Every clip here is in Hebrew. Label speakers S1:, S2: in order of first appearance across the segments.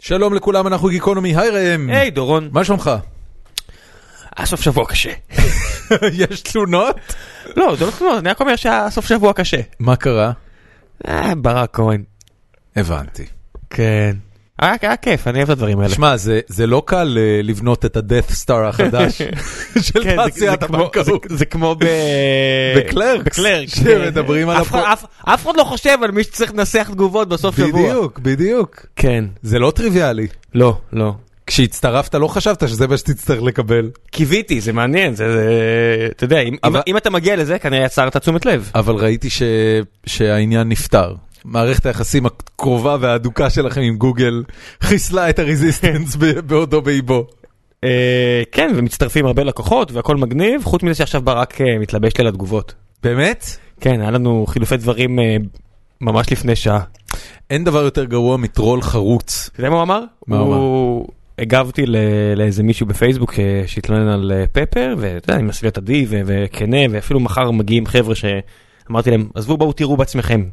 S1: שלום לכולם, אנחנו גיקונומי, היי ראם.
S2: היי דורון,
S1: מה שלומך?
S2: הסוף שבוע קשה.
S1: יש תלונות?
S2: לא, זה לא תלונות, אני רק אומר שהסוף שבוע קשה.
S1: מה קרה?
S2: אה, ברק כהן.
S1: הבנתי.
S2: כן. היה היה כיף, אני אוהב את הדברים האלה.
S1: שמע, זה, זה לא קל אה, לבנות את ה-Death Star החדש של
S2: כן, זה- זה
S1: תעשיית
S2: כמו-
S1: הבנקאות.
S2: זה- זה כמו ב...
S1: בקלרקס.
S2: בקלרקס. כן.
S1: שמדברים על
S2: אף אחד-
S1: הפרו-
S2: אף- אף אחד לא חושב על מי שצריך לנסח תגובות בסוף שבוע.
S1: בדיוק, בדיוק.
S2: כן.
S1: זה לא טריוויאלי.
S2: לא, לא.
S1: כשהצטרפת לא חשבת שזה מה שתצטרך לקבל.
S2: קיוויתי, זה מעניין, זה... זה- אתה יודע, אם-
S1: אבל-
S2: אם- אם אתה מגיע לזה, כנראה יצרת תשומת לב.
S1: אבל ראיתי ש... שהעניין נפתר. מערכת היחסים הקרובה וההדוקה שלכם עם גוגל חיסלה את הרזיסטנס ב- בעודו באיבו.
S2: אה, כן, ומצטרפים הרבה לקוחות והכל מגניב, חוץ מזה שעכשיו ברק אה, מתלבש לי על התגובות.
S1: באמת?
S2: כן, היה לנו חילופי דברים אה, ממש לפני שעה.
S1: אין דבר יותר גרוע מטרול חרוץ.
S2: אתה יודע מה הוא אמר?
S1: מה הוא
S2: הגבתי ל- לאיזה מישהו בפייסבוק אה, שהתלונן על אה, פפר, ואתה יודע, עם הסביבת עדי ו- וכנה, ואפילו מחר מגיעים חבר'ה שאמרתי להם, עזבו בואו תראו בעצמכם.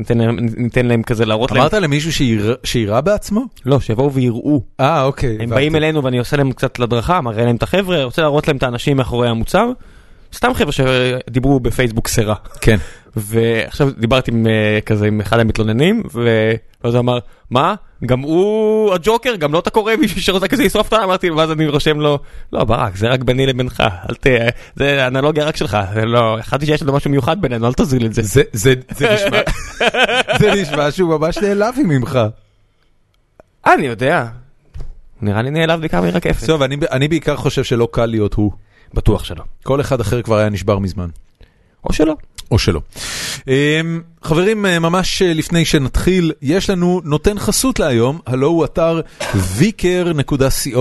S2: ניתן להם, ניתן להם כזה להראות להם.
S1: אמרת למישהו שיירה- שיירה בעצמו?
S2: לא, שיבואו ויראו.
S1: אה, אוקיי.
S2: הם
S1: הבנתי.
S2: באים אלינו ואני עושה להם קצת הדרכה, מראה להם את החבר'ה, רוצה להראות להם את האנשים מאחורי המוצר. סתם חבר'ה שדיברו בפייסבוק סירה.
S1: כן.
S2: ועכשיו דיברתי עם אה, כזה עם אחד המתלוננים ואז הוא אמר מה גם הוא הג'וקר גם לא אתה קורא מישהו שרוצה כזה לשרוף אותה אמרתי לו, ואז אני רושם לו לא ברק זה רק ביני לבינך אל ת... זה אנלוגיה רק שלך זה לא חשבתי שיש לנו משהו מיוחד בינינו אל תזיל את זה.
S1: זה זה- זה נשמע זה נשמע שהוא ממש נעלב ממך.
S2: "אה, אני יודע. נראה לי נעלב בעיקר מרקפת.
S1: טוב, אני- אני בעיקר חושב שלא קל להיות הוא.
S2: בטוח שלא.
S1: כל אחד אחר כבר היה נשבר מזמן.
S2: או שלא.
S1: או שלא. אמ, חברים, אה, ממש אה, לפני שנתחיל, יש לנו נותן חסות להיום, הלו הוא אתר vicker.co.il.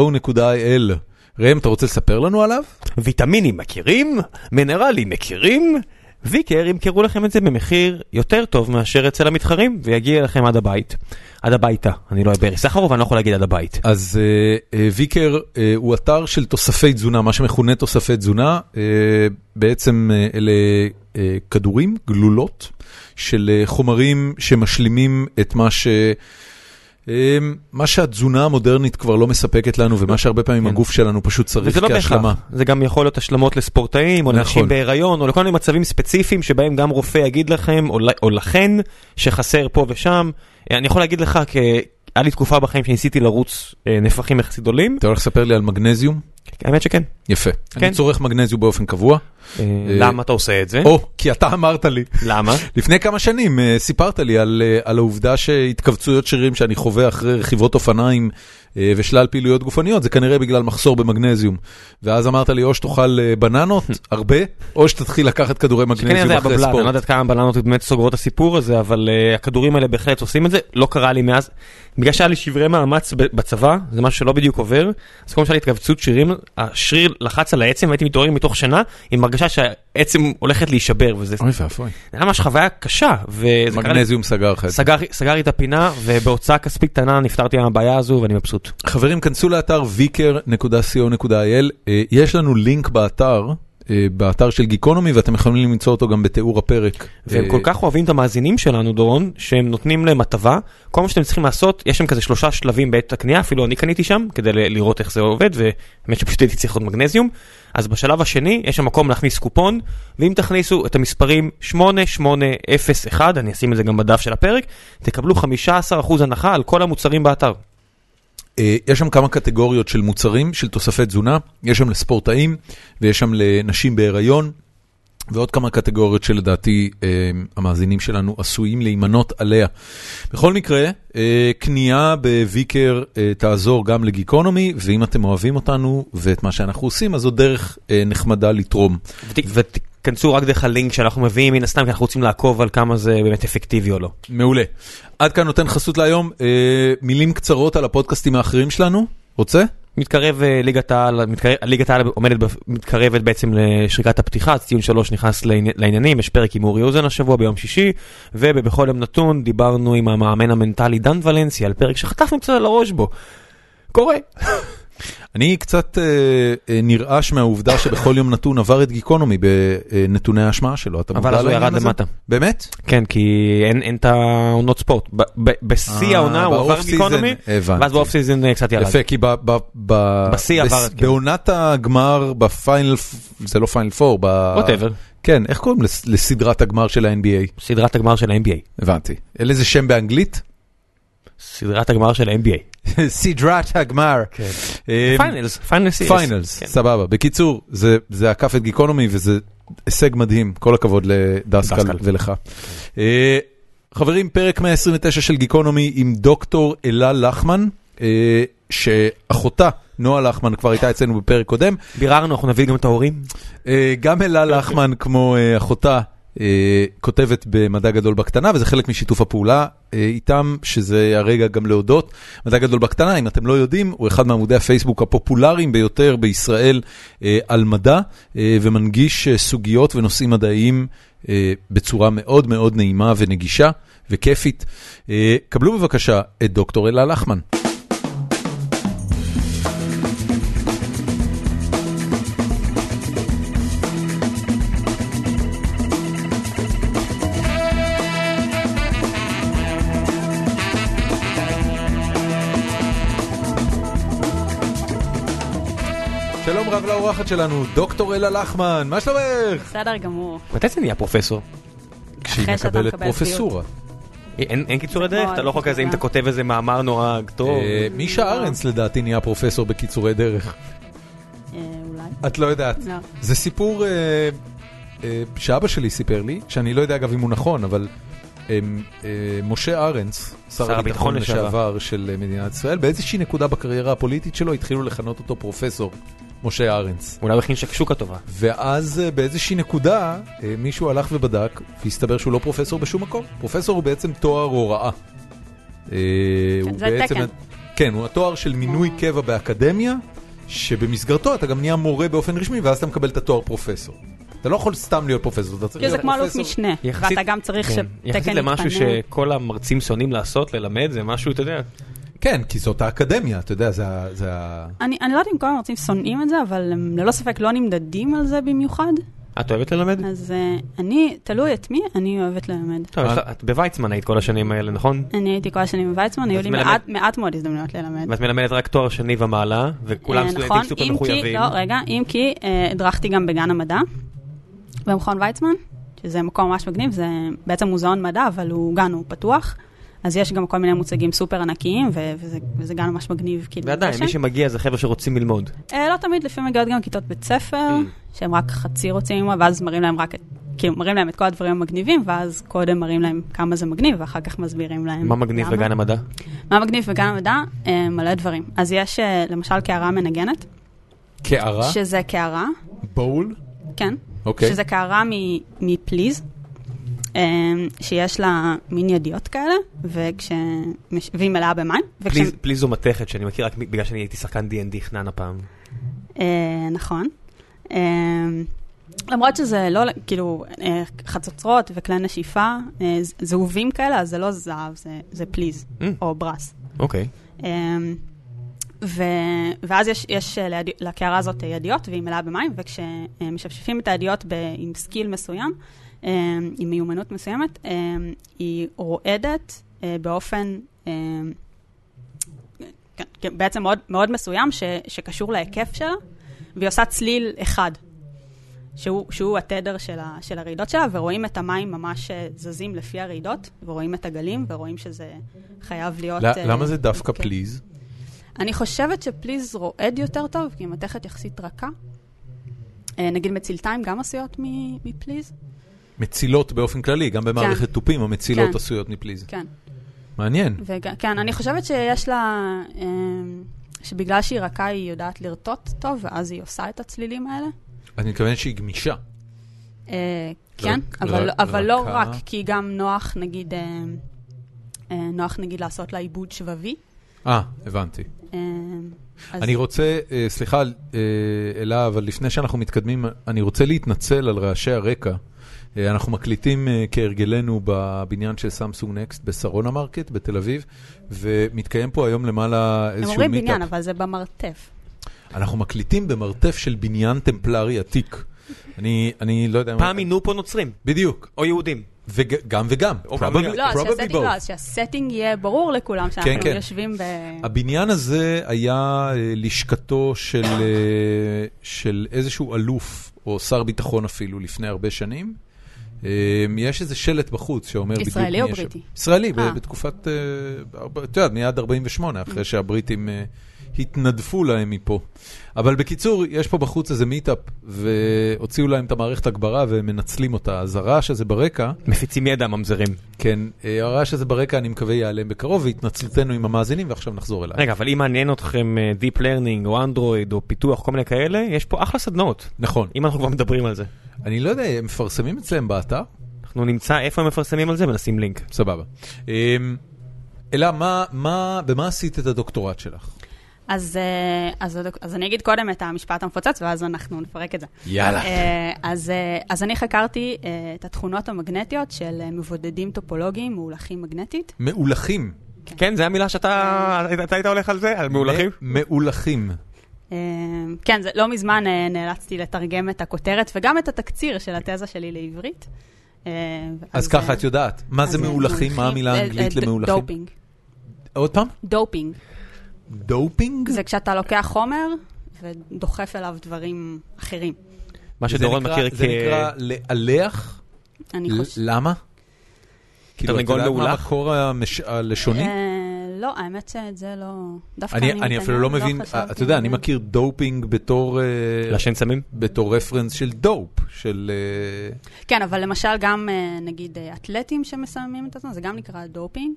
S1: ראם, אתה רוצה לספר לנו עליו?
S2: ויטמינים מכירים? מינרלים מכירים? ויקר ימכרו לכם את זה במחיר יותר טוב מאשר אצל המתחרים ויגיע לכם עד הבית. עד הביתה. אני לא אברי סחרוב, אני לא יכול להגיד עד הבית.
S1: אז אה, אה, ויקר אה, הוא אתר של תוספי תזונה, מה שמכונה תוספי תזונה. אה, בעצם אה, אלה אה, כדורים, גלולות, של אה, חומרים שמשלימים את מה ש... אה, מה שהתזונה המודרנית כבר לא מספקת לנו, ומה שהרבה פעמים
S2: כן.
S1: הגוף שלנו פשוט צריך
S2: וזה לא
S1: כהשלמה.
S2: בהכרח, זה גם יכול להיות השלמות לספורטאים, או
S1: נכון.
S2: לנשים בהיריון, או לכל מיני מצבים ספציפיים שבהם גם רופא יגיד לכם, או ל- או לכן, שחסר פה ושם. אה, אני יכול להגיד לך, כ- היה לי תקופה בחיים שניסיתי לרוץ אה, נפחים יחסית גדולים,
S1: אתה הולך לספר לי על מגנזיום?
S2: האמת שכן.
S1: יפה. אני
S2: כן.
S1: צורך מגנזיום באופן קבוע.
S2: אה, למה אתה עושה את זה?
S1: או, כי אתה אמרת לי.
S2: למה?
S1: לפני כמה שנים אה, סיפרת לי על, אה, על העובדה שהתכווצויות שרירים שאני חווה אחרי רכיבות אופניים אה, ושלל פעילויות גופניות, זה כנראה בגלל מחסור במגנזיום. ואז אמרת לי, או שתאכל אה, בננות, הרבה, או שתתחיל לקחת כדורי
S2: כנראה
S1: מגנזיום אחרי
S2: זה הבבלן, אני לא
S1: ספורט.
S2: יודעת כמה בלנות באמת סוגרות את הסיפור הזה, אבל אה, הכדורים האלה בהחלט עושים את זה, לא קרה לי מאז. בגלל שהיה לי שברי מאמץ ב- בצבא, זה משהו שלא בדיוק עובר, אז כל שהיה לי התכווצות שרירים, השריר לחץ על העצם והייתי מתעורר מתוך שינה עם הרגשה שהעצם הולכת להישבר, וזה
S1: אוי ואבוי.
S2: היה ממש חוויה קשה, וזה קרה לי,
S1: מגנזיום סגר לך את זה.
S2: סגר, סגר לי את הפינה, ובהוצאה כספית קטנה נפטרתי מהבעיה הזו ואני מבסוט.
S1: חברים, כנסו לאתר vicker.co.il, אה, יש לנו לינק באתר. אה, באתר של גיקונומי ואתם יכולים למצוא אותו גם בתיאור הפרק.
S2: והם
S1: אה,
S2: כל כך אוהבים את המאזינים שלנו, דורון, שהם נותנים להם הטבה. כל מה שאתם צריכים לעשות, יש שם כזה שלושה שלבים בעת הקנייה, אפילו אני קניתי שם, כדי ל- לראות איך זה עובד, והאמת שפשוט הייתי צריך עוד מגנזיום. אז בשלב השני, יש שם מקום להכניס קופון, ואם תכניסו את המספרים 8801, אני אשים את זה גם בדף של הפרק, תקבלו 15% הנחה על כל המוצרים באתר.
S1: אה, יש שם כמה קטגוריות של מוצרים, של תוספי תזונה, יש שם לספורטאים ויש שם לנשים בהיריון. ועוד כמה קטגוריות שלדעתי אה, המאזינים שלנו עשויים להימנות עליה. בכל מקרה, אה, קנייה בוויקר אה, תעזור גם לגיקונומי, ואם אתם אוהבים אותנו ואת מה שאנחנו עושים, אז זו דרך אה, נחמדה לתרום.
S2: ות- ותיכנסו רק דרך הלינק שאנחנו מביאים, מן הסתם, כי אנחנו רוצים לעקוב על כמה זה באמת אפקטיבי או לא.
S1: מעולה. עד כאן נותן חסות להיום. אה, מילים קצרות על הפודקאסטים האחרים שלנו? רוצה?
S2: מתקרב אה, ליגת העל, מתקרב- ליגת העל עומדת, בפ- מתקרבת בעצם לשריקת הפתיחה, אז ציון שלוש נכנס לעני- לעניינים, יש פרק עם אורי אוזן השבוע ביום שישי, ובבכל יום נתון דיברנו עם המאמן המנטלי דן ולנסי על פרק שחטפנו קצת על הראש בו. קורה.
S1: אני קצת אה, אה, נרעש מהעובדה שבכל יום נתון עבר את גיקונומי בנתוני ההשמעה שלו. אתה
S2: אבל
S1: מודע
S2: אז הוא
S1: לעניין
S2: ירד
S1: הזה?
S2: למטה.
S1: באמת?
S2: כן, כי אין, אין את העונות ספורט. ב- ב- בשיא
S1: אה,
S2: העונה הוא עבר
S1: באוף סיזן,
S2: גיקונומי,
S1: הבנתי.
S2: ואז באוף סיזן אה, קצת ירד.
S1: יפה, כי ב, ב, ב,
S2: בשיא
S1: בס-
S2: עבר, כן.
S1: בעונת הגמר, בפיינל, פ- זה לא פיינל פור, ב...
S2: ווטאבר,
S1: כן, איך קוראים לס- לסדרת הגמר של ה-NBA?
S2: סדרת הגמר של ה-NBA.
S1: הבנתי. אין לזה שם באנגלית?
S2: סדרת הגמר של ה-NBA.
S1: סדרת הגמר.
S2: כן.
S1: אמ,
S2: פיינלס, פיינלס.
S1: פיינלס, סבבה. בקיצור, זה- זה עקף את גיקונומי וזה הישג מדהים. כל הכבוד לדסקל
S2: דסקל.
S1: ולך. אה, חברים, פרק 129 של גיקונומי עם דוקטור אלה לחמן, אה, שאחותה, נועה לחמן, כבר הייתה אצלנו בפרק קודם.
S2: ביררנו, אנחנו נביא גם את ההורים.
S1: אה, גם אלה לחמן, כמו אה, אחותה, אה, כותבת במדע גדול בקטנה, וזה חלק משיתוף הפעולה אה, איתם, שזה הרגע גם להודות. מדע גדול בקטנה, אם אתם לא יודעים, הוא אחד מעמודי הפייסבוק הפופולריים ביותר בישראל אה, על מדע, אה, ומנגיש אה, סוגיות ונושאים מדעיים אה, בצורה מאוד מאוד נעימה ונגישה וכיפית. אה, קבלו בבקשה את דוקטור אלה לחמן. שלום רב לאורחת שלנו, דוקטור אלה לחמן, מה שלומך?
S3: בסדר גמור.
S2: מתי זה נהיה פרופסור?
S1: כשהיא
S3: אחרי שאתה
S1: מקבלת
S3: מקבל
S1: פרופסורה.
S2: אה, אין אין קיצורי
S3: זה
S2: דרך,
S3: כמו
S2: אתה לא יכול כזה, אם אתה
S3: הלחימה.
S2: כותב איזה מאמר נורא טוב.
S1: אה, מישה ארנס לדעתי נהיה פרופסור בקיצורי דרך.
S3: אה, אולי?
S1: את לא יודעת.
S3: לא.
S1: זה סיפור אה, אה, שאבא שלי סיפר לי, שאני לא יודע אגב אם הוא נכון, אבל אה, אה, משה ארנס, שר הביטחון לשעבר של אה, מדינת ישראל, באיזושהי נקודה בקריירה הפוליטית שלו התחילו לכנות אותו פרופסור, משה ארנס.
S2: אולי הוא הכין שקשוקה טובה.
S1: ואז אה, באיזושהי נקודה אה, מישהו הלך ובדק והסתבר שהוא לא פרופסור בשום מקום. פרופסור הוא בעצם תואר הוראה. אה, הוא
S3: זה
S1: בעצם-
S3: התקן.
S1: כן, הוא התואר של מינוי
S3: אה.
S1: קבע באקדמיה, שבמסגרתו אתה גם נהיה מורה באופן רשמי ואז אתה מקבל את התואר פרופסור. אתה לא יכול סתם להיות פרופסור, אתה צריך
S3: כאילו זה
S1: להיות
S3: כמו אלוף
S1: פרופסור.
S3: משנה,
S2: אה, יחסית-
S3: ואתה גם צריך
S2: כן.
S3: שתקן יתפנה.
S2: יחסית למשהו שכל המרצים שונאים לעשות, ללמד, זה משהו, אתה יודע,
S1: כן, כי זאת האקדמיה, אתה יודע, זה ה- זה ה...
S3: אני אני לא יודעת אם כל המרצים שונאים את זה, אבל הם ללא ספק לא נמדדים על זה במיוחד.
S2: את אוהבת ללמד?
S3: אז אה, אני, תלוי את מי, אני אוהבת ללמד.
S2: טוב, יש לך- את בוויצמן היית כל השנים האלה, נכון?
S3: אני הייתי כל השנים בוויצמן, היו
S2: אז
S3: לי
S2: מלמד-
S3: מעט- מעט מאוד הזדמנויות ללמד.
S2: ואת מלמדת רק תואר שני ומעלה, וכולם
S3: אה,
S2: סטודנטים
S3: נכון,
S2: סופר
S3: אם כי,
S2: מחויבים.
S3: לא, רגע, אם כי אה, הדרכתי גם בגן המדע, במכון ויצמן, שזה מקום ממש מגניב, זה בעצם מוזיאון מדע, אבל הוא גן, הוא פתוח. אז יש גם כל מיני מוצגים סופר ענקיים, ו- וזה, וזה גן ממש מגניב, כאילו,
S2: ועדיין,
S3: גשם.
S2: מי שמגיע זה חבר'ה שרוצים ללמוד.
S3: אה, לא תמיד, לפעמים מגיעות גם כיתות בית ספר,
S2: Mm.
S3: שהם רק חצי רוצים ללמוד, ואז מראים להם רק את, כאילו, מראים להם את כל הדברים המגניבים, ואז קודם מראים להם כמה זה מגניב, ואחר כך מסבירים להם
S2: מה מגניב
S3: אה, למה.
S2: בגן המדע?
S3: מה מגניב בגן המדע? אה, מלא דברים. אז יש, אה, למשל, קערה מנגנת,
S1: קערה?
S3: שזה קערה,
S1: בול?
S3: כן.
S1: אוקיי.
S3: שזה קערה מ- מפליז, אמ, שיש לה מין ידיות כאלה, וכש... מש- והיא מלאה במים. וכש-
S2: פליז- פליז זו מתכת שאני מכיר רק מ- בגלל שאני הייתי שחקן D&D חנן הפעם.
S3: אה, נכון. אמ, למרות שזה לא, כאילו, אה, חצוצרות וכלי נשיפה, אה, ז- זהובים כאלה, אז זה לא זהב, זה- זה פליז,
S2: Mm.
S3: או ברס.
S2: אוקיי.
S3: אמ, ו... ואז יש, יש אה, ליד... לקערה הזאת ידיות, והיא מלאה במים, וכשמשפשפים את הידיות ב... עם סקיל מסוים, אמ, עם מיומנות מסוימת, אמ, היא רועדת אה, באופן, אמ, כן, כן, בעצם מאוד, מאוד מסוים, ש... שקשור להיקף שלה, והיא עושה צליל אחד. שהוא, שהוא התדר של, ה, של הרעידות שלה, ורואים את המים ממש אה, זזים לפי הרעידות, ורואים את הגלים, ורואים שזה חייב להיות... אה,
S1: למה זה דווקא
S3: כן.
S1: פליז?
S3: אני חושבת שפליז רועד יותר טוב, כי היא מתכת יחסית רכה. אה, נגיד מצילתיים גם עשויות מ- מפליז?
S1: מצילות באופן כללי, גם במערכת תופים המצילות
S3: כן.
S1: עשויות מפליז.
S3: כן.
S1: מעניין.
S3: וג- כן, אני חושבת שיש לה... אה, שבגלל שהיא רכה היא יודעת לרטוט טוב, ואז היא עושה את הצלילים האלה.
S1: את מתכוונת שהיא גמישה.
S3: אה, כן,
S1: רק-
S3: אבל לא-
S1: רק-
S3: אבל לא
S1: רכה.
S3: רק, כי גם נוח, נגיד, אה, אה, נוח, נגיד, לעשות לה עיבוד שבבי.
S1: אה, הבנתי.
S3: אה, אז-
S1: אני רוצה, אה, סליחה, אה, אלה, אבל לפני שאנחנו מתקדמים, אני רוצה להתנצל על רעשי הרקע. אה, אנחנו מקליטים אה, כהרגלנו בבניין של סמסונג נקסט בשרון המרקט בתל אביב, ומתקיים פה היום למעלה
S3: הם
S1: איזשהו
S3: אומרים
S1: מיטאפ.
S3: בניין, אבל זה במרתף.
S1: אנחנו מקליטים במרתף של בניין טמפלרי עתיק. אני, אני לא יודע...
S2: פעם מינו פה נוצרים,
S1: בדיוק.
S2: או יהודים.
S1: וגם וגם.
S2: או
S1: Probably-
S2: גם וגם.
S3: לא, אז
S1: probably
S3: שהסטינג,
S1: both.
S3: לא, אז שהסטינג יהיה ברור לכולם
S1: כן,
S3: שאנחנו
S1: כן.
S3: יושבים ב...
S1: הבניין הזה היה אה, לשכתו של, אה, של איזשהו אלוף, או שר ביטחון אפילו, לפני הרבה שנים. אה, יש איזה שלט בחוץ שאומר בדיוק מי
S3: Mm-hmm. ישראלי
S1: יהיה
S3: או
S1: שם.
S3: בריטי?
S1: ישראלי, ב-
S3: אה. Mm-hmm.
S1: בתקופת, אה, הרבה- את יודעת, מיד 48, אחרי שהבריטים אה, התנדפו להם מפה. אבל בקיצור, יש פה בחוץ איזה מיטאפ, והוציאו להם את המערכת הגברה והם מנצלים אותה. אז הרעש הזה ברקע,
S2: מפיצים ידע ממזרים.
S1: כן, אה, הרעש הזה ברקע, אני מקווה ייעלם בקרוב, והתנצלותנו עם המאזינים, ועכשיו נחזור אליי.
S2: רגע, אבל אם מעניין אתכם אה, Deep Learning או אנדרואיד או פיתוח, כל מיני כאלה, יש פה אחלה סדנאות,
S1: נכון.
S2: אם אנחנו כבר מדברים על זה.
S1: אני לא יודע, הם מפרסמים אצלם באתר?
S2: אנחנו נמצא איפה הם מפרסמים על זה ונשים לינק.
S1: סבבה. אמ, אלה, מה, מה, במה עשית את הדוקטורט שלך?
S3: אז, אה, אז, עוד- אז אני אגיד קודם את המשפט המפוצץ, ואז אנחנו נפרק את זה.
S1: יאללה.
S3: אה, אז, אה, אז אני חקרתי אה, את התכונות המגנטיות של אה, מבודדים טופולוגיים מאולכים מגנטית.
S1: מאולכים.
S2: כן, זו המילה שאתה אתה היית הולך על זה? על מאולכים?
S1: מ- מאולכים.
S3: אה, כן, זה לא מזמן אה, נאלצתי לתרגם את הכותרת וגם את התקציר של התזה שלי לעברית. אה,
S1: אז ככה
S3: אה,
S1: את יודעת. מה
S3: אז,
S1: זה
S3: אה,
S1: מאולכים? מה המילה
S3: אה,
S1: האנגלית
S3: אה, ד-
S1: למאולכים?
S3: דופינג.
S1: עוד פעם?
S3: דופינג.
S1: דופינג?
S3: זה כשאתה לוקח חומר ודוחף אליו דברים אחרים.
S2: מה
S1: זה
S2: שדורון
S1: נקרא-
S2: מכיר כ...
S1: זה נקרא לאלח?
S3: אני
S1: ל-
S3: חושבת...
S1: למה? כאילו, את
S2: תרנגול
S1: יודעת מה
S2: מאולח?
S1: המקור המש- הלשוני?
S3: אה, לא, האמת שאת זה לא... דווקא אני
S1: אני
S3: מתעניין,
S1: אני אפילו לא מבין,
S3: חשבתי
S1: אתה יודע,
S3: על
S1: אני
S3: זה.
S1: מכיר דופינג בתור... אה,
S2: לעשן סמים?
S1: בתור רפרנס של דופ, של... אה,
S3: כן, אבל למשל גם, אה, נגיד, אה, אתלטים שמסיימים את עצמם, זה גם נקרא דופינג.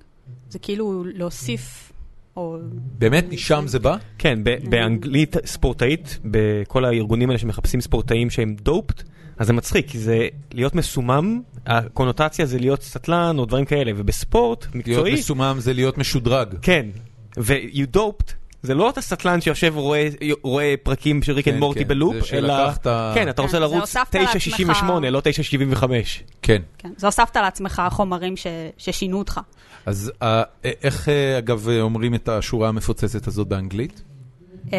S3: זה כאילו להוסיף, או...
S1: באמת, משם זה בא?
S2: כן, ב- באנגלית ספורטאית, בכל הארגונים האלה שמחפשים ספורטאים שהם דופט, אז זה מצחיק, כי זה להיות מסומם, הקונוטציה זה להיות סטלן או דברים כאלה, ובספורט
S1: להיות
S2: מקצועי,
S1: מסומם זה להיות משודרג.
S2: כן, ו-you doped, זה לא אתה סטלן שיושב ורואה רואה פרקים של ריק
S1: כן,
S2: אנד מורטי
S1: כן, זה
S2: בלופ, אלא...
S1: שלקחת-
S2: כן, אתה רוצה
S3: כן, זה
S2: לרוץ
S3: הוספת לעצמך.
S2: 9.68, לא 9.75.
S1: כן.
S3: כן, זה הוספת לעצמך חומרים ש, ששינו אותך.
S1: אז אה, איך, אה, אגב, אה, אומרים את השורה המפוצצת הזאת באנגלית?
S3: אה,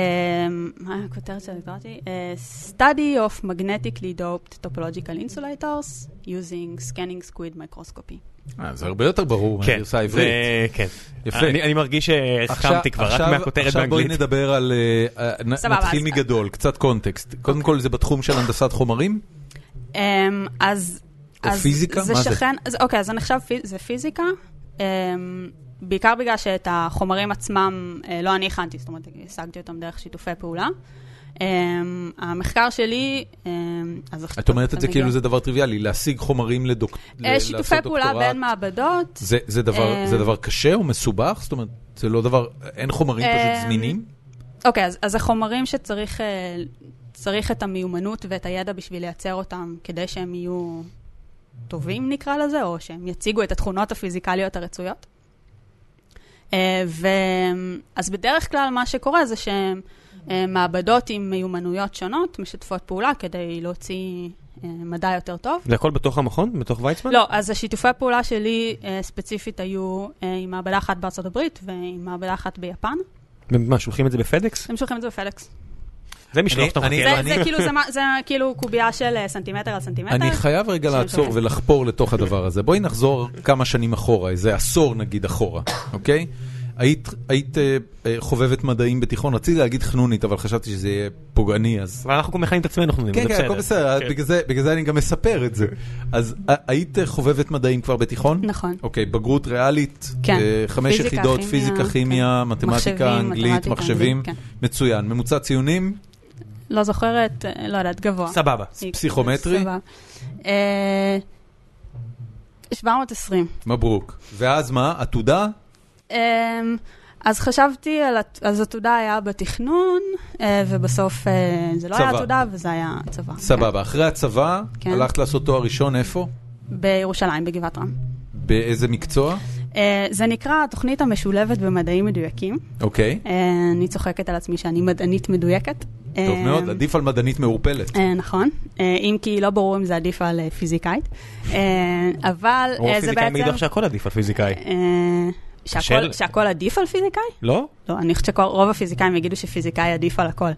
S3: מה הכותרת שאני קראתי? אה, study of magnetically doped topological insulators using scanning squid microscopy.
S1: אה, זה הרבה יותר ברור מהגרסה העברית.
S2: כן, זה- כן.
S1: יפה.
S2: אני אני מרגיש שהסכמתי כבר, רק
S1: עכשיו-
S2: מהכותרת
S1: עכשיו בואי
S2: באנגלית.
S1: נדבר על... אה, אה, נ-
S3: סבבה,
S1: נתחיל
S3: אז-
S1: מגדול, קצת קונטקסט. קודם כל זה בתחום של הנדסת חומרים?
S3: אה, אז...
S1: או
S3: אז
S1: פיזיקה?
S3: זה
S1: מה זה?
S3: שכן, אז, אוקיי, אז זה נחשב, פי- זה פיזיקה. אה, בעיקר בגלל שאת החומרים עצמם אה, לא אני הכנתי, זאת אומרת, השגתי אותם דרך שיתופי פעולה. אה, המחקר שלי, אה, אז...
S1: את אומרת את זה
S3: אתה
S1: כאילו
S3: מגיע-
S1: זה דבר טריוויאלי, להשיג חומרים לדוקטורט.
S3: אה, שיתופי פעולה בין מעבדות.
S1: זה, זה, דבר,
S3: אה,
S1: זה דבר קשה או מסובך? זאת אומרת, זה לא דבר, אין חומרים
S3: אה,
S1: פשוט זמינים?
S3: אוקיי, אז, אז החומרים שצריך אה, צריך את המיומנות ואת הידע בשביל לייצר אותם, כדי שהם יהיו טובים נקרא לזה, או שהם יציגו את התכונות הפיזיקליות הרצויות. אה, ו... אז בדרך כלל מה שקורה זה שמעבדות עם מיומנויות שונות משתפות פעולה כדי להוציא אה, מדע יותר טוב.
S2: זה הכל בתוך המכון? בתוך ויצמן?
S3: לא, אז השיתופי פעולה שלי אה, ספציפית היו אה, עם מעבדה אחת בארצות הברית ועם מעבדה אחת ביפן.
S2: מה, שולחים את זה בפדקס?
S3: הם שולחים את זה בפלקס.
S2: זה משלוח שאתה
S1: אני-
S2: מחכה
S1: כן,
S3: זה,
S2: לו.
S1: אני-
S3: זה, כאילו, זה, מה- זה כאילו קובייה של אה, סנטימטר על סנטימטר.
S1: אני חייב רגע
S3: שם,
S1: לעצור
S3: שם.
S1: ולחפור לתוך הדבר הזה. בואי נחזור כמה שנים אחורה, איזה עשור נגיד אחורה, אוקיי? היית, היית אה, אה, חובבת מדעים בתיכון, רציתי להגיד חנונית, אבל חשבתי שזה יהיה פוגעני, אז...
S2: אבל אנחנו מכנים את עצמנו, אנחנו נראים,
S1: כן,
S2: זה
S1: כן, הכל בסדר,
S2: כן.
S1: בגלל זה- בגלל זה אני גם מספר את זה. אז אה, היית אה, חובבת מדעים כבר בתיכון?
S3: נכון.
S1: אוקיי, בגרות ריאלית,
S3: כן.
S1: אה, חמש
S3: פיזיקה,
S1: יחידות,
S3: כימיה,
S1: פיזיקה, כימיה,
S3: כן. מחשבים,
S1: מתמטיקה, אנגלית,
S3: מתמטיקה,
S1: מחשבים,
S3: אנגלית, כן.
S1: מצוין. ממוצע ציונים,
S3: לא זוכרת, אה, לא יודעת, גבוה.
S2: סבבה.
S1: פסיכומטרי?
S3: סבבה. אה, 720.
S1: מברוק. ואז מה? עתודה?
S3: אה, אז חשבתי על... הת- אז עתודה היה בתכנון, אה, ובסוף אה, זה לא היה
S1: צבא.
S3: עתודה, וזה היה צבא.
S1: סבבה. אחרי הצבא,
S3: כן.
S1: הלכת לעשות תואר ראשון, איפה?
S3: כן. בירושלים, בגבעת רם.
S1: באיזה מקצוע?
S3: אה, זה נקרא התוכנית המשולבת במדעים מדויקים.
S1: אוקיי.
S3: אה, אני צוחקת על עצמי שאני מדענית מדויקת.
S1: טוב
S3: אה,
S1: מאוד, עדיף על מדענית מעורפלת.
S3: אה, נכון, אה, אם כי לא ברור אם זה עדיף על אה, פיזיקאית, אה, אבל
S2: או
S3: אה, זה
S2: פיזיקאים יגידו לך
S3: בעצם...
S2: שהכל עדיף על פיזיקאי.
S3: אה, שהכל-
S2: קשה-
S3: שהכל עדיף על פיזיקאי?
S2: לא?
S3: לא, אני חושבת שרוב הפיזיקאים יגידו שפיזיקאי עדיף על הכל.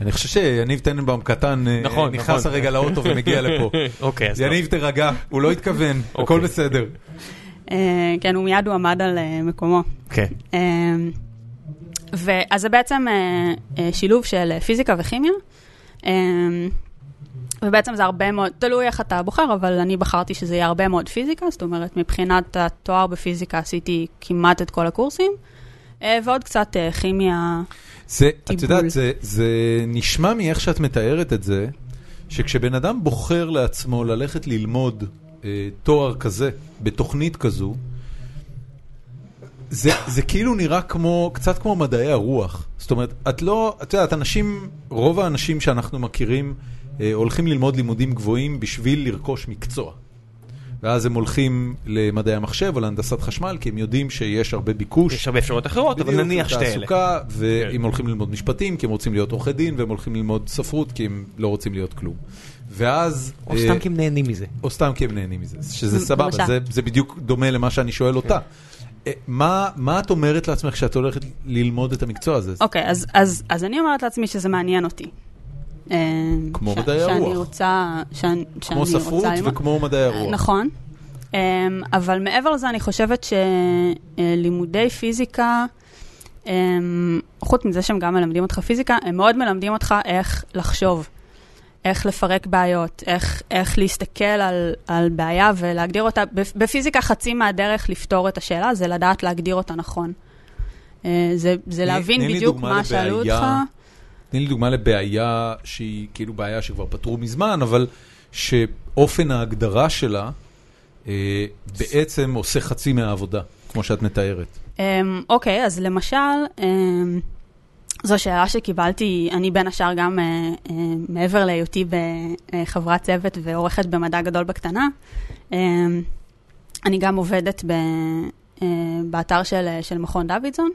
S1: אני חושב שיניב טננבאום קטן אה,
S2: נכון,
S1: נכנס
S2: נכון.
S1: הרגע לאוטו ומגיע לפה.
S2: אוקיי, אז לא.
S1: יניב, תירגע, הוא לא התכוון, הכל
S2: אוקיי.
S1: בסדר.
S3: אה, כן, הוא מיד הועמד על אה, מקומו.
S2: כן.
S3: אה, ואז זה בעצם אה, אה, שילוב של אה, פיזיקה וכימיה. אה, ובעצם זה הרבה מאוד, תלוי איך אתה בוחר, אבל אני בחרתי שזה יהיה הרבה מאוד פיזיקה, זאת אומרת, מבחינת התואר בפיזיקה עשיתי כמעט את כל הקורסים, אה, ועוד קצת אה, כימיה.
S1: זה, את
S3: עיבול.
S1: יודעת, זה, זה נשמע מאיך שאת מתארת את זה, שכשבן אדם בוחר לעצמו ללכת ללמוד אה, תואר כזה, בתוכנית כזו, זה, זה כאילו נראה כמו, קצת כמו מדעי הרוח. זאת אומרת, את לא, את יודעת, אנשים, רוב האנשים שאנחנו מכירים אה, הולכים ללמוד לימודים גבוהים בשביל לרכוש מקצוע. ואז הם הולכים למדעי המחשב או להנדסת חשמל, כי הם יודעים שיש הרבה ביקוש.
S2: יש הרבה אפשרויות אחרות, אבל
S1: בדיוק,
S2: נניח שתי אלה.
S1: תעסוקה,
S2: כן.
S1: והם הולכים ללמוד משפטים, כי הם רוצים להיות עורכי דין, והם הולכים ללמוד ספרות, כי הם לא רוצים להיות כלום. ואז...
S2: או
S1: אה,
S2: סתם כי הם נהנים מזה.
S1: או סתם כי הם נהנים מזה, שזה
S3: מ-
S1: סבבה,
S3: למשל.
S1: זה, זה בדיוק דומה למה שאני שואל אותה.
S2: כן.
S1: אה, מה, מה את אומרת לעצמך כשאת הולכת ללמוד את המקצוע הזה?
S3: אוקיי, אז, אז, אז אני אומרת לעצמי שזה מעניין אותי. אה,
S1: כמו
S3: ש-
S1: מדעי
S3: שאני
S1: הרוח.
S3: רוצה, שאני, שאני
S1: כמו
S3: רוצה
S1: ספרות
S3: ללמוד.
S1: וכמו מדעי הרוח.
S3: נכון. Um, אבל מעבר לזה, אני חושבת שלימודי פיזיקה, um, חוץ מזה שהם גם מלמדים אותך פיזיקה, הם מאוד מלמדים אותך איך לחשוב, איך לפרק בעיות, איך, איך להסתכל על, על בעיה ולהגדיר אותה. בפ- בפיזיקה חצי מהדרך לפתור את השאלה זה לדעת להגדיר אותה נכון. Uh, זה, זה
S1: תני-
S3: להבין
S1: תני לי
S3: בדיוק
S1: דוגמה
S3: מה שאלו
S1: לבעיה.
S3: אותך.
S1: תני לי דוגמה לבעיה שהיא כאילו בעיה שכבר פתרו מזמן, אבל שאופן ההגדרה שלה אה, בעצם עושה חצי מהעבודה, כמו שאת מתארת.
S3: אמ, אוקיי, אז למשל, אמ, זו שאלה שקיבלתי, אני בין השאר גם אה, אה, מעבר להיותי בחברת צוות ועורכת במדע גדול בקטנה, אמ, אני גם עובדת ב- אה, באתר של אה, של מכון דוידסון,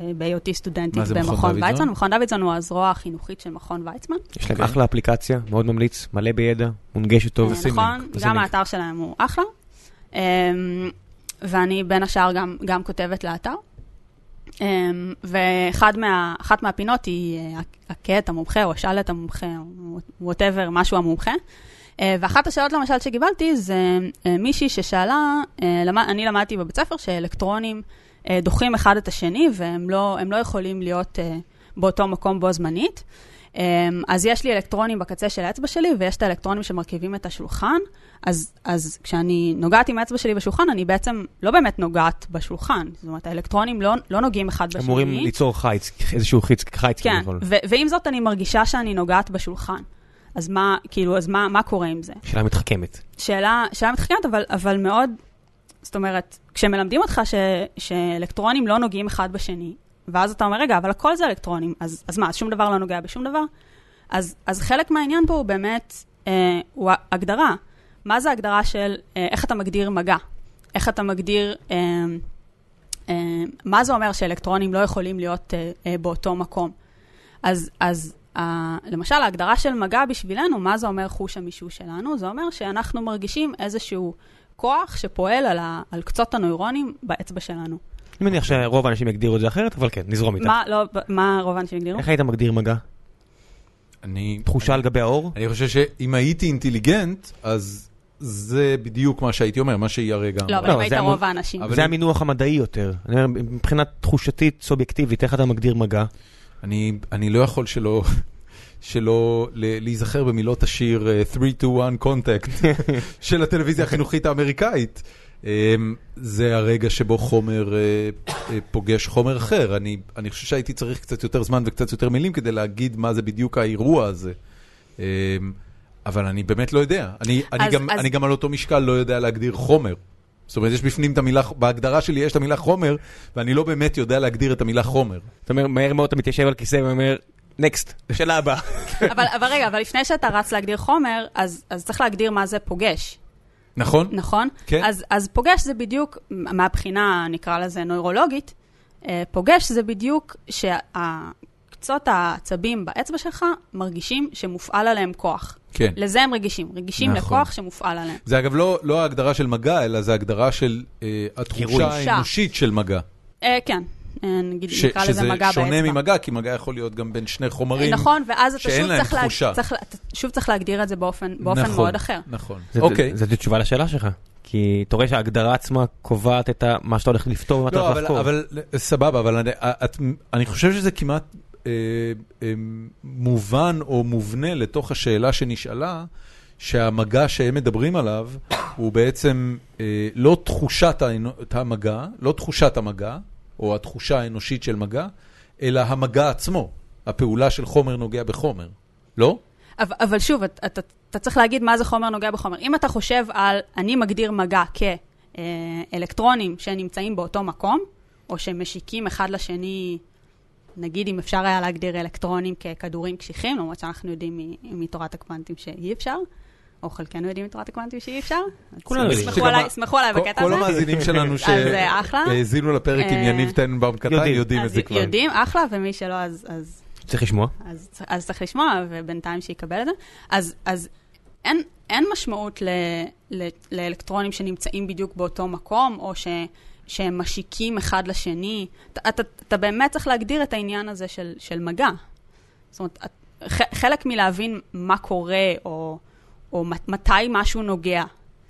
S3: ב- בהיותי סטודנטית
S1: מה זה מכון
S3: במכון
S1: דוידסון?
S3: ויצמן. מכון דוידסון הוא הזרוע החינוכית של מכון ויצמן.
S2: יש להם
S1: אוקיי.
S2: אחלה אפליקציה, מאוד ממליץ, מלא בידע, מונגשת טוב.
S3: אה,
S1: נשים
S3: נכון,
S1: לינק,
S2: נשים
S3: גם
S2: לינק.
S3: האתר שלהם הוא אחלה. אמ, ואני בין השאר גם, גם כותבת לאתר. אמ, ואחת מה, אחת מהפינות היא אה, הקט המומחה, או השאל את המומחה, או וואטאבר, משהו המומחה. אה, ואחת השאלות למשל שקיבלתי זה אה, מישהי ששאלה, אה, למד- אני למדתי בבית ספר שאלקטרונים אה, דוחים אחד את השני והם לא, הם לא יכולים להיות אה, באותו מקום בו זמנית. אה, אז יש לי אלקטרונים בקצה של האצבע שלי ויש את האלקטרונים שמרכיבים את השולחן, אז, אז כשאני נוגעת עם האצבע שלי בשולחן, אני בעצם לא באמת נוגעת בשולחן. זאת אומרת, האלקטרונים לא, לא נוגעים אחד בשני.
S2: אמורים ליצור חיץ, איזשהו חיץ, חיץ
S3: כן,
S2: כביכול.
S3: ו- ועם זאת אני מרגישה שאני נוגעת בשולחן. אז מה, כאילו, אז מה, מה קורה עם זה?
S2: שאלה מתחכמת.
S3: שאלה, שאלה מתחכמת, אבל, אבל מאוד, זאת אומרת, כשמלמדים אותך ש, שאלקטרונים לא נוגעים אחד בשני, ואז אתה אומר, רגע, אבל הכל זה אלקטרונים, אז, אז מה, אז שום דבר לא נוגע בשום דבר? אז, אז חלק מהעניין פה הוא באמת, אה, הוא הגדרה. מה זה הגדרה של אה, איך אתה מגדיר מגע? איך אתה מגדיר, אה, אה, מה זה אומר שאלקטרונים לא יכולים להיות אה, אה, באותו מקום? אז, אז ה, למשל, ההגדרה של מגע בשבילנו, מה זה אומר חוש המישוש שלנו? זה אומר שאנחנו מרגישים איזשהו כוח שפועל על, ה, על קצות הנוירונים באצבע שלנו.
S2: אני מניח שרוב האנשים יגדירו את זה אחרת, אבל כן, נזרום איתה.
S3: מה, לא, מה רוב האנשים יגדירו?
S2: איך היית מגדיר מגע?
S1: אני...
S2: תחושה על גבי האור?
S1: אני חושב שאם הייתי אינטליגנט, אז זה בדיוק מה שהייתי אומר, מה שהיא הרגע אמרה.
S3: לא, אבל
S2: לא,
S3: אם היית
S2: זה המון-
S3: רוב האנשים.
S1: אבל-
S2: זה המינוח המדעי יותר. אני אומר, מבחינה תחושתית, סובייקטיבית, איך אתה מגדיר מגע?
S1: אני, אני לא יכול שלא, שלא ל- להיזכר במילות השיר אה, 3-2-1 Contact של הטלוויזיה החינוכית האמריקאית. אה, זה הרגע שבו חומר אה, אה, פוגש חומר אחר. אני, אני חושב שהייתי צריך קצת יותר זמן וקצת יותר מילים כדי להגיד מה זה בדיוק האירוע הזה. אה, אבל אני באמת לא יודע. אני, אני,
S3: אז-
S1: גם,
S3: אז-
S1: אני גם על אותו משקל לא יודע להגדיר חומר. זאת אומרת, יש בפנים את המילה, בהגדרה שלי יש את המילה חומר, ואני לא באמת יודע להגדיר את המילה חומר.
S2: אתה אומר, מהר מאוד אתה מתיישב על כיסא ואומר, נקסט, שאלה הבאה.
S3: אבל, אבל רגע, אבל לפני שאתה רץ להגדיר חומר, אז, אז צריך להגדיר מה זה פוגש,
S1: נכון?
S3: נכון?
S1: כן.
S3: אז, אז פוגש זה בדיוק, מה- מהבחינה, נקרא לזה, נוירולוגית, אה, פוגש זה בדיוק שהקצות העצבים באצבע שלך מרגישים שמופעל עליהם כוח.
S1: כן.
S3: לזה הם רגישים, רגישים
S1: נכון.
S3: לכוח שמופעל עליהם.
S1: זה אגב לא, לא ההגדרה של מגע, אלא זה הגדרה של אה,
S2: גירוי.
S1: התחושה האנושית של מגע.
S3: אה, כן, אה, נגיד
S1: ש-
S3: נקרא לזה
S1: שזה
S3: מגע באצבע.
S1: שונה ממגע, כי מגע יכול להיות גם בין שני חומרים.
S3: נכון, ואז אתה
S1: שאין
S3: שוב
S1: להם
S3: צריך, לה,
S1: תחושה.
S3: צריך, לה- אתה שוב צריך להגדיר את זה באופן, באופן
S1: נכון,
S3: מאוד אחר.
S1: נכון,
S2: זאת-
S1: אוקיי.
S2: זאת תשובה לשאלה שלך. כי אתה רואה שההגדרה עצמה קובעת את ה- מה שאתה הולך לפתור ומה אתה
S1: לא,
S2: הולך
S1: אבל,
S2: לחקור.
S1: אבל סבבה, אבל אני, את, אני חושב שזה כמעט אה, אה, מובן או מובנה לתוך השאלה שנשאלה, שהמגע שהם מדברים עליו הוא בעצם אה, לא תחושת האנו- המגע, לא תחושת המגע, או התחושה האנושית של מגע, אלא המגע עצמו, הפעולה של חומר נוגע בחומר, לא?
S3: אבל, אבל שוב, אתה, אתה, אתה צריך להגיד מה זה חומר נוגע בחומר. אם אתה חושב על, אני מגדיר מגע כאלקטרונים שנמצאים באותו מקום, או שמשיקים אחד לשני, נגיד אם אפשר היה להגדיר אלקטרונים ככדורים קשיחים, למרות שאנחנו יודעים מ- מתורת הקוונטים שאי אפשר, או חלקנו יודעים מתורת הקוונטים שאי אפשר. אז
S2: כולנו יודעים.
S3: סמכו
S1: שגם
S3: עליי-
S1: ה-
S3: סמכו עליי
S1: כל-
S3: אה, בקטע
S1: כל
S3: הזה.
S1: המאזינים שלנו
S3: אה, אחלה.
S1: שהאזינו לפרק עם
S3: אה,
S1: יניב טננבאום קטן
S2: יודעים.
S1: יודעים את
S3: אז
S1: זה כבר.
S3: יודעים, אחלה, ומי שלא, אז, אז
S2: צריך לשמוע.
S3: אז, צר- אז צריך לשמוע, ובינתיים שיקבל את זה. אז, אז אין, אין משמעות ל, ל, לאלקטרונים שנמצאים בדיוק באותו מקום, או ש, שהם משיקים אחד לשני. אתה, אתה, אתה באמת צריך להגדיר את העניין הזה של, של מגע. זאת אומרת, את- ח- חלק מלהבין מה קורה, או, או מת- מתי משהו נוגע.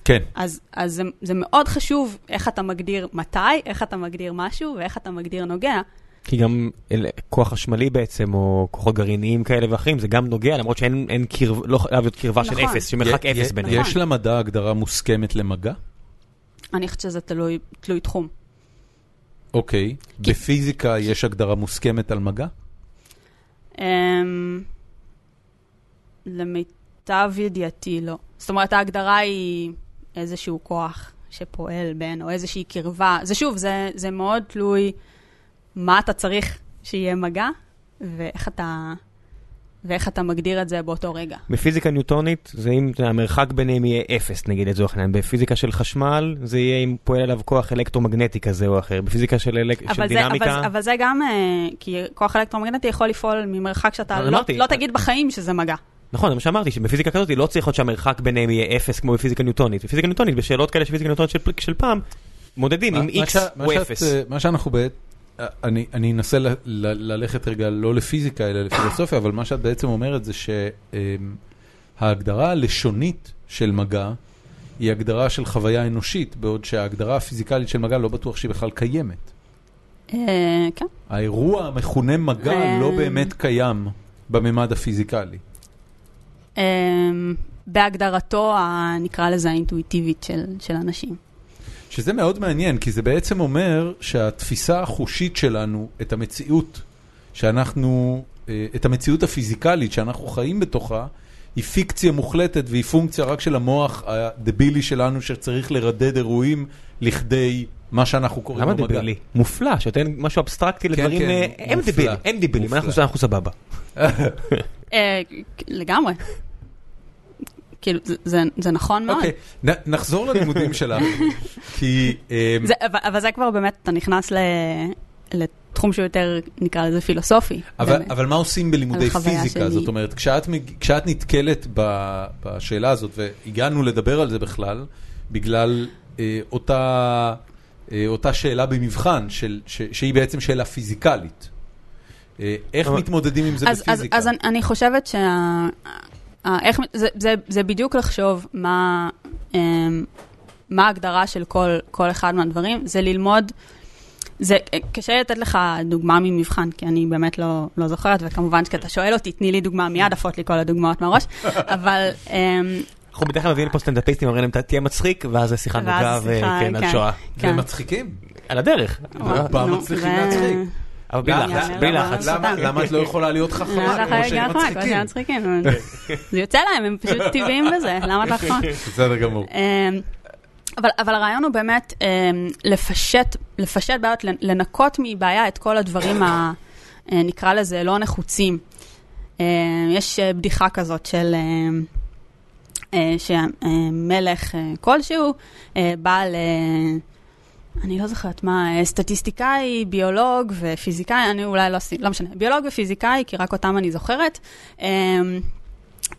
S1: כן.
S3: אז, אז זה, זה מאוד חשוב איך אתה מגדיר מתי, איך אתה מגדיר משהו ואיך אתה מגדיר נוגע.
S2: כי גם אל- כוח חשמלי בעצם, או כוחות גרעיניים כאלה ואחרים, זה גם נוגע, למרות שאין אין קרב, לא חייב להיות קרבה של
S3: נכון.
S2: אפס, שמרחק
S1: י-
S2: אפס
S1: י-
S2: ביניהם.
S1: יש למדע הגדרה מוסכמת למגע?
S3: אני חושבת שזה תלוי, תלוי תחום.
S1: אוקיי. בפיזיקה יש הגדרה מוסכמת על מגע?
S3: אמ, למיטב ידיעתי לא. זאת אומרת, ההגדרה היא איזשהו כוח שפועל בין, או איזושהי קרבה. זה שוב, זה, זה מאוד תלוי מה אתה צריך שיהיה מגע, ואיך אתה, ואיך אתה מגדיר את זה באותו רגע.
S2: בפיזיקה ניוטונית, זה אם אתה יודע, המרחק ביניהם יהיה אפס, נגיד לצורך העניין. בפיזיקה של חשמל, זה יהיה אם פועל עליו כוח אלקטרומגנטי כזה או אחר. בפיזיקה של, אלק... של
S3: אבל זה,
S2: דינמיקה...
S3: אבל, אבל זה גם, אה, כי כוח אלקטרומגנטי יכול לפעול ממרחק שאתה
S2: אבל
S3: לא,
S2: אמרתי-
S3: לא תגיד בחיים שזה מגע.
S2: נכון, זה מה שאמרתי, שבפיזיקה כזאת לא צריך להיות שהמרחק ביניהם יהיה אפס כמו בפיזיקה ניוטונית. בפיזיקה ניוטונית, בשאלות כאלה של פיזיקה ניוטונית של, של פעם, מודדים אם
S1: מה- מה
S2: x
S1: שה- מה
S2: הוא
S1: שאת,
S2: אפס.
S1: אה, מה שאנחנו ב... אה, אני אני אנסה ל- ל- ללכת רגע לא לפיזיקה אלא לפילוסופיה, אבל מה שאת בעצם אומרת זה שההגדרה הלשונית של מגע היא הגדרה של חוויה אנושית, בעוד שההגדרה הפיזיקלית של מגע לא בטוח שהיא בכלל קיימת.
S3: אה, כן.
S1: האירוע המכונה מגע
S2: כן.
S3: אה.
S1: לא באמת קיים בממד הפיזיקלי.
S3: אמ, בהגדרתו, ה- נקרא לזה האינטואיטיבית של, של אנשים.
S1: שזה מאוד מעניין, כי זה בעצם אומר שהתפיסה החושית שלנו, את המציאות שאנחנו, אה, את המציאות הפיזיקלית שאנחנו חיים בתוכה, היא פיקציה מוחלטת והיא פונקציה רק של המוח הדבילי שלנו שצריך לרדד אירועים לכדי מה שאנחנו קוראים
S2: למה
S1: לו מגע.
S2: דבילי? מופלא, שנותן משהו אבסטרקטי לדברים,
S1: כן,
S2: אה, הם
S1: מופלא.
S2: דבילים, הם דבילים,
S1: מופלא.
S2: אנחנו אנחנו סבבה.
S3: אה, לגמרי. כאילו, זה, זה, זה נכון מאוד.
S1: אוקיי, נ- נחזור ללימודים שלנו, כי... אה,
S3: זה, אבל, אבל זה כבר באמת, אתה נכנס ל, לתחום שהוא יותר, נקרא לזה פילוסופי.
S1: אבל,
S3: באמת.
S1: אבל מה עושים בלימודי
S3: על חוויה
S1: פיזיקה?
S3: שלי.
S1: זאת אומרת, כשאת, מג- כשאת נתקלת ב, בשאלה הזאת, והגענו לדבר על זה בכלל, בגלל אה, אותה, אה, אותה שאלה במבחן, של, ש, שהיא בעצם שאלה פיזיקלית. אה, איך
S2: אבל-
S1: מתמודדים עם זה
S3: אז, אז,
S1: בפיזיקה?
S3: אז אני, אני חושבת שה... ה- איך, זה, זה, זה בדיוק לחשוב מה, אמ, מה ההגדרה של כל, כל אחד מהדברים, זה ללמוד, זה קשה לי לתת לך דוגמה ממבחן, כי אני באמת לא, לא זוכרת, וכמובן כשאתה שואל אותי, תני לי דוגמה, מיד עפות לי כל הדוגמאות מהראש, אבל אמ,
S2: אנחנו בדרך כלל מביאים לפה סטנדאפיסטים, אומרים להם, "אתה תהיה מצחיק, ואז זה שיחה
S3: ואז
S2: נוגה,
S3: שיחה,
S2: וכן, על
S3: כן. אה.
S2: שואה.
S1: והם
S3: כן.
S1: מצחיקים.
S2: על הדרך.
S1: פעם
S3: נו,
S1: מצליחים
S3: זה-
S1: להצחיק.
S2: אבל בלי
S1: למה-
S2: לחץ,
S1: למה-
S2: בלי
S3: למה-
S2: לחץ.
S1: למה, למה את לא יכולה להיות
S3: למה
S1: חכמה
S3: אתה
S1: כמו
S3: חייב
S1: שהם
S3: גם חכמה, כמו
S1: מצחיקים?
S3: שהם מצחיקים, אבל זה יוצא להם, הם פשוט טבעיים בזה, למה אתה חכמה?
S1: בסדר גמור.
S3: אמ, אבל, אבל הרעיון הוא באמת אמ, לפשט, לפשט בעיות, לנ- לנקות מבעיה את כל הדברים, ה, אה, נקרא לזה, לא נחוצים. אמ, יש אה, בדיחה כזאת של אמ, אה, שמלך אה, כלשהו אה, בא ל... אני לא זוכרת מה, אה, סטטיסטיקאי, ביולוג ופיזיקאי, אני אולי לא, עשי- לא משנה, ביולוג ופיזיקאי, כי רק אותם אני זוכרת. אמ,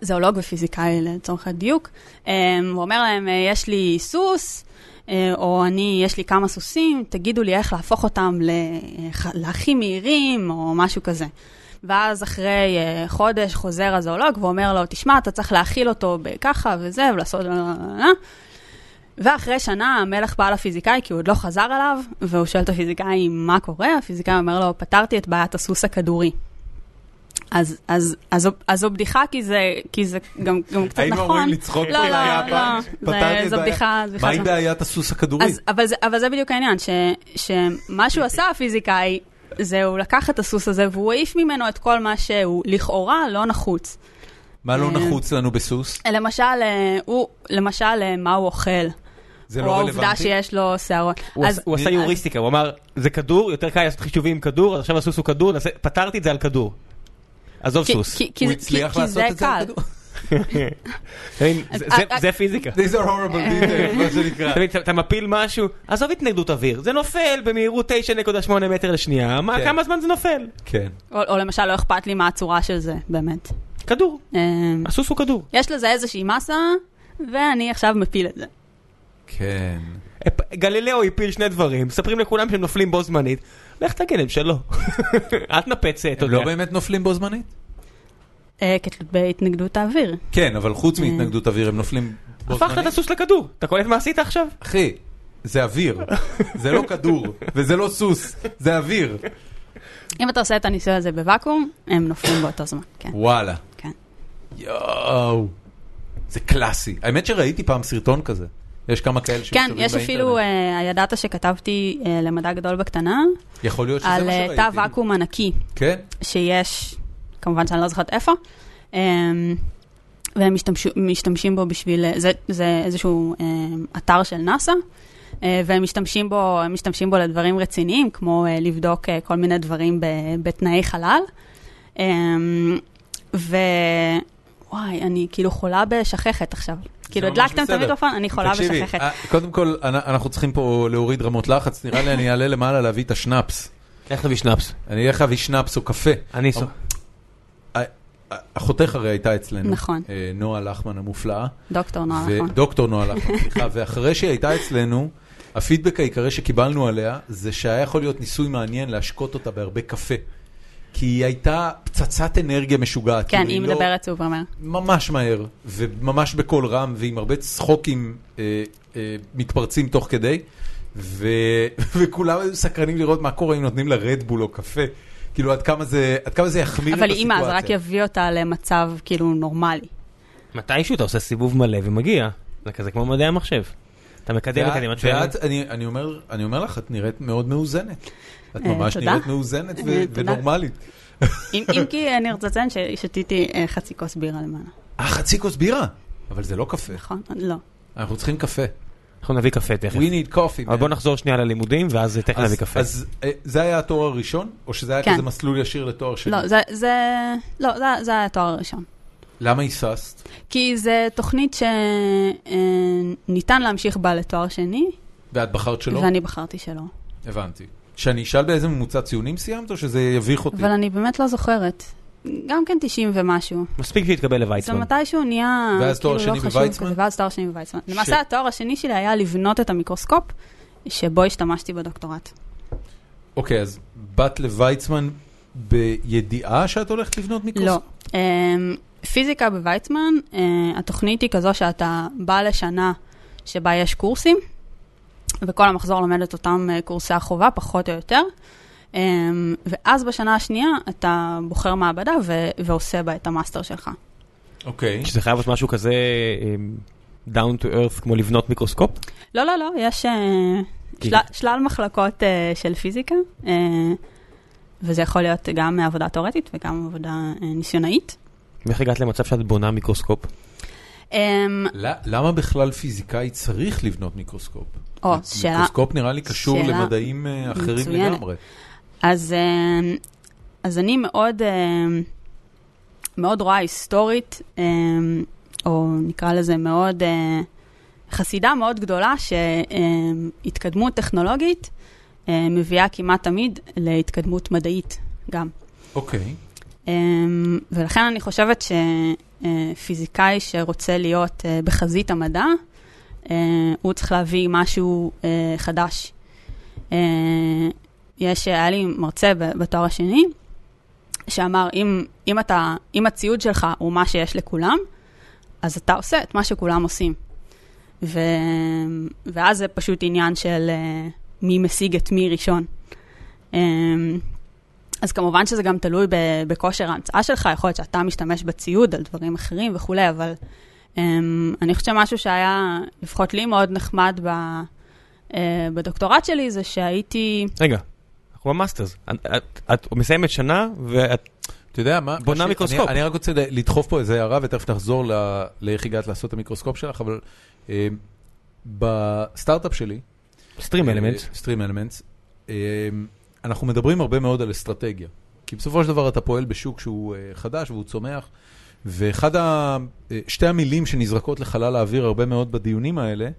S3: זואולוג ופיזיקאי לצורך הדיוק, אמ, הוא אומר להם, אה, יש לי סוס, אה, או אני, יש לי כמה סוסים, תגידו לי איך להפוך אותם לח- להכי מהירים, או משהו כזה. ואז אחרי אה, חודש חוזר הזואולוג ואומר לו, תשמע, אתה צריך להאכיל אותו בככה וזה, ולעשות... אה, ואחרי שנה המלך בא לפיזיקאי כי הוא עוד לא חזר אליו, והוא שואל את הפיזיקאי מה קורה, הפיזיקאי אומר לו, פתרתי את בעיית הסוס הכדורי. אז, אז, אז, זו- אז זו בדיחה, כי זה, כי זה גם, גם קצת נכון.
S1: היינו אמורים לצחוק
S3: לא,
S1: פה,
S3: לא,
S1: זה היה
S3: לא,
S1: פעם.
S3: לא,
S1: פתרתי
S3: זה-
S1: את
S3: זו
S1: בעיה.
S3: בדיחה, זו בדיחה.
S1: מה עם
S3: שם.
S1: בעיית הסוס הכדורי?
S3: אז, אבל, זה, אבל זה בדיוק העניין, ש, שמה שהוא עשה הפיזיקאי, זה הוא לקח את הסוס הזה והוא העיף ממנו את כל מה שהוא לכאורה לא נחוץ.
S1: מה לא
S3: אה,
S1: נחוץ לנו בסוס?
S3: למשל, אה, הוא, למשל, אה, מה הוא אוכל,
S1: זה
S3: או
S1: לא
S3: העובדה
S1: רלוונטי?
S3: שיש לו שערות.
S2: הוא
S3: אז-
S2: עשה- הוא עשה יוריסטיקה, הוא אמר, זה כדור, יותר קל לעשות חישובים עם כדור, אז עכשיו הסוס הוא כדור, נעשה- פתרתי את זה על כדור. עזוב
S3: כי-
S2: סוס.
S3: כי- כי
S1: הוא
S3: זה-
S1: הצליח
S3: כי- כי
S1: לעשות את זה?
S3: קל.
S1: על הכדור?
S2: אתה מבין? זה-
S3: אז- אה,
S2: זה-
S3: אז-
S2: זה פיזיקה.
S1: These are horrible details, מה שנקרא.
S2: אתה מבין, אתה- אתה מפיל משהו, עזוב התנגדות אוויר, זה נופל במהירות 9.8 מטר לשנייה, מה-
S1: כן.
S2: כמה זמן זה נופל?
S1: כן.
S3: או, או למשל, לא אכפת לי מה הצורה של זה, באמת.
S2: כדור,
S3: אמ,
S2: הסוס הוא כדור.
S3: יש לזה איזושהי מסה, ואני עכשיו מפיל את זה.
S1: כן.
S2: אפ- גלילאו הפיל שני דברים, מספרים לכולם שהם נופלים בו זמנית, לך תגיד להם שלא. אל תנפץ, אתה
S1: הם
S2: יודע.
S1: לא באמת נופלים בו זמנית?
S3: אה, כתלות בהתנגדות האוויר.
S1: כן, אבל חוץ מהתנגדות אוויר הם נופלים בו
S2: הפכת את
S1: זמנית?
S2: הסוס לכדור, אתה קולט מה עשית עכשיו?
S1: אחי, זה אוויר. זה לא כדור, וזה לא סוס, זה אוויר.
S3: אם אתה עושה את הניסוי הזה בוואקום, הם נופלים באותו זמן, כן.
S1: וואלה.
S3: כן.
S1: יואו. זה קלאסי. האמת שראיתי פעם סרטון כזה. יש כמה כאלה
S3: כן,
S1: שמסתובבים
S3: יש אפילו,
S1: באינטרנט.
S3: אה, הידעת שכתבתי אה, למדע גדול בקטנה,
S1: יכול להיות שזה מה
S3: על אה,
S1: שראיתי.
S3: תא ואקום ענקי,
S1: כן?
S3: שיש, כמובן שאני לא זוכרת איפה, אמ, והם משתמשו- משתמשים בו בשביל, אה, זה- זה איזשהו אמ, אתר של נאסא, אה, והם משתמשים בו, הם משתמשים בו לדברים רציניים, כמו אה, לבדוק אה, כל מיני דברים ב- בתנאי חלל. אמ, ו... וואי, אני כאילו חולה בשככת עכשיו. כאילו,
S1: ממש
S3: הדלקתם את
S1: בסדר.
S3: המיקרופון, אני חולה
S1: תקשיבי,
S3: בשככת.
S1: אה, קודם כל, אנ- אנחנו צריכים פה להוריד רמות לחץ. נראה לי אני אעלה למעלה להביא את השנאפס.
S2: לך תביא שנאפס.
S1: אני אלך להביא שנאפס או קפה.
S2: אני סו...
S1: אחותך הרי הייתה אצלנו.
S3: נכון.
S1: אה, נועה לחמן המופלאה.
S3: דוקטור נועה נכון.
S1: ודוקטור נועה לחמן, סליחה, ואחרי שהיא הייתה אצלנו, הפידבק העיקרי שקיבלנו עליה, זה שהיה יכול להיות ניסוי מעניין להשקות אותה בהרבה קפה. כי היא הייתה פצצת אנרגיה משוגעת.
S3: כן,
S1: כאילו,
S3: היא
S1: לא-
S3: מדברת סופר מהר.
S1: ממש מהר, וממש בקול רם, ועם הרבה צחוקים אה, אה, מתפרצים תוך כדי, ו... וכולם היו סקרנים לראות מה קורה אם נותנים לה רדבול או קפה. כאילו, עד כמה זה, עד כמה זה יחמיר את
S3: אבל היא
S1: הסיטואציה.
S3: אימא, אז רק יביא אותה למצב כאילו נורמלי.
S2: מתישהו אתה עושה סיבוב מלא ומגיע, זה כזה כמו מדעי המחשב. אתה מקדם את
S1: ואת-
S2: הלימד
S1: ואת, אני, אני, אומר, אני אומר לך, את נראית מאוד מאוזנת. את
S3: אה,
S1: ממש
S3: תודה.
S1: נראית מאוזנת ו-
S3: אה, תודה.
S1: ונורמלית.
S3: אם אם כי אני רוצה לציין ששתיתי אה, חצי כוס בירה למעלה,
S1: אה, חצי כוס בירה. אבל זה לא קפה.
S3: נכון? לא.
S1: אנחנו צריכים קפה.
S2: אנחנו נביא קפה
S1: We
S2: תכף.
S1: need coffee.
S2: אבל
S1: man.
S2: בוא נחזור שנייה ללימודים, ואז תכף
S1: אז-
S2: נביא קפה.
S1: אז אה, זה היה התואר הראשון? או שזה היה
S3: כן.
S1: כזה מסלול ישיר לתואר שני?
S3: לא, זה, זה, לא, זה, זה היה התואר הראשון.
S1: למה היססת?
S3: כי זו תוכנית שניתן להמשיך בה לתואר שני,
S1: ואת בחרת שלא?
S3: ואני בחרתי שלא.
S1: הבנתי. שאני אשאל באיזה ממוצע ציונים סיימת, או שזה יביך אותי?
S3: אבל אני באמת לא זוכרת. גם כן 90 ומשהו.
S2: מספיק שהתקבל
S3: זה
S2: לוויצמן.
S3: מתישהו נהיה,
S1: ואז תואר
S3: כאילו
S1: שני
S3: לא חשוב
S1: בוויצמן?
S3: כזה, ואז תואר שני בוויצמן.
S1: ש-
S3: למעשה התואר השני שלי היה לבנות את המיקרוסקופ, שבו השתמשתי בדוקטורט.
S1: אוקיי, אז באת לוויצמן בידיעה שאת הולכת לבנות מיקרוס?
S3: לא. אמ, פיזיקה בוויצמן, אה, התוכנית היא כזו שאתה בא לשנה שבה יש קורסים, וכל המחזור לומד את אותם אה, קורסי החובה, פחות או יותר, אמ, ואז בשנה השנייה אתה בוחר מעבדה ו- ועושה בה את המאסטר שלך. לא.
S1: אוקיי.
S2: שזה חייב להיות משהו כזה אמ, down to earth כמו לבנות מיקרוסקופ.
S3: לא, לא, לא, יש אה,
S2: כי-
S3: שלל- שלל מחלקות אה, של פיזיקה, אה, וזה יכול להיות גם עבודה תאורטית וגם עבודה אה, ניסיונאית.
S2: ואיך הגעת למצב שאת בונה מיקרוסקופ?
S3: אמ,
S1: ל- למה בכלל פיזיקאי צריך לבנות מיקרוסקופ?
S3: או, שאלה
S1: מיקרוסקופ נראה לי קשור
S3: שאלה
S1: למדעים אה, אחרים
S3: מצוינת.
S1: לגמרי.
S3: אז, אה, אז אני מאוד, אה, מאוד רואה היסטורית, אה, או נקרא לזה מאוד, אה, חסידה מאוד גדולה שהתקדמות טכנולוגית אה, מביאה כמעט תמיד להתקדמות מדעית גם.
S1: אוקיי.
S3: אה, ולכן אני חושבת שפיזיקאי שרוצה להיות אה, בחזית אה, המדע, אה, הוא צריך להביא משהו אה, חדש. אה, יש, היה לי מרצה ב- בתואר השני, שאמר, אם, אם, אתה, אם הציוד שלך הוא מה שיש לכולם, אז אתה עושה את מה שכולם עושים. ו... ואז זה פשוט עניין של אה, מי משיג את מי ראשון. אה, אז כמובן שזה גם תלוי ב... בכושר ההמצאה שלך, יכול להיות שאתה משתמש בציוד על דברים אחרים וכולי, אבל אה, אני חושבת שמשהו שהיה, לפחות לי, מאוד נחמד ב... אה, בדוקטורט שלי, זה שהייתי...
S2: רגע, אנחנו במאסטרס. את- את- את מסיימת שנה, ואת...
S1: אתה יודע מה?
S2: בונה
S1: מה ש-
S2: מיקרוסקופ.
S1: אני, אני רק רוצה לדחוף פה איזה הערה, ותכף נחזור ל- לאיך הגעת לעשות את המיקרוסקופ שלך, אבל אה, בסטארט-אפ שלי,
S2: סטרים
S1: אה,
S2: אלמנט.
S1: סטרים אלמנטס. אמ, אנחנו מדברים הרבה מאוד על אסטרטגיה, כי בסופו של דבר אתה פועל בשוק שהוא אה, חדש והוא צומח, ואחד ה... אה, שתי המילים שנזרקות לחלל האוויר הרבה מאוד בדיונים האלה,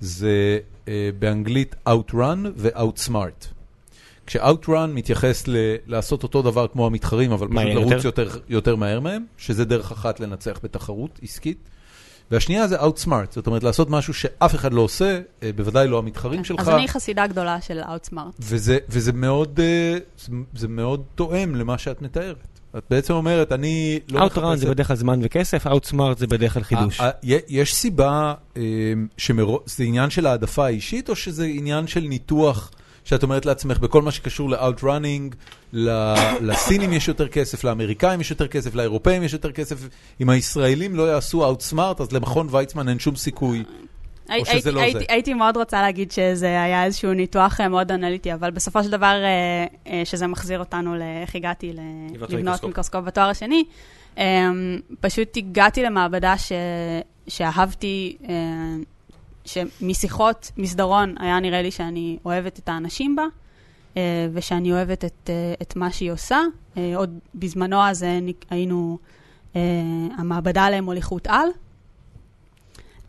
S1: זה אה, באנגלית Outrun ו-Outsmart. כש-Outrun מתייחס ל- לעשות אותו דבר כמו המתחרים, אבל פשוט
S2: מהר
S1: לרוץ יותר, יותר מהר מהם, שזה דרך אחת לנצח בתחרות עסקית. והשנייה זה Outsmart, זאת אומרת לעשות משהו שאף אחד לא עושה, אה, בוודאי לא המתחרים שלך.
S3: אז אני חסידה גדולה של Outsmart.
S1: וזה, וזה מאוד, אה, זה, זה מאוד תואם למה שאת מתארת. את בעצם אומרת, אני לא
S2: Outrun זה בדרך כלל זמן וכסף, Outsmart זה בדרך כלל חידוש.
S1: ה- ה- י- יש סיבה אה, שמרו- זה עניין של העדפה האישית, או שזה עניין של ניתוח שאת אומרת לעצמך, בכל מה שקשור ל-outrunning, ל- לסינים יש יותר כסף, לאמריקאים יש יותר כסף, לאירופאים יש יותר כסף, אם הישראלים לא יעשו outsmart, אז למכון ויצמן אין שום סיכוי.
S3: הי-
S1: שזה
S3: הייתי-
S1: לא
S3: הייתי-
S1: זה?
S3: הייתי מאוד רוצה להגיד שזה היה איזשהו ניתוח אה, מאוד אנליטי, אבל בסופו של דבר, אה, אה, שזה מחזיר אותנו לאיך הגעתי ל-
S2: לבנות
S3: לבנות
S2: מיקרוסקופ.
S3: מיקרוסקופ בתואר השני, אה, פשוט הגעתי למעבדה ש- שאהבתי, אה, שמשיחות מסדרון היה נראה לי שאני אוהבת את האנשים בה. אה, ושאני אוהבת את, אה, את מה שהיא עושה. אה, עוד בזמנו אז אה, ניק- היינו, אה, המעבדה עליהם מוליכות על.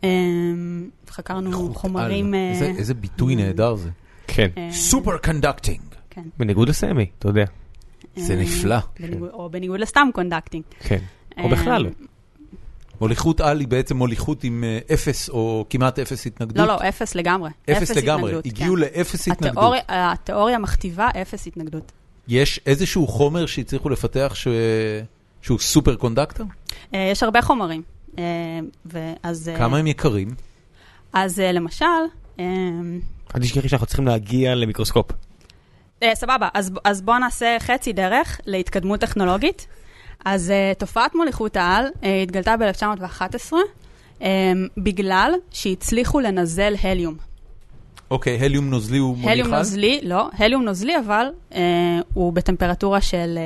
S3: אה, חקרנו חומרים... אה,
S1: איזה, איזה ביטוי נהדר זה.
S2: כן.
S3: אה,
S1: סופר קונדקטינג.
S3: כן.
S2: בניגוד לסמי, אתה יודע.
S1: זה
S3: אה,
S1: נפלא.
S3: בניגוד- או בניגוד לסתם קונדקטינג. אה,
S2: כן. או בכלל לא.
S1: מוליכות על היא בעצם מוליכות עם אה, אפס או כמעט אפס התנגדות.
S3: לא, לא, אפס לגמרי.
S1: אפס לגמרי.
S3: התנגדות,
S1: הגיעו
S3: כן.
S1: לאפס התנגדות.
S3: התיאוריה- התיאוריה מכתיבה אפס התנגדות.
S1: יש איזשהו חומר שהצליחו לפתח ש- שהוא סופר קונדקטר?
S3: אה, יש הרבה חומרים. אה, ואז... אה,
S1: כמה הם יקרים?
S3: אז אה, למשל, אה,
S2: אל תשכחי שאנחנו צריכים להגיע למיקרוסקופ.
S3: אה, סבבה, אז, אז בואו נעשה חצי דרך להתקדמות טכנולוגית. אז אה, תופעת מוליכות העל אה, התגלתה ב-1911 אה, בגלל שהצליחו לנזל הליום.
S1: אוקיי, הליום נוזלי הוא מוליך
S3: הליום
S1: על?
S3: נוזלי, לא, הליום נוזלי אבל אה, הוא בטמפרטורה של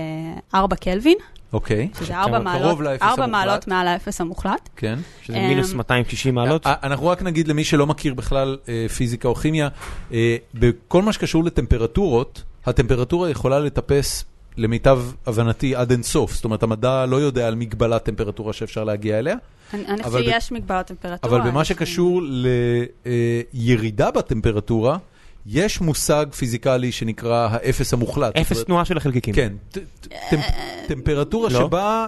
S3: אה, 4 קלווין,
S1: אוקיי,
S3: שזה 4
S1: קרוב
S3: מעלות,
S1: לאפס
S3: 4
S1: המוחלט.
S3: מעלות מעל האפס המוחלט.
S1: כן.
S2: שזה
S3: אמ,
S2: מינוס 260 מעלות.
S1: אה, אנחנו רק נגיד למי שלא מכיר בכלל אה, פיזיקה או כימיה, אה, בכל מה שקשור לטמפרטורות, הטמפרטורה יכולה לטפס, למיטב הבנתי, עד אינסוף. זאת אומרת, המדע לא יודע על מגבלת טמפרטורה שאפשר להגיע אליה.
S3: אני אני
S1: אבל
S3: חושבת
S1: ב-
S3: שיש מגבלות טמפרטורה.
S1: אבל במה
S3: יש-
S1: שקשור לירידה בטמפרטורה, יש מושג פיזיקלי שנקרא האפס המוחלט.
S2: אפס
S1: זאת
S2: תנועה של החלקיקים.
S1: אומרת, אה, כן, ט- ט- טמפ- טמפרטורה
S2: לא.
S1: שבה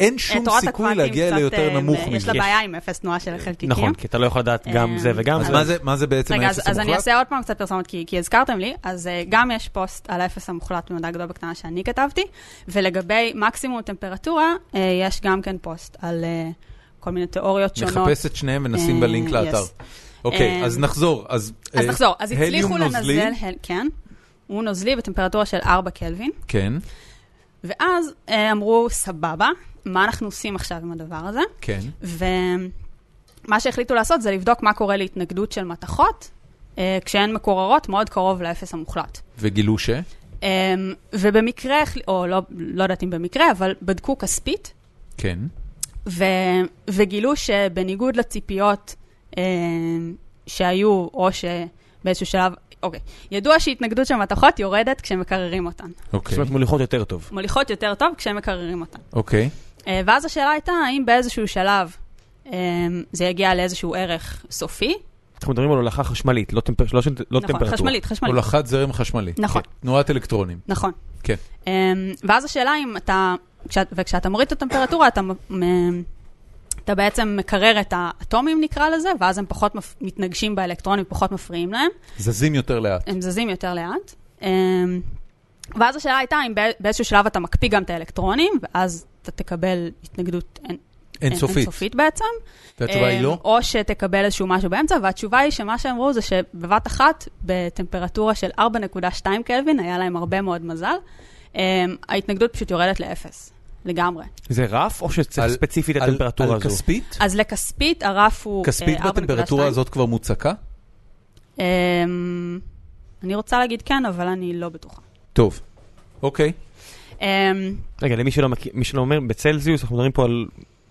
S1: אין
S3: אה,
S1: שום
S3: תורת
S1: סיכוי
S3: הקוונטים
S1: להגיע
S3: קצת,
S1: ליותר
S3: אה,
S1: נמוך
S3: יש
S2: כן,
S1: מזה. אה,
S3: לה בעיה עם אפס תנועה של החלקיקים.
S2: נכון, כי אתה לא יכול לדעת גם
S3: אמ,
S2: זה וגם
S1: אז
S2: זה.
S1: מה זה- מה זה בעצם
S3: רגע,
S1: האפס
S3: אז, אז אני
S1: המוחלט?
S3: אעשה עוד פעם קצת פרסומת, כי, כי הזכרתם לי, אז uh, גם יש פוסט על האפס המוחלט במדע גדול בקטנה שאני כתבתי, ולגבי מקסימום טמפרטורה, uh, יש גם כן פוסט על uh, כל מיני תיאוריות שונות.
S1: נחפש את שניהם ונשים
S3: אה,
S1: בלינק
S3: yes.
S1: לאתר. אוקיי,
S3: אה,
S1: אז נחזור. אז
S3: אז
S1: אה,
S3: נחזור, אז הצליחו
S1: הליום נוזלי,
S3: לנזל, הל... כן, הוא נוזלי בטמפרטורה של 4 קלווין,
S1: כן,
S3: ואז uh, אמרו, סבבה, מה אנחנו עושים עכשיו עם הדבר הזה?
S1: כן.
S3: ומה שהחליטו לעשות זה לבדוק מה קורה להתנגדות של מתכות, uh, כשהן מקוררות מאוד קרוב לאפס המוחלט.
S1: וגילו ש?
S3: Um, ובמקרה, החל- או לא, לא יודעת אם במקרה, אבל בדקו כספית,
S1: כן.
S3: ו, וגילו שבניגוד לציפיות um, שהיו, או שבאיזשהו שלב, אוקיי, ידוע שהתנגדות של מתכות יורדת כשמקררים אותן.
S1: אוקיי.
S2: כן. זאת אומרת מוליכות יותר טוב.
S3: מוליכות יותר טוב כשמקררים אותן.
S1: אוקיי.
S3: Uh, ואז השאלה הייתה, האם באיזשהו שלב um, זה יגיע לאיזשהו ערך סופי?
S2: אנחנו מדברים על הולכה חשמלית, לא טמפר- לא של- לא
S3: נכון,
S2: טמפרטורה.
S3: חשמלית, חשמלית.
S1: הולכת זרם חשמלי.
S3: נכון.
S1: כן. תנועת אלקטרונים.
S3: נכון.
S1: כן.
S3: Um, ואז השאלה אם אתה, כשאת, וכשאתה מוריד את הטמפרטורה, אתה מ- מ- אתה בעצם מקרר את האטומים נקרא לזה, ואז הם פחות מפ... מתנגשים באלקטרונים, פחות מפריעים להם,
S1: זזים יותר לאט.
S3: הם זזים יותר לאט. אמ, ואז השאלה הייתה אם בא- באיזשהו שלב אתה מקפיא גם את האלקטרונים, ואז אתה תקבל התנגדות אין-
S1: אינסופית.
S3: אינסופית בעצם.
S1: והתשובה היא
S3: אמ,
S1: לא?
S3: או שתקבל איזשהו משהו באמצע, והתשובה היא שמה שהם אמרו זה שבבת אחת, בטמפרטורה של 4.2 קלווין, היה להם הרבה מאוד מזל, אמ, ההתנגדות פשוט יורדת לאפס, לגמרי.
S2: זה רף או שצריך
S1: על-
S2: ספציפית
S1: על-
S2: הטמפרטורה
S1: על
S2: הזו?
S1: כספית?
S3: אז לכספית הרף הוא אה, 4.2.
S1: כספית בטמפרטורה הזאת כבר מוצקה?
S3: אמ, אני רוצה להגיד כן, אבל אני לא בטוחה.
S1: טוב. אוקיי.
S3: אמ,
S2: רגע, למי שלא מכיר, מי שלא אומר, בצלזיוס אנחנו מדברים פה על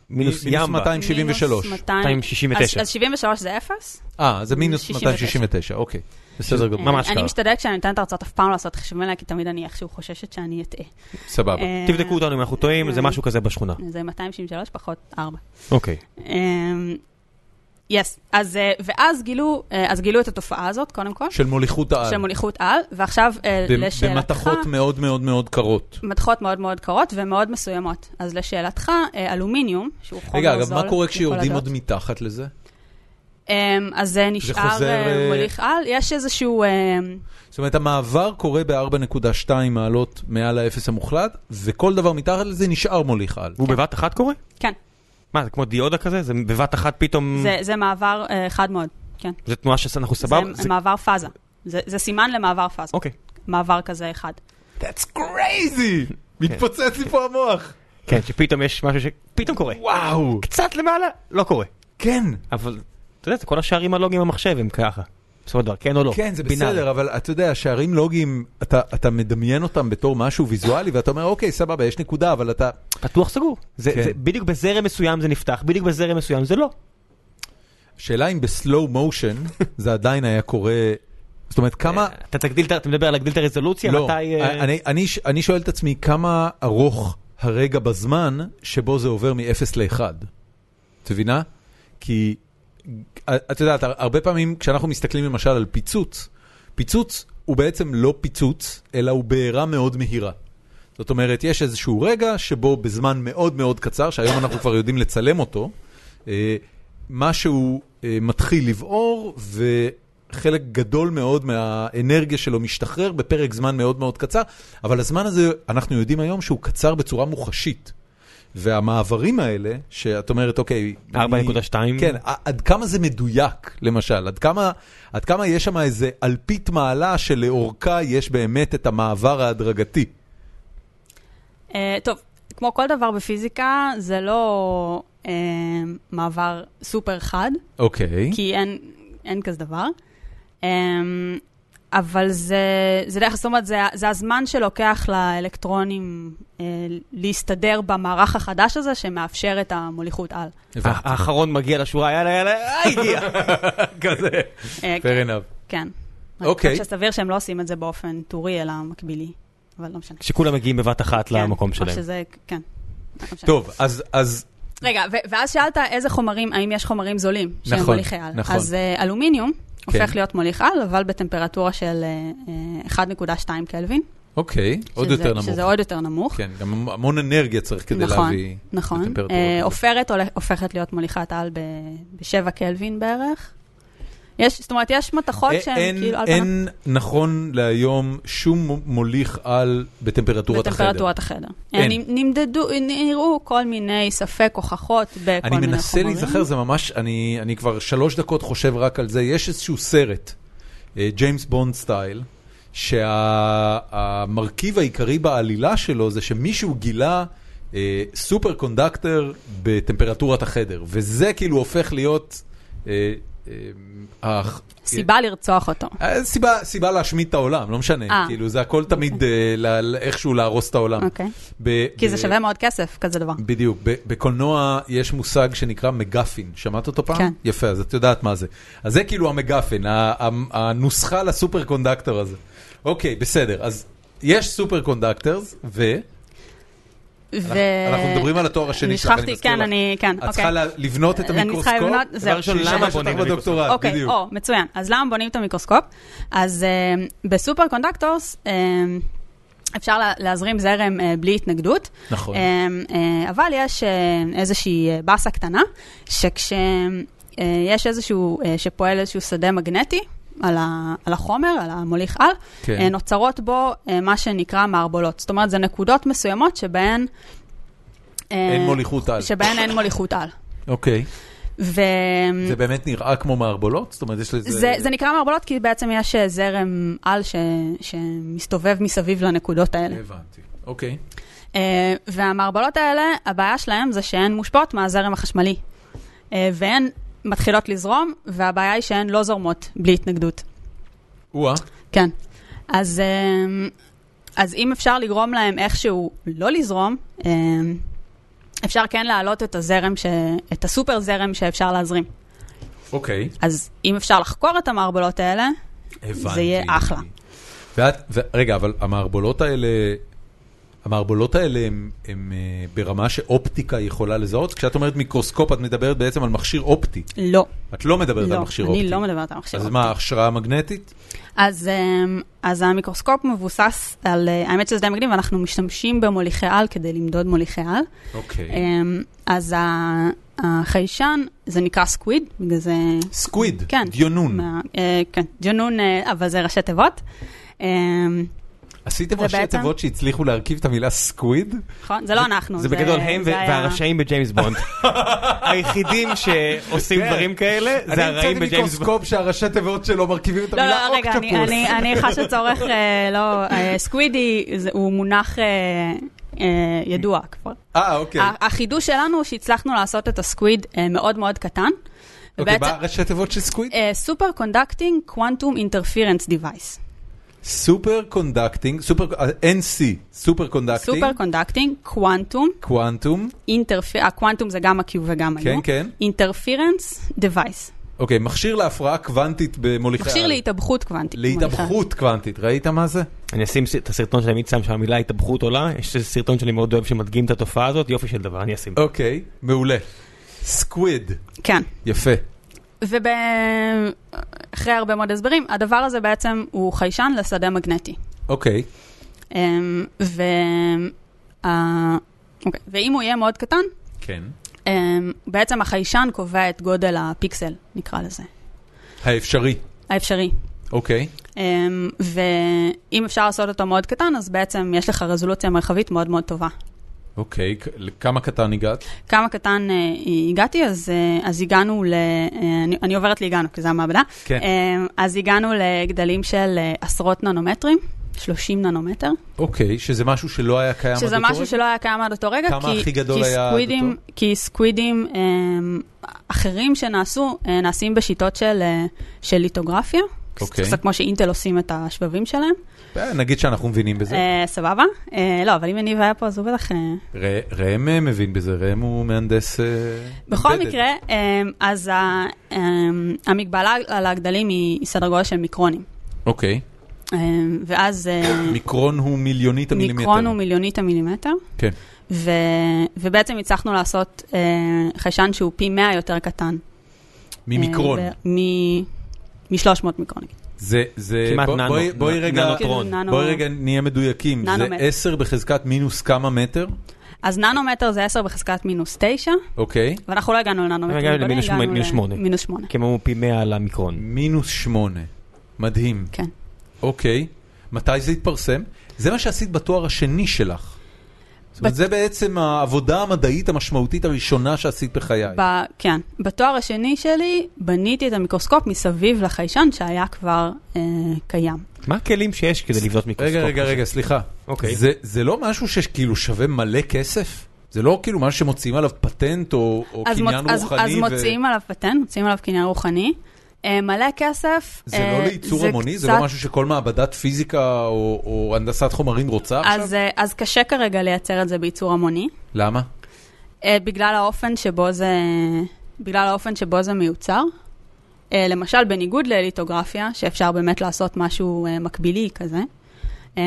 S2: מינוס
S1: מינוס
S2: ימבה,
S1: 273.
S3: מינוס 200. אז
S2: 269.
S3: אז 73 זה אפס.
S1: אה, זה מינוס
S3: 69.
S1: 269, אוקיי. בסדר גמור.
S2: ממש
S3: אמ, אני
S2: ככה.
S3: משתדלת כשאני נותנת הרצאות אף פעם לא לעשות חישובים עליה, כי תמיד אני איכשהו חוששת שאני אטעה.
S2: אוקיי.
S1: סבבה.
S3: אמ,
S2: תבדקו אותנו אם אנחנו טועים, זה משהו כזה בשכונה.
S3: זה 263 פחות 4.
S2: אוקיי.
S3: יס, אמ, אז אה, ואז גילו, אה, אז גילו את התופעה הזאת, קודם כל,
S1: של מוליכות העל.
S3: של מוליכות על, ועכשיו אה,
S1: ב-
S3: לשאלתך...
S1: במתכות מאוד מאוד מאוד קרות.
S3: מתכות מאוד מאוד קרות ומאוד מסוימות. אז לשאלתך, אה, אלומיניום, שהוא חומר נכון, זול...
S1: רגע, אגב, מה קורה
S3: לכל
S1: כשיורדים
S3: הדעות.
S1: עוד מתחת לזה?
S3: אמ, אז זה נשאר
S1: חוזר,
S3: אה,
S1: אה,
S3: מוליך על, יש איזשהו... אמ,
S1: זאת אומרת, המעבר קורה ב-4.2 מעלות מעל האפס המוחלט, וכל דבר מתחת לזה נשאר מוליך על.
S2: והוא בבת אחת קורה?
S3: כן,
S2: מה, זה כמו דיודה כזה? זה בבת אחת פתאום...
S3: זה- זה מעבר אה, חד מאוד, כן.
S2: זה תנועה שאנחנו סבבה?
S3: זה מעבר פאזה. זה זה סימן למעבר פאזה.
S2: אוקיי.
S3: מעבר כזה אחד.
S1: That's crazy! מתפוצץ לי פה המוח!
S2: כן, שפתאום יש משהו שפתאום קורה.
S1: וואו!
S2: קצת למעלה, לא קורה.
S1: כן!
S2: אבל, אתה יודע, זה כל השערים הלוגיים במחשב הם ככה. בסופו של דבר, כן או לא.
S1: כן, זה
S2: בינארי.
S1: בסדר, אבל אתה יודע, שערים לוגיים, אתה, אתה מדמיין אותם בתור משהו ויזואלי, ואתה אומר, אוקיי, סבבה, יש נקודה, אבל אתה...
S2: פתוח סגור. זה-
S1: כן.
S2: זה בדיוק בזרם מסוים זה נפתח, בדיוק בזרם מסוים זה לא.
S1: שאלה אם בסלואו מושן זה עדיין היה קורה... זאת אומרת, כמה...
S2: אתה תגדיל, את ה- אתה מדבר על להגדיל את הרזולוציה?
S1: לא,
S2: אה, מתי... אה,
S1: אני, אני, אני שואל את עצמי כמה ארוך הרגע בזמן שבו זה עובר מ-0 ל-1. את מבינה? כי אה, את יודעת, הרבה פעמים כשאנחנו מסתכלים למשל על פיצוץ, פיצוץ הוא בעצם לא פיצוץ, אלא הוא בעירה מאוד מהירה. זאת אומרת, יש איזשהו רגע שבו בזמן מאוד מאוד קצר, שהיום אנחנו כבר יודעים לצלם אותו, אה, משהו אה, מתחיל לבעור, וחלק גדול מאוד מהאנרגיה שלו משתחרר בפרק זמן מאוד מאוד קצר, אבל הזמן הזה, אנחנו יודעים היום שהוא קצר בצורה מוחשית. והמעברים האלה, שאת אומרת, אוקיי...
S2: 4.2.
S1: כן, ע- עד כמה זה מדויק, למשל? עד כמה, עד כמה יש שם איזה אלפית מעלה שלאורכה יש באמת את המעבר ההדרגתי?
S3: אה, טוב, כמו כל דבר בפיזיקה, זה לא אה, מעבר סופר חד,
S1: אוקיי.
S3: כי אין, אין כזה דבר. אה, אבל זה, זה דרך, זאת אומרת, זה, זה הזמן שלוקח לאלקטרונים אה, להסתדר במערך החדש הזה, שמאפשר את המוליכות על.
S1: הבנתי.
S2: ה- האחרון מגיע לשורה, יאללה, יאללה, אה, הגיע.
S1: כזה.
S3: אה, כן,
S1: Fair enough.
S3: כן.
S1: אוקיי.
S3: אני חושבת שסביר שהם לא עושים את זה באופן טורי, אלא מקבילי, אבל לא משנה.
S2: שכולם מגיעים בבת אחת
S3: כן,
S2: למקום
S3: או
S2: שלהם.
S3: שזה, כן. לא משנה.
S1: טוב, אז, אז
S3: רגע, ו- ואז שאלת איזה חומרים, האם יש חומרים זולים שהם
S1: נכון,
S3: מוליכי על.
S1: נכון.
S3: אז אה, אלומיניום הופך להיות מוליך על, אבל בטמפרטורה של אה, אה, 1.2 קלווין.
S1: אוקיי, עוד
S3: שזה-
S1: יותר נמוך.
S3: שזה עוד יותר נמוך.
S1: כן, גם המון אנרגיה צריך כדי
S3: נכון,
S1: להביא
S3: נכון.
S1: לטמפרטורה.
S3: אה,
S1: כזאת.
S3: עופרת הולך- הופכת להיות מוליכת על ב-7 קלווין בערך. יש, זאת אומרת, יש מתכות
S1: אה,
S3: שהן
S1: אין,
S3: כאילו על פניו
S1: אין נכון להיום שום מו- מוליך על בטמפרטורת החדר.
S3: בטמפרטורת החדר.
S1: אין.
S3: אה, נ- נמדדו, נראו כל מיני ספק, הוכחות בכל מיני
S1: אני
S3: חומרים.
S1: מנסה להיזכר, זה ממש, אני, אני כבר שלוש דקות חושב רק על זה. יש איזשהו סרט, אה, ג'יימס בונד סטייל, שהמרכיב העיקרי בעלילה שלו זה שמישהו גילה אה, סופר קונדקטר בטמפרטורת החדר, וזה כאילו הופך להיות... אה, אה, הח-
S3: סיבה לרצוח אותו.
S1: אה, סיבה, סיבה להשמיד את העולם, לא משנה,
S3: אה.
S1: כאילו זה הכל תמיד אה, ל- ל- איכשהו להרוס את העולם.
S3: אוקיי.
S1: ב-
S3: כי זה
S1: ב-
S3: שווה מאוד כסף, כזה דבר.
S1: בדיוק, ב- בקולנוע יש מושג שנקרא מגפין, שמעת אותו פעם?
S3: כן.
S1: יפה, אז את יודעת מה זה. אז זה כאילו המגפין, ה- ה- הנוסחה לסופר קונדקטור הזה. אוקיי, בסדר, אז יש סופר קונדקטורס, ו...
S3: ו...
S1: אנחנו מדברים על התואר השני שלך, אני
S3: נשכחתי,
S1: מזכיר
S3: כן,
S1: לך.
S3: אני, כן,
S1: את
S3: אוקיי.
S1: צריכה לה- לבנות את
S3: אני
S1: המיקרוסקופ,
S3: צריכה לבנות- זהו.
S1: דבר ראשון,
S2: למה
S1: למה
S2: בונים
S1: בונים
S2: מיקרוסקופ?
S1: בדוקטורט,
S3: אוקיי,
S1: בדיוק.
S3: או, מצוין. אז למה בונים את המיקרוסקופ? אז אה, בסופר קונדקטורס, אה, אפשר לה- להזרים זרם אה, בלי התנגדות.
S1: נכון.
S3: אמ, אה, אבל יש אה, איזושהי אה, באסה קטנה, שכשיש איזשהו, אה, שפועל איזשהו שדה מגנטי על ה- על החומר, על המוליך על,
S1: כן.
S3: אה, נוצרות בו אה, מה שנקרא מערבולות. זאת אומרת, זה נקודות מסוימות שבהן... אה,
S1: אין מוליכות על.
S3: שבהן אין מוליכות על.
S1: אוקיי.
S3: ו...
S1: זה באמת נראה כמו מערבולות? זאת אומרת, יש לזה...
S3: אה. זה, זה נקרא מערבולות כי בעצם יש אה, זרם על ש, שמסתובב מסביב לנקודות האלה.
S1: הבנתי. אוקיי.
S3: אה, והמערבלות האלה, הבעיה שלהם זה שהן מושפעות מהזרם החשמלי. אה, והן מתחילות לזרום, והבעיה היא שהן לא זורמות בלי התנגדות.
S1: או-אה.
S3: כן. אז, אה, אז אם אפשר לגרום להם איכשהו לא לזרום, אה, אפשר כן להעלות את הזרם, ש... את הסופר זרם שאפשר להזרים.
S1: אוקיי.
S3: אז אם אפשר לחקור את המערבלות האלה,
S1: הבנתי.
S3: זה יהיה אחלה.
S1: ואת, ו... רגע, אבל המערבולות האלה... המערבולות האלה הם, הם אה, ברמה שאופטיקה יכולה לזהות? כשאת אומרת מיקרוסקופ, את מדברת בעצם על מכשיר אופטי.
S3: לא.
S1: את לא מדברת על
S3: לא,
S1: מכשיר אופטי.
S3: אני לא מדברת על מכשיר
S1: אז
S3: אופטי.
S1: מה, הכשרה מגנטית?
S3: אז, אמ, אז המיקרוסקופ מבוסס על, אה, האמת שזה די מגניב, אנחנו משתמשים במוליכי על כדי למדוד מוליכי על.
S2: כן.
S1: אוקיי.
S3: אמ, אז ה- החיישן, זה נקרא סקוויד, בגלל זה...
S1: סקוויד,
S3: כן.
S1: דיונון.
S3: מה- אה, כן, ג'נון, אה, אבל זה ראשי תיבות. אמ,
S1: עשיתם
S3: זה
S1: ראשי
S3: בעצם-
S1: תיבות שהצליחו להרכיב את המילה סקוויד?
S3: נכון? זה לא אנחנו.
S2: זה בגדול הם ו-
S3: זה היה-
S2: והרשעים בג'יימס בונד. היחידים שעושים
S1: כן.
S2: דברים כאלה זה הרעים בג'יימס בונד.
S1: מיקרוסקופ שהראשי תיבות שלו מרכיבים את
S3: לא, לא, רגע, אני- אני- אני חשה צורך, אה, לא, אה, סקווידי זה- הוא מונח אה, אה, ידוע כבר.
S1: אה, אוקיי.
S3: ה- החידוש שלנו הוא שהצלחנו לעשות את הסקוויד אה, מאוד מאוד קטן.
S1: אוקיי, מה הראשי תיבות של סקוויד?
S3: אה, סופר קונדקטינג קוונטום אינטרפירנס דיווייס.
S1: סופר קונדקטינג, סופר, NC, סופר קונדקטינג,
S3: סופר קונדקטינג קוונטום,
S1: קוואנטום,
S3: הקוונטום אה, זה גם ה-Q וגם ה-U.
S1: כן, כן.
S3: אינטרפירנס דיווייס.
S1: אוקיי, מכשיר להפרעה קוונטית במוליכי...
S3: מכשיר
S1: על.
S3: להתאבכות קוונטית.
S1: להתאבכות קוונטית, ראית מה זה?
S2: אני אשים ס- את הסרטון שאני תמיד שם שם המילה התאבכות עולה, יש איזה סרטון שאני מאוד אוהב שמדגים את התופעה הזאת, יופי של דבר, אני אשים.
S1: אוקיי, מעולה. סקוויד,
S3: כן.
S1: יפה.
S3: ואחרי הרבה מאוד הסברים, הדבר הזה בעצם הוא חיישן לשדה מגנטי.
S1: אוקיי,
S3: אמ, ו... אה, אוקיי. ואם הוא יהיה מאוד קטן,
S1: כן.
S3: אמ, בעצם החיישן קובע את גודל הפיקסל, נקרא לזה,
S1: האפשרי,
S3: האפשרי.
S1: אוקיי.
S3: אמ, ואם אפשר לעשות אותו מאוד קטן, אז בעצם יש לך רזולוציה מרחבית מאוד מאוד טובה.
S1: אוקיי, כ- לכמה קטן הגעת?
S3: כמה קטן אה, הגעתי, אז, אה, אז הגענו ל... אה, אני, אני עוברת להגענו, כי זה המעבדה.
S1: כן.
S3: אמ, אז הגענו לגדלים של אה, עשרות ננומטרים, 30 ננומטר,
S1: אוקיי, שזה משהו שלא היה קיים עד אותו
S3: שזה משהו
S1: רגע?
S3: שלא היה קיים עד אותו רגע,
S1: כמה
S3: כי,
S1: הכי גדול
S3: כי,
S1: היה עד
S3: סקווידים,
S1: אותו?
S3: כי סקווידים אמ, אחרים שנעשו, אה, נעשים בשיטות של, אה, של ליטוגרפיה.
S1: אוקיי.
S3: קצת כמו שאינטל עושים את השבבים שלהם.
S1: אה, נגיד שאנחנו מבינים בזה.
S3: אה, סבבה? אה, לא, אבל אם יניב היה פה, אז הוא בטח... אה,
S1: ר- ראם אה, מבין בזה, ראם הוא מהנדס... אה,
S3: בכל
S1: embedded.
S3: מקרה, אמ, אז ה- אמ, המגבלה על הגדלים היא היא סדר גודל של מיקרונים.
S1: אוקיי.
S3: אמ, ואז אה,
S1: מיקרון הוא מיליונית המילימטר.
S3: מיקרון הוא מיליונית המילימטר,
S1: כן.
S3: ו- ובעצם הצלחנו לעשות אה, חיישן שהוא פי 100 יותר קטן.
S1: ממיקרון.
S3: אה, ב- מ- מ-300 מיקרון. נגיד.
S1: זה, זה,
S2: כמעט
S1: בוא-
S2: ננו.
S1: בואי- בואי
S2: נ-
S1: רגע,
S2: ננו. מיקרון.
S3: כאילו ננו-
S1: בואי רגע נהיה מדויקים, זה
S3: ננומטר.
S1: 10 בחזקת מינוס כמה מטר,
S3: אז ננומטר זה 10 בחזקת מינוס 9,
S1: אוקיי,
S3: ואנחנו לא הגענו לננומטר.
S2: הגענו
S3: גדולים,
S2: למינוס שמונה-
S3: הגענו
S2: מינוס
S3: ל-
S2: שמונה.
S3: מינוס 8,
S2: כי הם אמרו פי 100 על המיקרון.
S1: מינוס 8, מדהים,
S3: כן.
S1: אוקיי, מתי זה התפרסם? זה מה שעשית בתואר השני שלך. זאת אומרת,
S3: בת-
S1: זה בעצם העבודה המדעית המשמעותית הראשונה שעשית בחיי.
S3: ב- כן. בתואר השני שלי בניתי את המיקרוסקופ מסביב לחיישן שהיה כבר אה, קיים.
S2: מה הכלים שיש כדי לבנות מיקרוסקופ?
S1: רגע, רגע,
S2: כזה?
S1: רגע, סליחה.
S2: אוקיי.
S1: זה, זה לא משהו שכאילו שווה מלא כסף? זה לא כאילו משהו שמוציאים עליו פטנט או, או
S3: אז
S1: קניין
S3: מוצ- אז-
S1: רוחני?
S3: אז מוציאים עליו פטנט, מוציאים עליו קניין רוחני. אה, מלא כסף.
S1: זה
S3: אה,
S1: לא לייצור המוני? זה
S3: קצת-
S1: לא משהו שכל מעבדת פיזיקה או, או הנדסת חומרים רוצה
S3: אז,
S1: עכשיו?
S3: אה, אז קשה כרגע לייצר את זה בייצור המוני,
S1: למה?
S3: אה, בגלל האופן שבו זה, בגלל האופן שבו זה מיוצר. אה, למשל, בניגוד לליטוגרפיה, שאפשר באמת לעשות משהו אה, מקבילי כזה. אה,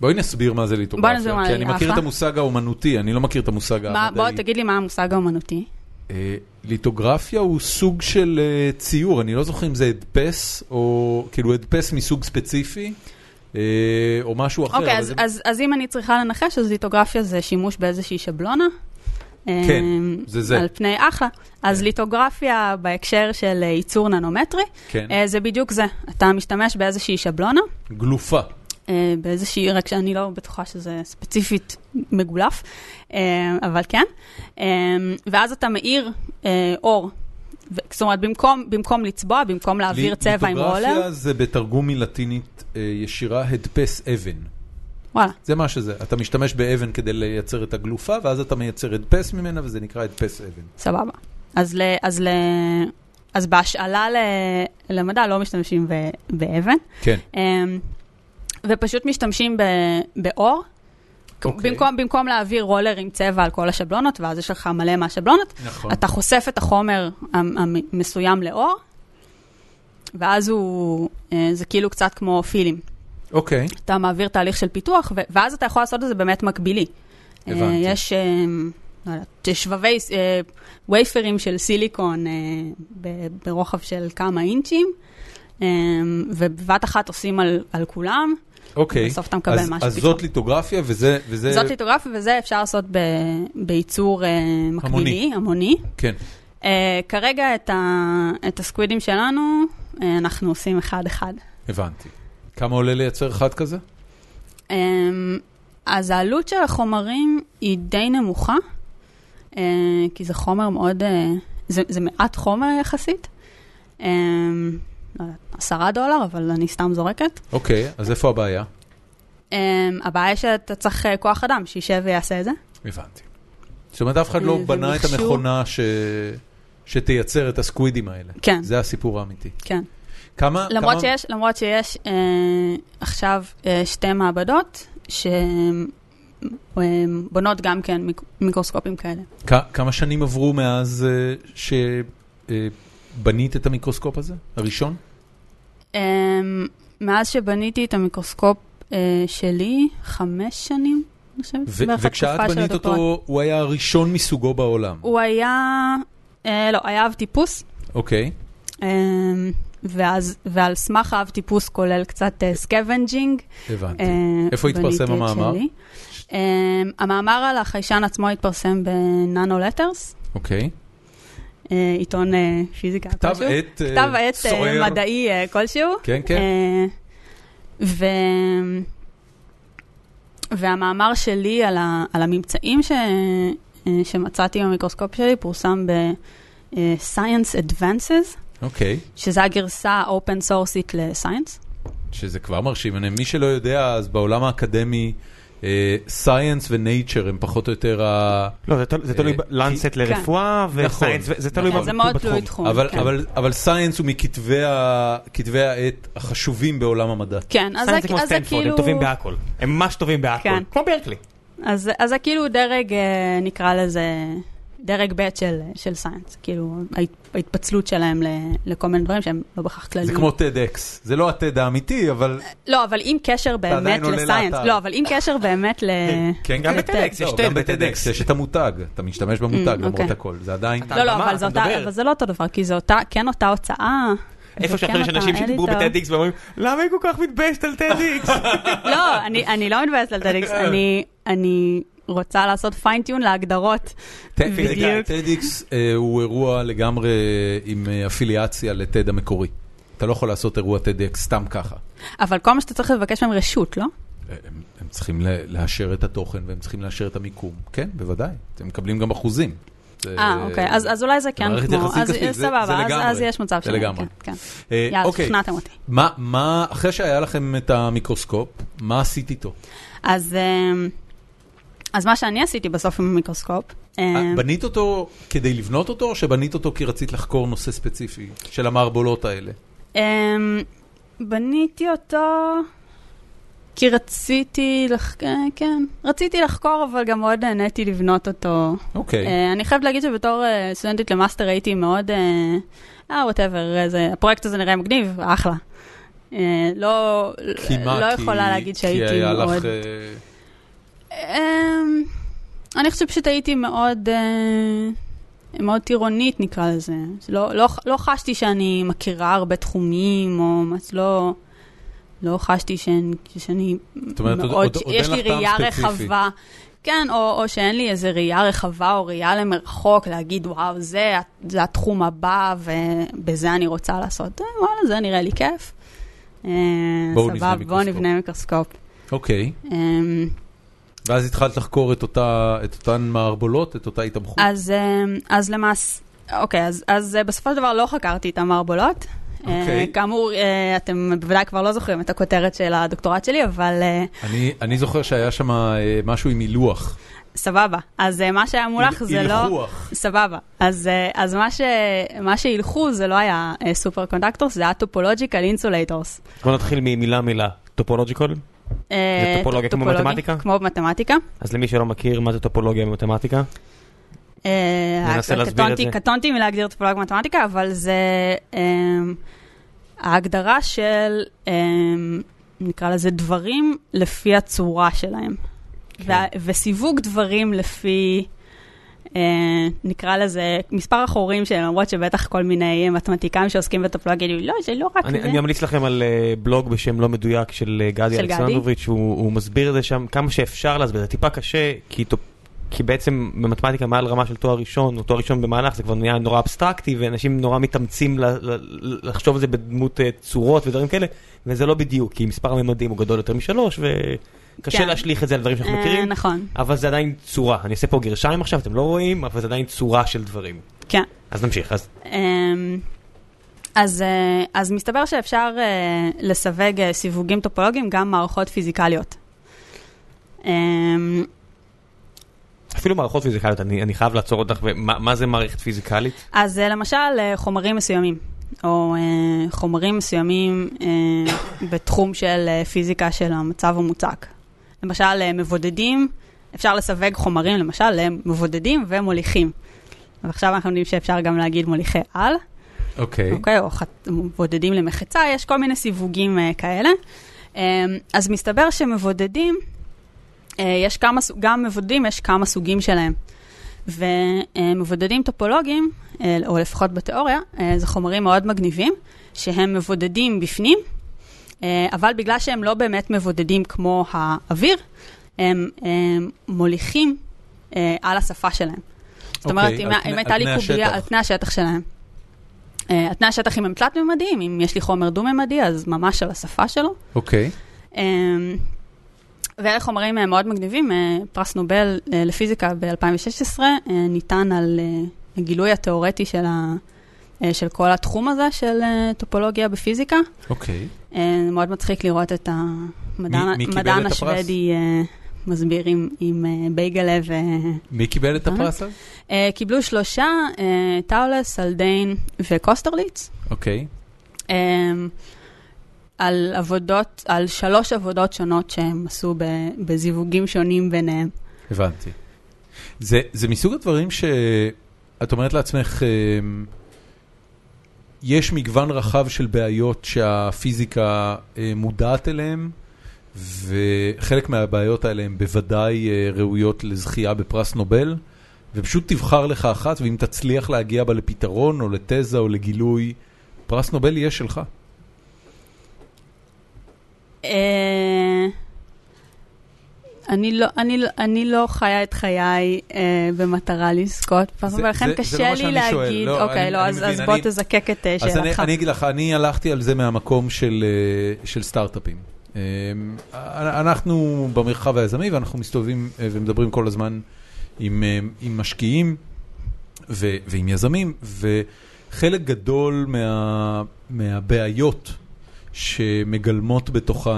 S1: בואי נסביר מה זה
S3: בואי נסביר
S1: ליטוגרפיה,
S3: מה
S1: כי
S3: זה-
S1: אני מכיר את
S3: אחלה.
S1: המושג האומנותי, אני לא מכיר את המושג
S3: מה- בוא
S1: המדעי.
S3: תגיד לי מה המושג האומנותי.
S1: אה, ליטוגרפיה הוא סוג של אה, ציור, אני לא זוכר אם זה הדפס, או כאילו הדפס מסוג ספציפי, אה, או משהו אחר.
S3: אוקיי,
S1: אבל
S3: אז,
S1: זה-
S3: אז, אז אם אני צריכה לנחש, אז ליטוגרפיה זה שימוש באיזושהי שבלונה.
S1: כן,
S3: אמ,
S1: זה זה.
S3: על פני אחלה. אז
S1: כן.
S3: ליטוגרפיה בהקשר של אה, ייצור ננומטרי,
S1: כן,
S3: אה, זה בדיוק זה. אתה משתמש באיזושהי שבלונה,
S1: גלופה.
S3: אה, באיזושהי, רק שאני לא בטוחה שזה ספציפית מגולף, אה, אבל כן. אה, ואז אתה מאיר אה, אור. ו- זאת אומרת, במקום, במקום לצבוע, במקום להעביר
S1: לי-
S3: צבע עם רולר,
S1: ליטוגרפיה זה בתרגום מלטינית אה, ישירה הדפס אבן.
S3: וואלה,
S1: זה מה שזה, אתה משתמש באבן כדי לייצר את הגלופה, ואז אתה מייצר הדפס ממנה, וזה נקרא הדפס אבן.
S3: סבבה. אז, ל, אז, ל, אז בהשאלה ל, למדע לא משתמשים ב, באבן,
S1: כן.
S3: אמ, ופשוט משתמשים ב, באור.
S1: אוקיי.
S3: במקום, במקום להעביר רולר עם צבע על כל השבלונות, ואז יש לך מלא מהשבלונות,
S1: נכון.
S3: אתה חושף את החומר המ- המסוים לאור, ואז הוא, אה, זה כאילו קצת כמו פילים.
S1: אוקיי,
S3: אתה מעביר תהליך של פיתוח, ו- ואז אתה יכול לעשות את זה באמת מקבילי. אה,
S1: הבנתי.
S3: יש, אה, לא יודעת, שבבי, אה, וייפרים של סיליקון אה, ב- ברוחב של כמה אינצ'ים, אה, ובבת אחת עושים על, על כולם,
S1: אוקיי.
S3: בסוף אתה מקבל
S1: אז-
S3: משהו
S1: אז אה,
S3: פתאום.
S1: זאת ליטוגרפיה, וזה... וזה-
S3: זאת ליטוגרפיה, וזה אפשר לעשות ב- בייצור אה, מקבילי, המוני.
S1: כן.
S3: אה, כרגע את, ה- את הסקווידים שלנו, אה, אנחנו עושים אחד-אחד.
S1: הבנתי. כמה עולה לייצר אחד כזה?
S3: אמ, אז העלות של החומרים היא די נמוכה, אה, כי זה חומר מאוד, אה, זה, זה מעט חומר יחסית. אמ, לא יודעת, עשרה דולר, אבל אני סתם זורקת.
S1: אוקיי, אז איפה הבעיה?
S3: אמ, הבעיה היא שאתה צריך אה, כוח אדם שישב ויעשה את זה.
S1: הבנתי. זאת אומרת, אף אחד לא
S3: אה,
S1: בנה את
S3: ומכשור.
S1: המכונה ש- שתייצר את הסקווידים האלה.
S3: כן,
S1: זה הסיפור האמיתי.
S3: כן.
S1: כמה...
S3: למרות
S1: כמה-
S3: שיש, למרות שיש אה, עכשיו אה, שתי מעבדות שבונות גם כן מיק- מיקרוסקופים כאלה.
S1: כ- כמה שנים עברו מאז אה, שבנית את המיקרוסקופ הזה? הראשון?
S3: אמ, מאז שבניתי את המיקרוסקופ אה, שלי, חמש שנים, אני חושבת,
S1: ו-
S3: בערך
S1: וכשאת
S3: התקופה של
S1: בנית
S3: הדוקטורט.
S1: אותו, הוא היה הראשון מסוגו בעולם.
S3: הוא היה, אה, לא, היה אב טיפוס,
S1: אוקיי.
S3: אמ, ואז, ועל סמך האב טיפוס כולל קצת אה, סקוונג'ינג.
S1: הבנתי.
S3: אה,
S1: איפה
S3: בניתי
S1: התפרסם
S3: את
S1: המאמר?
S3: שלי. אמ, המאמר על החיישן עצמו התפרסם בננו לטרס,
S1: אוקיי.
S3: עיתון אה, פיזיקה
S1: כתב
S3: כלשהו.
S1: עת אה,
S3: כתב עת אה,
S1: סוער.
S3: מדעי אה, כלשהו.
S1: כן, כן.
S3: אה, ו... והמאמר שלי על, ה... על הממצאים ש... אה, שמצאתי במיקרוסקופ שלי פורסם ב-Science Advances,
S1: אוקיי.
S3: שזה הגרסה האופן סורסית ל-Science.
S1: שזה כבר מרשים. אני, מי שלא יודע, אז בעולם האקדמי, סייאנס ונייצ'ר הם פחות או יותר ה...
S2: לא, זה תל- זה תלוי
S1: אה,
S2: ב- לנסט לרפואה
S1: נכון.
S2: וסיינס, ו- זה תלוי
S1: נכון.
S2: ב-
S3: כן, זה מאוד
S2: בתחום.
S3: תלוי תחום.
S1: אבל,
S3: כן.
S1: אבל, אבל סייאנס הוא מכתבי ה- כתבי העת החשובים בעולם המדע.
S3: כן, אז
S2: סיינס
S3: זה-
S2: זה כמו
S3: אז זה
S2: סטנפורד,
S3: כאילו-
S2: הם טובים בהכל. הם ממש טובים בהכל.
S3: כן.
S2: כמו ברקלי.
S3: אז אז זה כאילו דרג, אה, נקרא לזה, דרג ב' של- של סיינס, כאילו ההת- ההתפצלות שלהם ל- לכל מיני דברים שהם לא בהכרח כלליים.
S1: זה כמו TEDx, זה לא הTED האמיתי, אבל...
S3: לא, אבל עם קשר
S1: עדיין
S3: באמת
S1: עולה
S3: לסיינס.
S1: לאתר.
S3: לא, אבל עם קשר באמת ל...
S1: כן,
S2: אה, גם
S1: כן.
S2: ב-TEDx, יש
S1: לא,
S2: TED
S1: גם
S2: ב-TEDx.
S1: ב-TEDx יש את המותג, אתה משתמש במותג
S3: Mm,
S1: למרות
S3: אוקיי.
S1: הכל, זה עדיין...
S2: אתה-
S3: לא, לא,
S2: הבמה,
S3: אבל זה אותה,
S2: מדבר.
S3: אבל זה לא אותו דבר, כי זה אותה, כן אותה הוצאה.
S2: איפה
S3: זה
S2: שאחרי
S3: כן
S2: יש
S3: אותה
S2: אנשים שדיברו
S3: editor.
S2: בטדיקס ואומרים, למה היא כל כך מתביישת על טדיקס?
S3: לא, אני- אני לא מתבאסת על טדיקס, אני- אני רוצה לעשות פיינטיון להגדרות. בדיוק.
S1: TEDx אה, הוא אירוע לגמרי עם אה, אפיליאציה ל-TED המקורי. אתה לא יכול לעשות אירוע TEDx סתם ככה. אה,
S3: אבל כל מה שאתה צריך לבקש מהם רשות, לא?
S1: הם, הם צריכים ל- לאשר את התוכן והם צריכים לאשר את המיקום. כן, בוודאי. אתם מקבלים גם אחוזים. זה-
S3: אה, אוקיי, אז אז אולי זה כן
S1: מערכת
S3: כמו...
S1: יחסים
S3: אז
S1: כספית, זה-
S3: סבבה,
S1: זה
S3: אז-
S1: לגמרי.
S3: אז יש מצב
S1: זה
S3: שם.
S1: לגמרי.
S3: כן, כן.
S1: אה,
S3: יאללה,
S1: אוקיי.
S3: שכנעתם אותי.
S1: מה, מה, אחרי שהיה לכם את המיקרוסקופ, מה עשית איתו?
S3: אז אמ, אז מה שאני עשיתי בסוף עם המיקרוסקופ...
S1: אה,
S3: אמ,
S1: בנית אותו כדי לבנות אותו, או שבנית אותו כי רצית לחקור נושא ספציפי של המערבולות האלה?
S3: Um, בניתי אותו כי רציתי, לח... אה, כן, רציתי לחקור, אבל גם מאוד נהניתי לבנות אותו. Okay. Uh,
S1: אוקיי,
S3: אני חייבת להגיד שבתור uh, סטודנטית למאסטר הייתי מאוד, אה, אה, וואטאבר, הפרויקט הזה נראה מגניב, אחלה. Uh, לא,
S1: כי מה?
S3: לא
S1: כי-
S3: יכולה להגיד שהייתי
S1: כי היה לך,
S3: מאוד...
S1: אה,
S3: אמ, אני חושבת שפשוט הייתי מאוד, אה, מאוד טירונית נקרא לזה. לא, לא, לא חשתי שאני מכירה הרבה תחומים, או מה- לא, לא חשתי שהן, שאני
S1: זאת אומרת, עוד-
S3: מאוד,
S1: עוד- עוד
S3: יש
S1: אין
S3: לי
S1: לך טעם
S3: ראייה
S1: ספציפי.
S3: רחבה. כן, או, או שאין לי איזה ראייה רחבה או ראייה למרחוק, להגיד, וואו, זה, ה- זה התחום הבא ובזה אני רוצה לעשות. אה, וואלה, זה נראה לי כיף. אה,
S1: בואו נבנה
S3: סבבה, בואו
S1: מיקרוסקופ.
S3: נבנה מיקרוסקופ.
S1: אוקיי.
S3: אמ,
S1: ואז התחלת לחקור את אותה- את אותן מערבולות, את אותה התאבכות.
S3: אז, אמ, אז למעשה, אוקיי, אז, אז אה, בסופו של דבר לא חקרתי את המערבולות. אה,
S1: אוקיי.
S3: כאמור, אה, אתם בוודאי כבר לא זוכרים את הכותרת של הדוקטורט שלי, אבל אה,
S1: אני- אני זוכר שהיה שם אה, משהו עם הילוח.
S3: סבבה. אז אה, מה שהיה מולך
S1: הל-
S3: זה לא...
S1: הילחוח.
S3: סבבה. אז, אה, אז מה, ש... מה שהילכו זה לא היה סופר קונדקטורס, זה היה טופולוג'יקל אינסולטורס.
S2: בוא נתחיל ממילה מילה. טופולוג'יקול? טופולוגיה כמו מתמטיקה?
S3: אה, כמו מתמטיקה.
S2: אז למי שלא מכיר מה זה טופולוגיה במתמטיקה?
S3: אה,
S2: ננסה
S3: רק-
S2: להסביר את
S3: קטונתי-
S2: זה.
S3: קטונתי מלהגדיר טופולוגיה מתמטיקה, אבל זה אמ, ההגדרה של, אמ, נקרא לזה דברים לפי הצורה שלהם.
S2: כן.
S3: וה- וסיווג דברים לפי, אה, נקרא לזה, מספר החורים שלהם, למרות שבטח כל מיני מתמטיקאים שעוסקים בטופולוגיה יגידו, לא, זה לא רק
S2: אני,
S3: זה.
S2: אני אמליץ לכם על אה, בלוג בשם לא מדויק של אה, גדי
S3: של
S2: אלכסנדרוביץ', הוא, הוא מסביר את זה שם כמה שאפשר להסביר, זה טיפה קשה, כי, טופ, כי בעצם במתמטיקה מעל רמה של תואר ראשון, או תואר ראשון במהלך, זה כבר נהיה נורא אבסטרקטי, ואנשים נורא מתאמצים ל, ל, לחשוב על זה בדמות אה, צורות ודברים כאלה, וזה לא בדיוק, כי מספר הממדים הוא גדול יותר משלוש, וקשה
S3: כן.
S2: להשליך את זה על דברים שאנחנו
S3: אה,
S2: מכירים,
S3: נכון,
S2: אבל זה עדיין צורה, אני עושה פה גרשיים עכשיו, אתם לא רואים, אבל זה עדיין צורה של דברים.
S3: כן.
S2: אז נמשיך, אז
S3: אמ, אז, אה, אז מסתבר שאפשר אה, לסווג אה, סיווגים טופולוגיים גם מערכות פיזיקליות. אמ,
S2: אפילו מערכות פיזיקליות, אני, אני חייב לעצור אותך, ומה מה זה מערכת פיזיקלית?
S3: אז אה, למשל אה, חומרים מסוימים, או אה, חומרים מסוימים אה, בתחום של אה, פיזיקה של המצב המוצק. למשל אה, מבודדים, אפשר לסווג חומרים למשל למבודדים ומוליכים. ועכשיו אנחנו יודעים שאפשר גם להגיד מוליכי על.
S1: אוקיי.
S3: אוקיי, או חת- מבודדים למחצה, יש כל מיני סיווגים אה, כאלה. אה, אז מסתבר שמבודדים, אה, יש כמה, סוג- גם מבודדים, יש כמה סוגים שלהם. ומבודדים טופולוגיים, אה, או לפחות בתיאוריה, אה, זה חומרים מאוד מגניבים, שהם מבודדים בפנים, אה, אבל בגלל שהם לא באמת מבודדים כמו האוויר, הם הם מוליכים אה, על השפה שלהם. זאת אומרת,
S1: אוקיי,
S3: אם
S1: על
S3: אם
S1: פני-
S3: הייתה
S1: על
S3: לי
S1: פני
S3: קובייה,
S1: השטח.
S3: על פני השטח שלהם. אה, על פני השטח אם הם תלת-ממדיים, אם יש לי חומר דו-ממדי, אז ממש על השפה שלו.
S1: אוקיי.
S3: אמ, ואלה חומרים אה, מאוד מגניבים, אה, פרס נובל אה, לפיזיקה ב-2016 ניתן על אה, הגילוי התיאורטי של, ה, אה, של כל התחום הזה של אה, טופולוגיה בפיזיקה.
S1: אוקיי.
S3: אה, מאוד מצחיק לראות את
S1: מי- מי קיבל
S3: המדען
S1: את הפרס?
S3: השוודי אה, מסביר עם, עם אה, בייגלה ו...
S1: מי קיבל את
S3: אה?
S1: הפרס אז?
S3: אה, קיבלו שלושה, אה, טאולס, אלדיין וקוסטרליץ.
S1: אוקיי.
S3: אמ, על עבודות, על שלוש עבודות שונות שהם עשו ב- בזיווגים שונים ביניהם.
S1: הבנתי. זה, זה מסוג הדברים שאת אומרת לעצמך, אמ, יש מגוון רחב של בעיות שהפיזיקה אה, מודעת אליהן, וחלק מהבעיות האלה הן בוודאי אה, ראויות לזכייה בפרס נובל, ופשוט תבחר לך אחת, ואם תצליח להגיע בה לפתרון, או לתזה, או לגילוי, פרס נובל יהיה שלך.
S3: אה, אני לא, אני, לא- אני לא חיה את חיי אה, במטרה לזכות,
S1: זה-
S3: ולכן
S1: זה- זה
S3: קשה
S1: לא מה
S3: לי
S1: שאני
S3: להגיד,
S1: שואל, לא,
S3: אוקיי,
S1: אני-
S3: לא,
S1: אני
S3: אז,
S1: מבין,
S3: אז בוא
S1: אני-
S3: תזקק את אה,
S1: אז אני,
S3: שאלתך.
S1: אני אגיד לך, אני הלכתי על זה מהמקום של, אה, של סטארט-אפים. אה, אנחנו במרחב היזמי ואנחנו מסתובבים אה, ומדברים כל הזמן עם, אה, עם משקיעים ו, ועם יזמים, וחלק גדול מה, מהבעיות שמגלמות בתוכן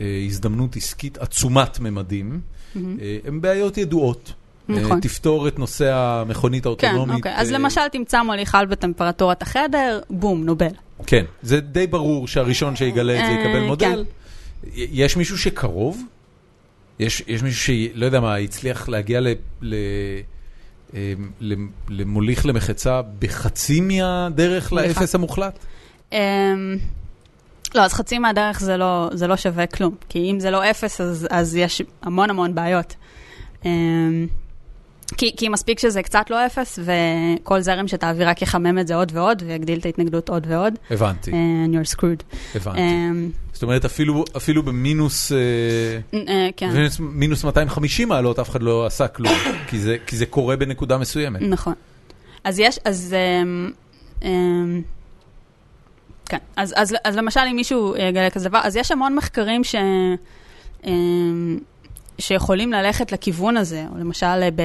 S1: אה, הזדמנות עסקית עצומת ממדים,
S3: מהמם.
S1: אה, הן בעיות ידועות. אה,
S3: נכון.
S1: תפתור את נושא המכונית
S3: כן,
S1: האוטונומית.
S3: אוקיי. אז
S1: אה,
S3: למשל תמצא מוליך על בטמפרטורת החדר, בום, נובל.
S1: כן, זה די ברור שהראשון שיגלה את זה
S3: אה,
S1: יקבל
S3: כן.
S1: מודל. י- יש מישהו שקרוב? יש, יש מישהו שלא יודע מה, הצליח להגיע ל, ל, אמ, למ- למוליך למחצה בחצי מהדרך
S3: סליחה.
S1: לאפס המוחלט?
S3: אמ, לא, אז חצי מהדרך זה לא, זה לא שווה כלום, כי אם זה לא אפס, אז, אז יש המון המון בעיות. אמ, כי, כי מספיק שזה קצת לא אפס, וכל זרם שתעביר רק יחמם את זה עוד ועוד, ויגדיל את ההתנגדות עוד ועוד,
S1: הבנתי,
S3: and you're screwed.
S1: הבנתי.
S3: אמ,
S1: זאת אומרת, אפילו- אפילו במינוס אה,
S3: אה, כן,
S1: במינוס- מינוס 250 מעלות אף אחד לא עשה כלום, כי זה- כי זה קורה בנקודה מסוימת.
S3: נכון. אז יש, אז... אמ, אמ, כן, אז, אז, אז למשל אם מישהו אה, יגלה כזה דבר, אז יש המון מחקרים ש, אמ, שיכולים ללכת לכיוון הזה, או למשל אה, ב...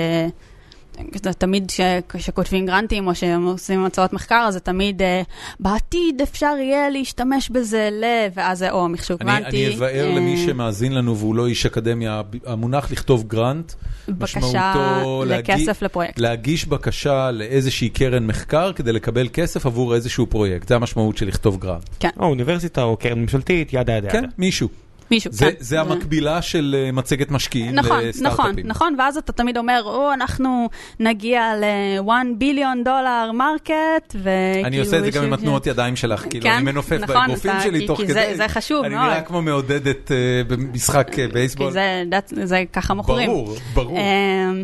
S3: כזה תמיד ש- כשכותבים גרנטים או שעושים הצעות מחקר, אז זה תמיד אה, בעתיד אפשר יהיה להשתמש בזה ל... ואז זה או מחשוב
S1: אני-
S3: גרנטי.
S1: אני אבאר
S3: אה,
S1: למי שמאזין לנו והוא לא איש אקדמיה, המונח לכתוב גרנט,
S3: בקשה
S1: משמעותו להגיד-
S3: לכסף לפרויקט.
S1: להגיש בקשה לאיזושהי קרן מחקר כדי לקבל כסף עבור איזשהו פרויקט, זה המשמעות של לכתוב גרנט.
S2: או אוניברסיטה או קרן ממשלתית, ידה ידה
S1: כן,
S2: ידה.
S1: מישהו.
S3: מישהו,
S1: זה-
S3: כן.
S1: זה המקבילה של אה, מצגת משקיעים
S3: נכון, נכון,
S1: לסטארט-אפים.
S3: נכון, ואז אתה תמיד אומר, או, אנחנו נגיע ל-1 ביליון דולר מרקט, וכאילו...
S1: אני עושה את זה גם עם
S3: כאילו, יש-
S1: התנועות ידיים שלך, כאילו,
S3: כן,
S1: אני מנופף
S3: נכון,
S1: באגרופים
S3: אתה-
S1: שלי
S3: כי-
S1: תוך
S3: כי
S1: כדי.
S3: זה- זה חשוב
S1: אני
S3: מאוד.
S1: נראה כמו מעודדת אה, במשחק אה,
S3: כי
S1: בייסבול.
S3: זה, דת- זה ככה מוכרים.
S1: ברור, ברור.
S3: אמ,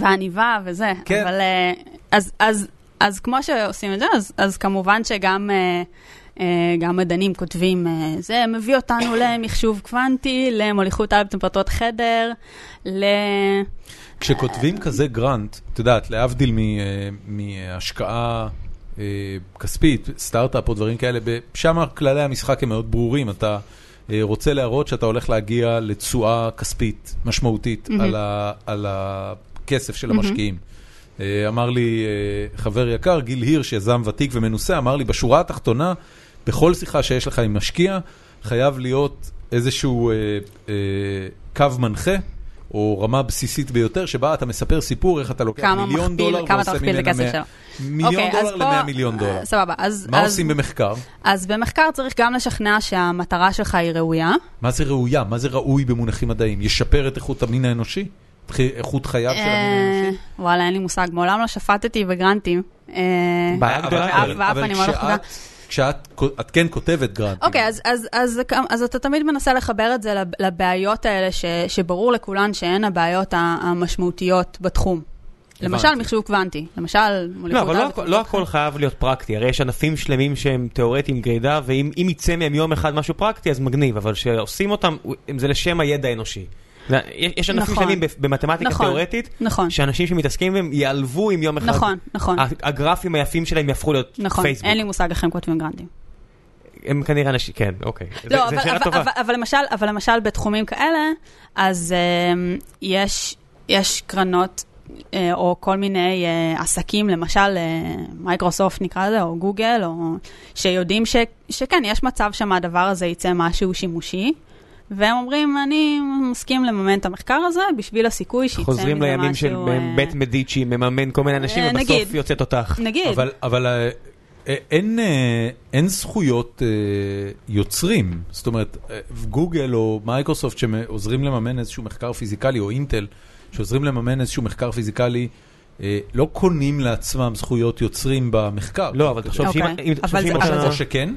S3: והעניבה וזה.
S1: כן.
S3: אבל אה, אז, אז, אז כמו שעושים את זה, אז, אז כמובן שגם אה, אה, גם מדענים כותבים, אה, זה מביא אותנו למחשוב קוונטי, למוליכות על בטמפרטורת חדר, ל...
S1: כשכותבים כזה גרנט, את יודעת, להבדיל מ- אה, מהשקעה אה, כספית, סטארט-אפ או דברים כאלה, ב- שם כללי המשחק הם מאוד ברורים. אתה אה, רוצה להראות שאתה הולך להגיע לתשואה כספית משמעותית
S3: מהמם.
S1: על ה- על הכסף של המשקיעים. אה, אמר לי אה, חבר יקר, גיל הירש, יזם ותיק ומנוסה, אמר לי, בשורה התחתונה, בכל שיחה שיש לך עם משקיע, חייב להיות איזשהו אה, אה, קו מנחה, או רמה בסיסית ביותר, שבה אתה מספר סיפור איך אתה לוקח
S3: כמה
S1: מיליון
S3: מכפיל-
S1: דולר
S3: כמה אתה
S1: ועושה
S3: מכפיל את
S1: ממנה
S3: הכסף
S1: מאה- מיליון
S3: אוקיי, אז
S1: דולר
S3: פה-
S1: למאה מיליון דולר.
S3: אה, סבבה, אז...
S1: מה
S3: אז-
S1: עושים במחקר?
S3: אז במחקר צריך גם לשכנע שהמטרה שלך היא ראויה.
S1: מה זה ראויה? מה זה ראוי במונחים מדעיים? ישפר את איכות המין האנושי? את איכות חייו של המין האנושי?
S3: אה, וואלה, אין לי מושג, מעולם לא שפטתי בגרנטים. אה,
S2: בעיה
S1: אבל-
S2: גדולה.
S1: אבל-
S3: ואף- ואף
S1: אבל
S3: אני מאוד לא
S1: כשאת- כשאת, את כן כותבת גרנטים.
S3: אוקיי, אז, אז, אז, אז אתה תמיד מנסה לחבר את זה לב- לבעיות האלה, ש, שברור לכולן שהן הבעיות ה- המשמעותיות בתחום. למשל,
S1: הבנתי.
S3: מחשוב קוונטי, למשל,
S2: לא,
S3: מוליכות
S2: אבל לא
S3: על-
S2: הכ- לא הכל חייב להיות פרקטי, הרי יש ענפים שלמים שהם תיאורטיים גרידא, ואם אם יצא מהם יום אחד משהו פרקטי אז מגניב, אבל כשעושים אותם, אם זה לשם הידע האנושי. זה- יש יש ענפים
S3: נכון.
S2: שלמים ב- במתמטיקה
S3: נכון.
S2: תיאורטית,
S3: נכון,
S2: שאנשים שמתעסקים בהם ייעלבו אם יום אחד,
S3: נכון, נכון,
S2: ה- הגרפים היפים שלהם יהפכו להיות
S3: נכון,
S2: אה, פייסבוק.
S3: אין לי מושג איך הם כותבים גרנטים.
S2: הם כנראה אנשים, כן, אוקיי. זה-
S3: לא,
S2: זה
S3: אבל,
S2: שאלה
S3: אבל,
S2: טובה.
S3: אבל, אבל, למשל, אבל למשל בתחומים כאלה, אז um, יש, יש קרנות uh, או כל מיני uh, עסקים, למשל אה, מייקרוסופט נקרא לזה, או גוגל, או, שיודעים ש, שכן, יש מצב שמהדבר הזה יצא משהו שימושי. והם אומרים, אני מסכים לממן את המחקר הזה בשביל הסיכוי שיצא מזה משהו...
S2: חוזרים לימים של
S3: אה,
S2: בית מדיצ'י מממן כל מיני אנשים
S3: אה,
S2: ובסוף
S3: נגיד.
S2: יוצא תותח.
S3: נגיד,
S1: אבל, אבל אה, אה, אין, אה, אין זכויות אה, יוצרים. זאת אומרת, אה, גוגל או מייקרוסופט שעוזרים לממן איזשהו מחקר פיזיקלי, או אינטל, שעוזרים לממן איזשהו מחקר פיזיקלי, אה, לא קונים לעצמם זכויות יוצרים במחקר.
S2: לא, אבל תחשוב שאם
S3: אוקיי.
S2: אם-
S3: אבל
S2: תחשוב
S3: זה-
S2: שאם
S3: אבל
S2: אתה...
S1: או שכן?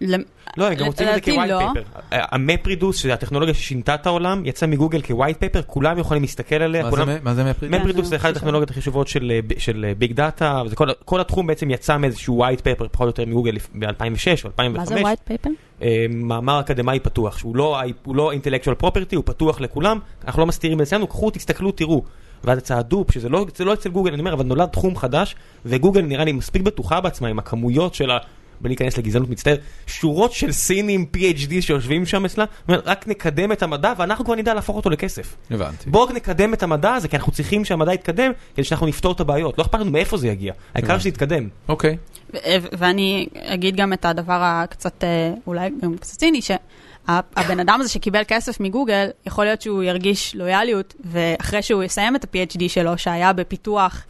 S3: למ-
S2: לא, הם גם רוצים את זה
S3: לדעתי
S2: כווייט
S3: לא.
S2: פייפר. המפרידוס, שזה הטכנולוגיה ששינתה את העולם, יצא מגוגל כווייט פייפר, כולם יכולים להסתכל עליה.
S1: מה זה
S2: כולם-
S1: מ- מה זה מאפריל?
S3: מפ-
S2: מפרידוס
S3: כן,
S2: זה אחת
S3: זה
S2: הטכנולוגיות הכי חשובות של, אה, ב- של ביג דאטה, כל התחום בעצם יצא מאיזשהו ווייט פייפר, פחות או יותר מגוגל ב-2006 או 2005.
S3: מה זה white paper?
S2: אה, מאמר אקדמאי פתוח, שהוא לא, הוא לא intellectual property, הוא פתוח לכולם, אנחנו לא מסתירים את זה, קחו, תסתכלו, תראו. ואז יצא הדופ, שזה לא, זה לא אצל גוגל, אני אומר, אבל נולד תחום חדש, וגוגל נראה לי מספיק בטוחה בעצמה עם הכמויות של ה... בלי להיכנס לגזענות מצטער, שורות של סינים PhD שיושבים שם אצלה, אומרת, רק נקדם את המדע ואנחנו כבר נדע להפוך אותו לכסף.
S1: הבנתי.
S2: בואו נקדם את המדע הזה, כי אנחנו צריכים שהמדע יתקדם, כדי שאנחנו נפתור את הבעיות. לא אכפת לנו מאיפה זה יגיע, העיקר
S1: הבנתי.
S2: שזה יתקדם.
S1: אוקיי.
S3: ו- ואני אגיד גם את הדבר הקצת, אה, אולי גם קצת ציני, שהבן אדם הזה שקיבל כסף מגוגל, יכול להיות שהוא ירגיש לויאליות, ואחרי שהוא יסיים את ה-PhD שלו, שהיה בפיתוח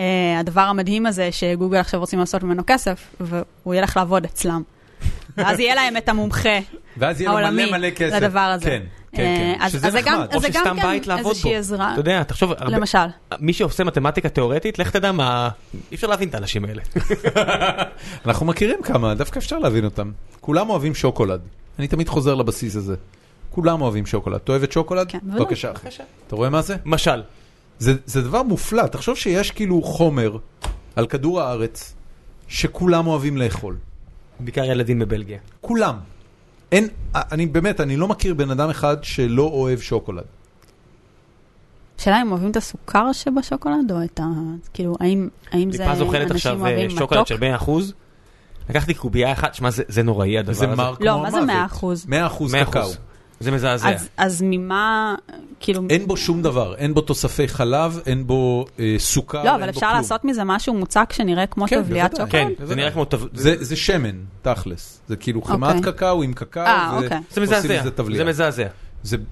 S3: אה, הדבר המדהים הזה, שגוגל עכשיו רוצים לעשות ממנו כסף, והוא ילך לעבוד אצלם. ואז יהיה להם את המומחה.
S1: ואז יהיה לו מלא
S3: העולמי
S1: מלא כסף.
S3: לדבר הזה.
S1: כן, כן,
S3: אה,
S1: כן.
S3: אז-
S1: שזה
S3: אז זה גם-
S1: נחמד.
S2: או
S3: אז זה גם
S2: שסתם
S3: כן
S2: בית לעבוד
S3: איזושהי
S2: בו.
S3: עזרה.
S2: אתה יודע, תחשוב, הרבה-
S3: למשל,
S2: מי שעושה מתמטיקה תיאורטית, לך תדע מה... אי אפשר להבין את האנשים האלה.
S1: אנחנו מכירים כמה, דווקא אפשר להבין אותם. כולם אוהבים שוקולד. אני תמיד חוזר לבסיס הזה. כולם אוהבים שוקולד. את אוהבת שוקולד?
S3: כן, בוודאי.
S1: בבקשה, אחי. אתה רואה מה זה?
S2: משל,
S1: זה, זה דבר מופלא, תחשוב שיש כאילו חומר על כדור הארץ שכולם אוהבים לאכול.
S2: בעיקר ילדים בבלגיה.
S1: כולם. אין, אני באמת, אני לא מכיר בן אדם אחד שלא אוהב שוקולד.
S3: השאלה אם אוהבים את הסוכר שבשוקולד או את ה... כאילו, האם, האם זה
S2: ליפז
S3: אנשים
S2: אוכלת עכשיו אה,
S3: אוהבים
S2: שוקולד
S3: מתוק?
S2: של 100%. לקחתי קובייה אחת, שמע, זה- זה נוראי הדבר הזה.
S1: זה מר כמו
S3: לא, מה זה
S1: המוות.
S3: 100%?
S1: 100 אחוז
S2: 100%.
S1: קקאו.
S2: זה מזעזע.
S3: אז, אז ממה, כאילו...
S1: אין בו שום דבר, אין בו תוספי חלב, אין בו אה, סוכר, אין
S3: לא,
S1: בו
S3: אבל
S1: כלום.
S3: אפשר לעשות מזה משהו מוצק שנראה כמו
S1: כן,
S3: טבליית
S1: בוודאי.
S3: שוקולד?
S2: כן,
S1: בוודאי.
S2: זה נראה כמו... תב-
S1: זה, זה שמן, תכלס. זה כאילו
S3: אוקיי.
S1: חמת קקאו עם קקאו,
S3: אה,
S1: זה,
S3: אוקיי.
S2: זה
S1: עושים
S2: מזעזע.
S1: מזה
S2: זה
S1: טבליה. זה,
S2: מזעזע.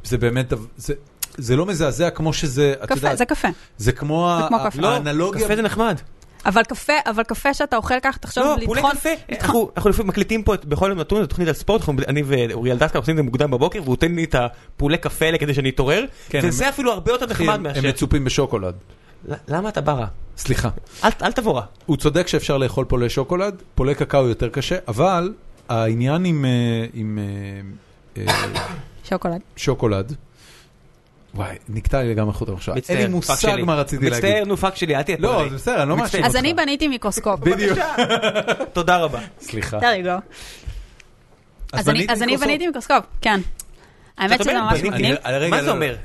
S1: זה, באמת, דב- זה, זה לא מזעזע כמו שזה, את
S3: קפה,
S1: יודעת,
S3: זה קפה.
S1: זה כמו, ה-
S3: כמו קפה.
S1: ה-
S3: לא,
S1: האנלוגיה,
S2: קפה זה נחמד.
S3: אבל קפה, אבל קפה שאתה אוכל ככה, תחשוב,
S2: לא,
S3: לטחון...
S2: פולי קפה. אנחנו אנחנו לפעמים מקליטים פה את- בכל יום נתון, זו תוכנית על ספורט, אנחנו- אני ואוריאל דסקה עושים את זה מוקדם בבוקר, והוא נותן לי את הפולי קפה האלה כדי שאני אתעורר,
S1: כן,
S2: וזה
S1: הם-
S2: אפילו הרבה
S1: אחי,
S2: יותר נחמד
S1: הם, הם
S2: מאשר...
S1: מצופים בשוקולד.
S2: ל- למה אתה בא רע?
S1: סליחה.
S2: אל- אל תבוא רע.
S1: הוא צודק שאפשר לאכול פולי שוקולד, פולי קקאו יותר קשה, אבל העניין עם, אה, עם אה, אה,
S3: שוקולד.
S1: שוקולד, וואי, נקטע לי לגמרי חוט המחשבה.
S2: מצטער,
S1: אין לי
S2: פאק
S1: מושג
S2: שלי.
S1: מה רציתי להגיד.
S2: מצטער, נו פאק שלי, אל תהיה
S1: לא,
S2: פראי.
S1: זה בסדר, אני לא מאשים
S2: מצטער.
S1: אותך.
S3: אז אני בניתי מיקרוסקופ.
S1: בדיוק.
S2: תודה רבה.
S1: סליחה.
S3: There you go. אז אני-
S1: בנית
S3: אז אני
S1: מיקרוסופט?
S3: בניתי מיקרוסקופ, כן. האמת שזה
S2: אומרת,
S3: ממש
S2: בניתי-
S3: מגניב.
S1: אני- רגע,
S2: מה
S1: לא,
S2: זה
S1: לא.
S2: אומר?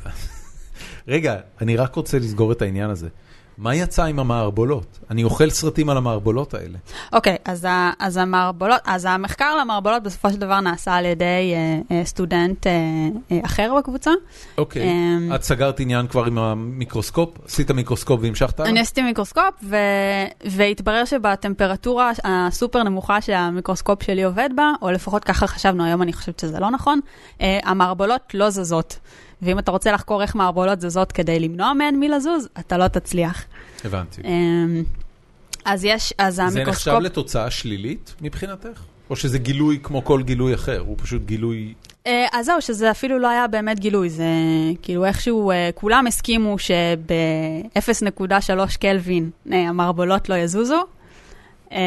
S1: רגע, אני רק רוצה לסגור את העניין הזה. מה יצא עם המערבולות? אני אוכל סרטים על המערבולות האלה.
S3: אוקיי, אז, ה- אז המערבולות, אז המחקר על המערבולות בסופו של דבר נעשה על ידי אה, אה, סטודנט אה, אה, אחר בקבוצה.
S1: אוקיי.
S3: אמ,
S1: את סגרת עניין כבר עם המיקרוסקופ? עשית מיקרוסקופ והמשכת? הלאה?
S3: אני עשיתי מיקרוסקופ, ו... והתברר שבטמפרטורה הסופר נמוכה שהמיקרוסקופ שלי עובד בה, או לפחות ככה חשבנו, היום אני חושבת שזה לא נכון, אה, המערבולות לא זזות. ואם אתה רוצה לחקור איך מערבולות זזות כדי למנוע מהן מלזוז, אתה לא תצליח.
S1: הבנתי.
S3: אמ, אז יש, אז
S1: זה נחשב
S3: המיקרוסקופ...
S1: לתוצאה שלילית מבחינתך? או שזה גילוי כמו כל גילוי אחר? הוא פשוט גילוי...
S3: אה, אז זהו, שזה אפילו לא היה באמת גילוי, זה כאילו איכשהו, אה, כולם הסכימו שב-0.3 קלווין אה, המערבולות לא יזוזו, אה,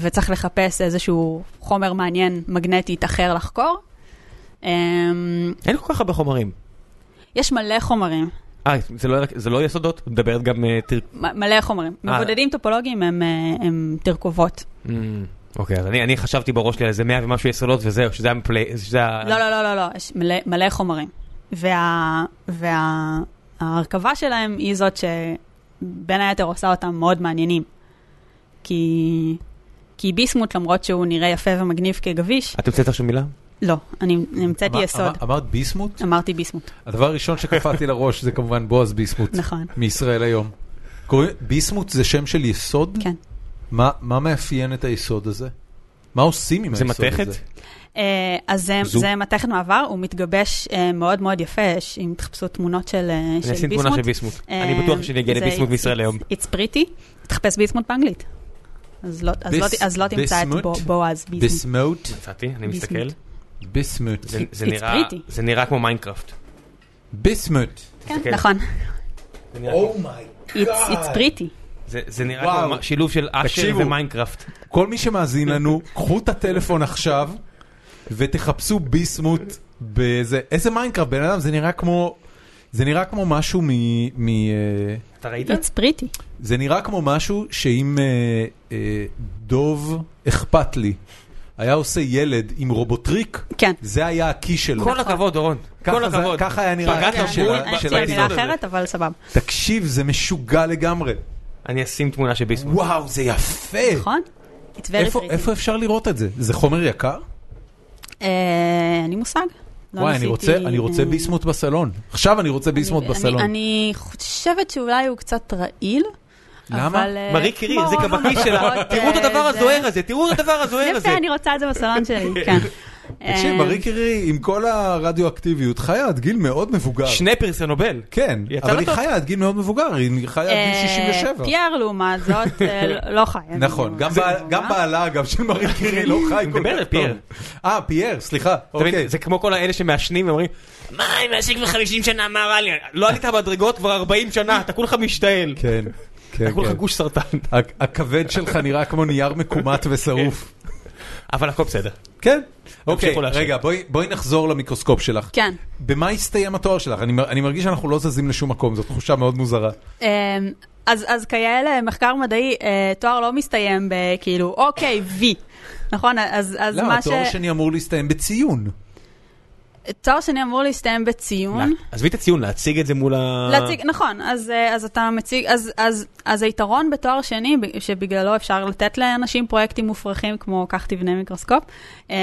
S3: וצריך לחפש איזשהו חומר מעניין מגנטית אחר לחקור. אה,
S2: אין כל כך הרבה חומרים.
S3: יש מלא חומרים,
S2: אה, זה לא- זה לא יסודות? את מדברת גם... אה, תר-
S3: מ- מלא חומרים.
S2: אה.
S3: מבודדים טופולוגיים הם, אה, הם תרכובות.
S1: Mm.
S2: אמ, אוקיי, אז אני אני חשבתי בראש שלי על איזה 100 ומשהו יסודות וזהו, שזה הפלי... שזה ה-
S3: לא, לא, לא, לא, לא, יש מלא, מלא חומרים. וההרכבה וה, ההרכבה שלהם היא זאת שבין היתר עושה אותם מאוד מעניינים. כי, כי ביסמוט, למרות שהוא נראה יפה ומגניב כגביש,
S2: את המצאת עכשיו מילה?
S3: לא, אני אני המצאתי
S1: אמר-
S3: יסוד.
S1: אמר- אמרת ביסמוט?
S3: אמרתי ביסמוט,
S1: הדבר הראשון שקפאתי לראש זה כמובן בועז ביסמוט.
S3: נכון.
S1: מישראל היום. קוראים- ביסמוט זה שם של יסוד?
S3: כן.
S1: מה, מה מאפיין את היסוד הזה? מה עושים עם
S2: זה
S1: היסוד הזה?
S2: מתכת?
S3: אה, אז זה,
S1: זו.
S3: זה מתכת מעבר, הוא מתגבש אה, מאוד מאוד יפה, יש- אם תחפשו תמונות של, אה,
S2: אני
S3: של
S2: אשים תמונה
S3: ביסמוט.
S2: של ביסמוט.
S3: אה,
S2: אני בטוח שאני אגיע
S3: זה
S2: לביסמוט
S3: it's-
S2: מישראל היום.
S3: it's- It's pretty, תחפש ביסמוט באנגלית. אז לא, אז לא,
S1: ביס-
S3: אז לא תמצא את
S1: ביסמוט?
S3: בו- בועז ביסמוט.
S1: ביסמוט?
S2: מצאתי, אני
S3: ביסמוט.
S2: מסתכל.
S1: ביסמוט.
S2: זה- זה
S3: It's
S2: נראה-
S3: pretty.
S2: זה נראה כמו מיינקראפט.
S1: ביסמוט.
S3: כן,
S2: תסתכל.
S3: נכון.
S2: זה נראה כמו-
S3: It's, it's pretty.
S2: זה זה נראה
S1: וואו.
S2: כמו שילוב של אשר
S1: תקשיבו.
S2: ומיינקראפט.
S1: כל מי שמאזין לנו, קחו את הטלפון עכשיו ותחפשו ביסמוט באיזה... איזה מיינקראפט, בן אדם, זה נראה כמו... זה נראה כמו משהו מ... מ אה,
S2: אתה ראית?
S3: It's pretty.
S1: זה נראה כמו משהו שאם אה, אה, דוב אכפת לי, היה עושה ילד עם רובוטריק,
S3: כן.
S1: זה היה הכי שלו.
S2: כל הכבוד, דורון.
S1: לא ככה
S2: כל
S1: זה-
S2: הכבוד.
S1: ככה היה נראה כן,
S2: פגעת
S1: הכי
S2: בול
S1: של ה-
S3: אני
S1: של
S3: רציתי
S1: האפיזודה
S3: מילה
S2: באפיזוד הזה.
S3: לא, אחרת, אבל סבבה.
S1: תקשיב, זה משוגע לגמרי.
S2: אני אשים תמונה של ביסמוט.
S1: וואו, זה יפה.
S3: נכון? It's very
S1: איפה,
S3: pretty.
S1: איפה אפשר לראות את זה? זה חומר יקר?
S3: אה, אין לי מושג. לא
S1: וואי, אני
S3: ניסיתי,
S1: רוצה, אני רוצה
S3: אה,
S1: ביסמוט בסלון. עכשיו אני רוצה ביסמוט
S3: אני-
S1: בסלון.
S3: אני- אני חושבת שאולי הוא קצת רעיל.
S1: למה?
S3: אבל, אה,
S2: מארי קירי,
S3: כמו
S2: זה כבקי שלה.
S3: המנחות,
S2: תראו את
S3: אה,
S2: הדבר
S3: זה-
S2: הזוהר הזה, תראו את הדבר הזוהר הזה.
S3: יפה, אני רוצה את זה בסלון שלי, כן.
S1: תקשיב,
S3: אה,
S1: מארי קירי, עם כל הרדיואקטיביות, חיה עד גיל מאוד מבוגר.
S2: שני פרסי נובל.
S1: כן,
S2: יצא
S1: אבל
S2: לה
S1: היא
S2: טוב.
S1: חיה עד גיל מאוד מבוגר, היא חיה עד
S3: אה,
S1: גיל 67.
S3: פייר, לעומת זאת, אה, לא- לא חי. אני
S1: נכון, גם
S3: לא-
S1: בעל- גם בעלה, אגב, של מארי קירי לא חי כל
S2: מדבר על
S1: כך טוב.
S2: פייר.
S1: אה, פייר, סליחה,
S2: אתה מבין?
S1: אוקיי.
S2: זה כמו כל האלה שמעשנים ואומרים, מה, אני מעשן כבר 50 שנה, מה רע לי? לא עלית במדרגות כבר 40 שנה, אתה כולך משתעל.
S1: כן, כן,
S2: אתה כולך
S1: כן.
S2: גוש סרטן.
S1: כן. הכ- הכבד שלך נראה כמו נייר מקומט ושרוף.
S2: אבל הכל בסדר.
S1: כן. אוקיי,
S2: לעשן.
S1: רגע, בואי- בואי נחזור למיקרוסקופ שלך.
S3: כן.
S1: במה הסתיים התואר שלך? אני מ- אני מרגיש שאנחנו לא זזים לשום מקום, זו תחושה מאוד מוזרה.
S3: אמ, אז, אז כיאה למחקר מדעי, אה, תואר לא מסתיים בכאילו, אוקיי, וי. נכון? אז, אז
S1: למה?
S3: מה ש...
S1: לא, התואר השני אמור להסתיים בציון.
S3: תואר שני אמור להסתיים בציון.
S2: לה- עזבי את הציון, להציג את זה מול ה...
S1: לא.
S3: להציג, נכון, אז, אה, אז אתה מציג, אז, אז, אז היתרון בתואר שני, ב- שבגללו אפשר לתת לאנשים פרויקטים מופרכים כמו כך תבנה מיקרוסקופ, אמ,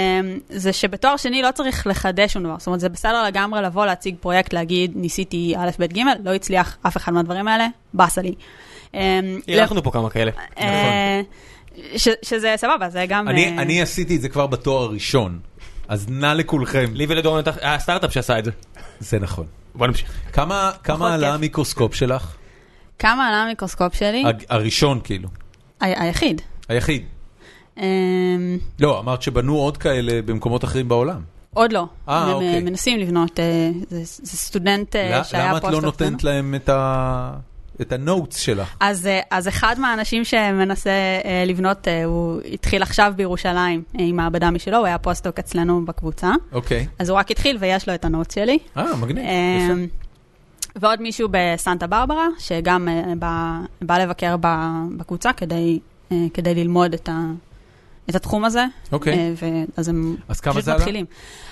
S3: זה שבתואר שני לא צריך לחדש שום דבר. זאת אומרת, זה בסדר לגמרי לבוא להציג פרויקט, להגיד, ניסיתי א', ב', ג', לא הצליח אף אחד מהדברים האלה, באסה לי. אמ, לא-
S2: אירחנו פה כמה כאלה. נכון.
S3: אה, ש- שזה סבבה, זה גם...
S1: נכון. אני
S3: אה,
S1: אני עשיתי את זה כבר בתואר הראשון, אז נא לכולכם.
S2: לי ולדורון הייתה- היה הסטארט-אפ שעשה את זה.
S1: זה נכון.
S2: בוא נמשיך.
S1: כמה כמה עלה
S3: כיף.
S1: המיקרוסקופ שלך?
S3: כמה עלה המיקרוסקופ שלי?
S1: הג- הראשון כאילו,
S3: ה- היחיד.
S1: היחיד.
S3: אמ,
S1: לא, אמרת שבנו עוד כאלה במקומות אחרים בעולם.
S3: עוד לא.
S1: אה,
S3: הם,
S1: אוקיי.
S3: אה, מנסים לבנות, אה, זה זה סטודנט אה,
S1: ל-
S3: שהיה
S1: למה
S3: פוסט
S1: את לא נותנת להם את ה- את הנוטס שלך?
S3: אז, אה, אז אחד מהאנשים שמנסה אה, לבנות, אה, הוא התחיל עכשיו בירושלים אה, עם מעבדה משלו, הוא היה פוסט-דוק אצלנו בקבוצה.
S1: אוקיי.
S3: אז הוא רק התחיל ויש לו את הנוט שלי.
S1: אה, מגניב.
S3: אה,
S1: יפה.
S3: ועוד מישהו בסנטה ברברה, שגם אה, בא- בא לבקר ב- בקבוצה כדי אה, כדי ללמוד את ה- את התחום הזה.
S1: אוקיי.
S3: אה, ו- אז הם
S1: אז כמה
S3: פשוט
S1: זה עלה?
S3: מתחילים.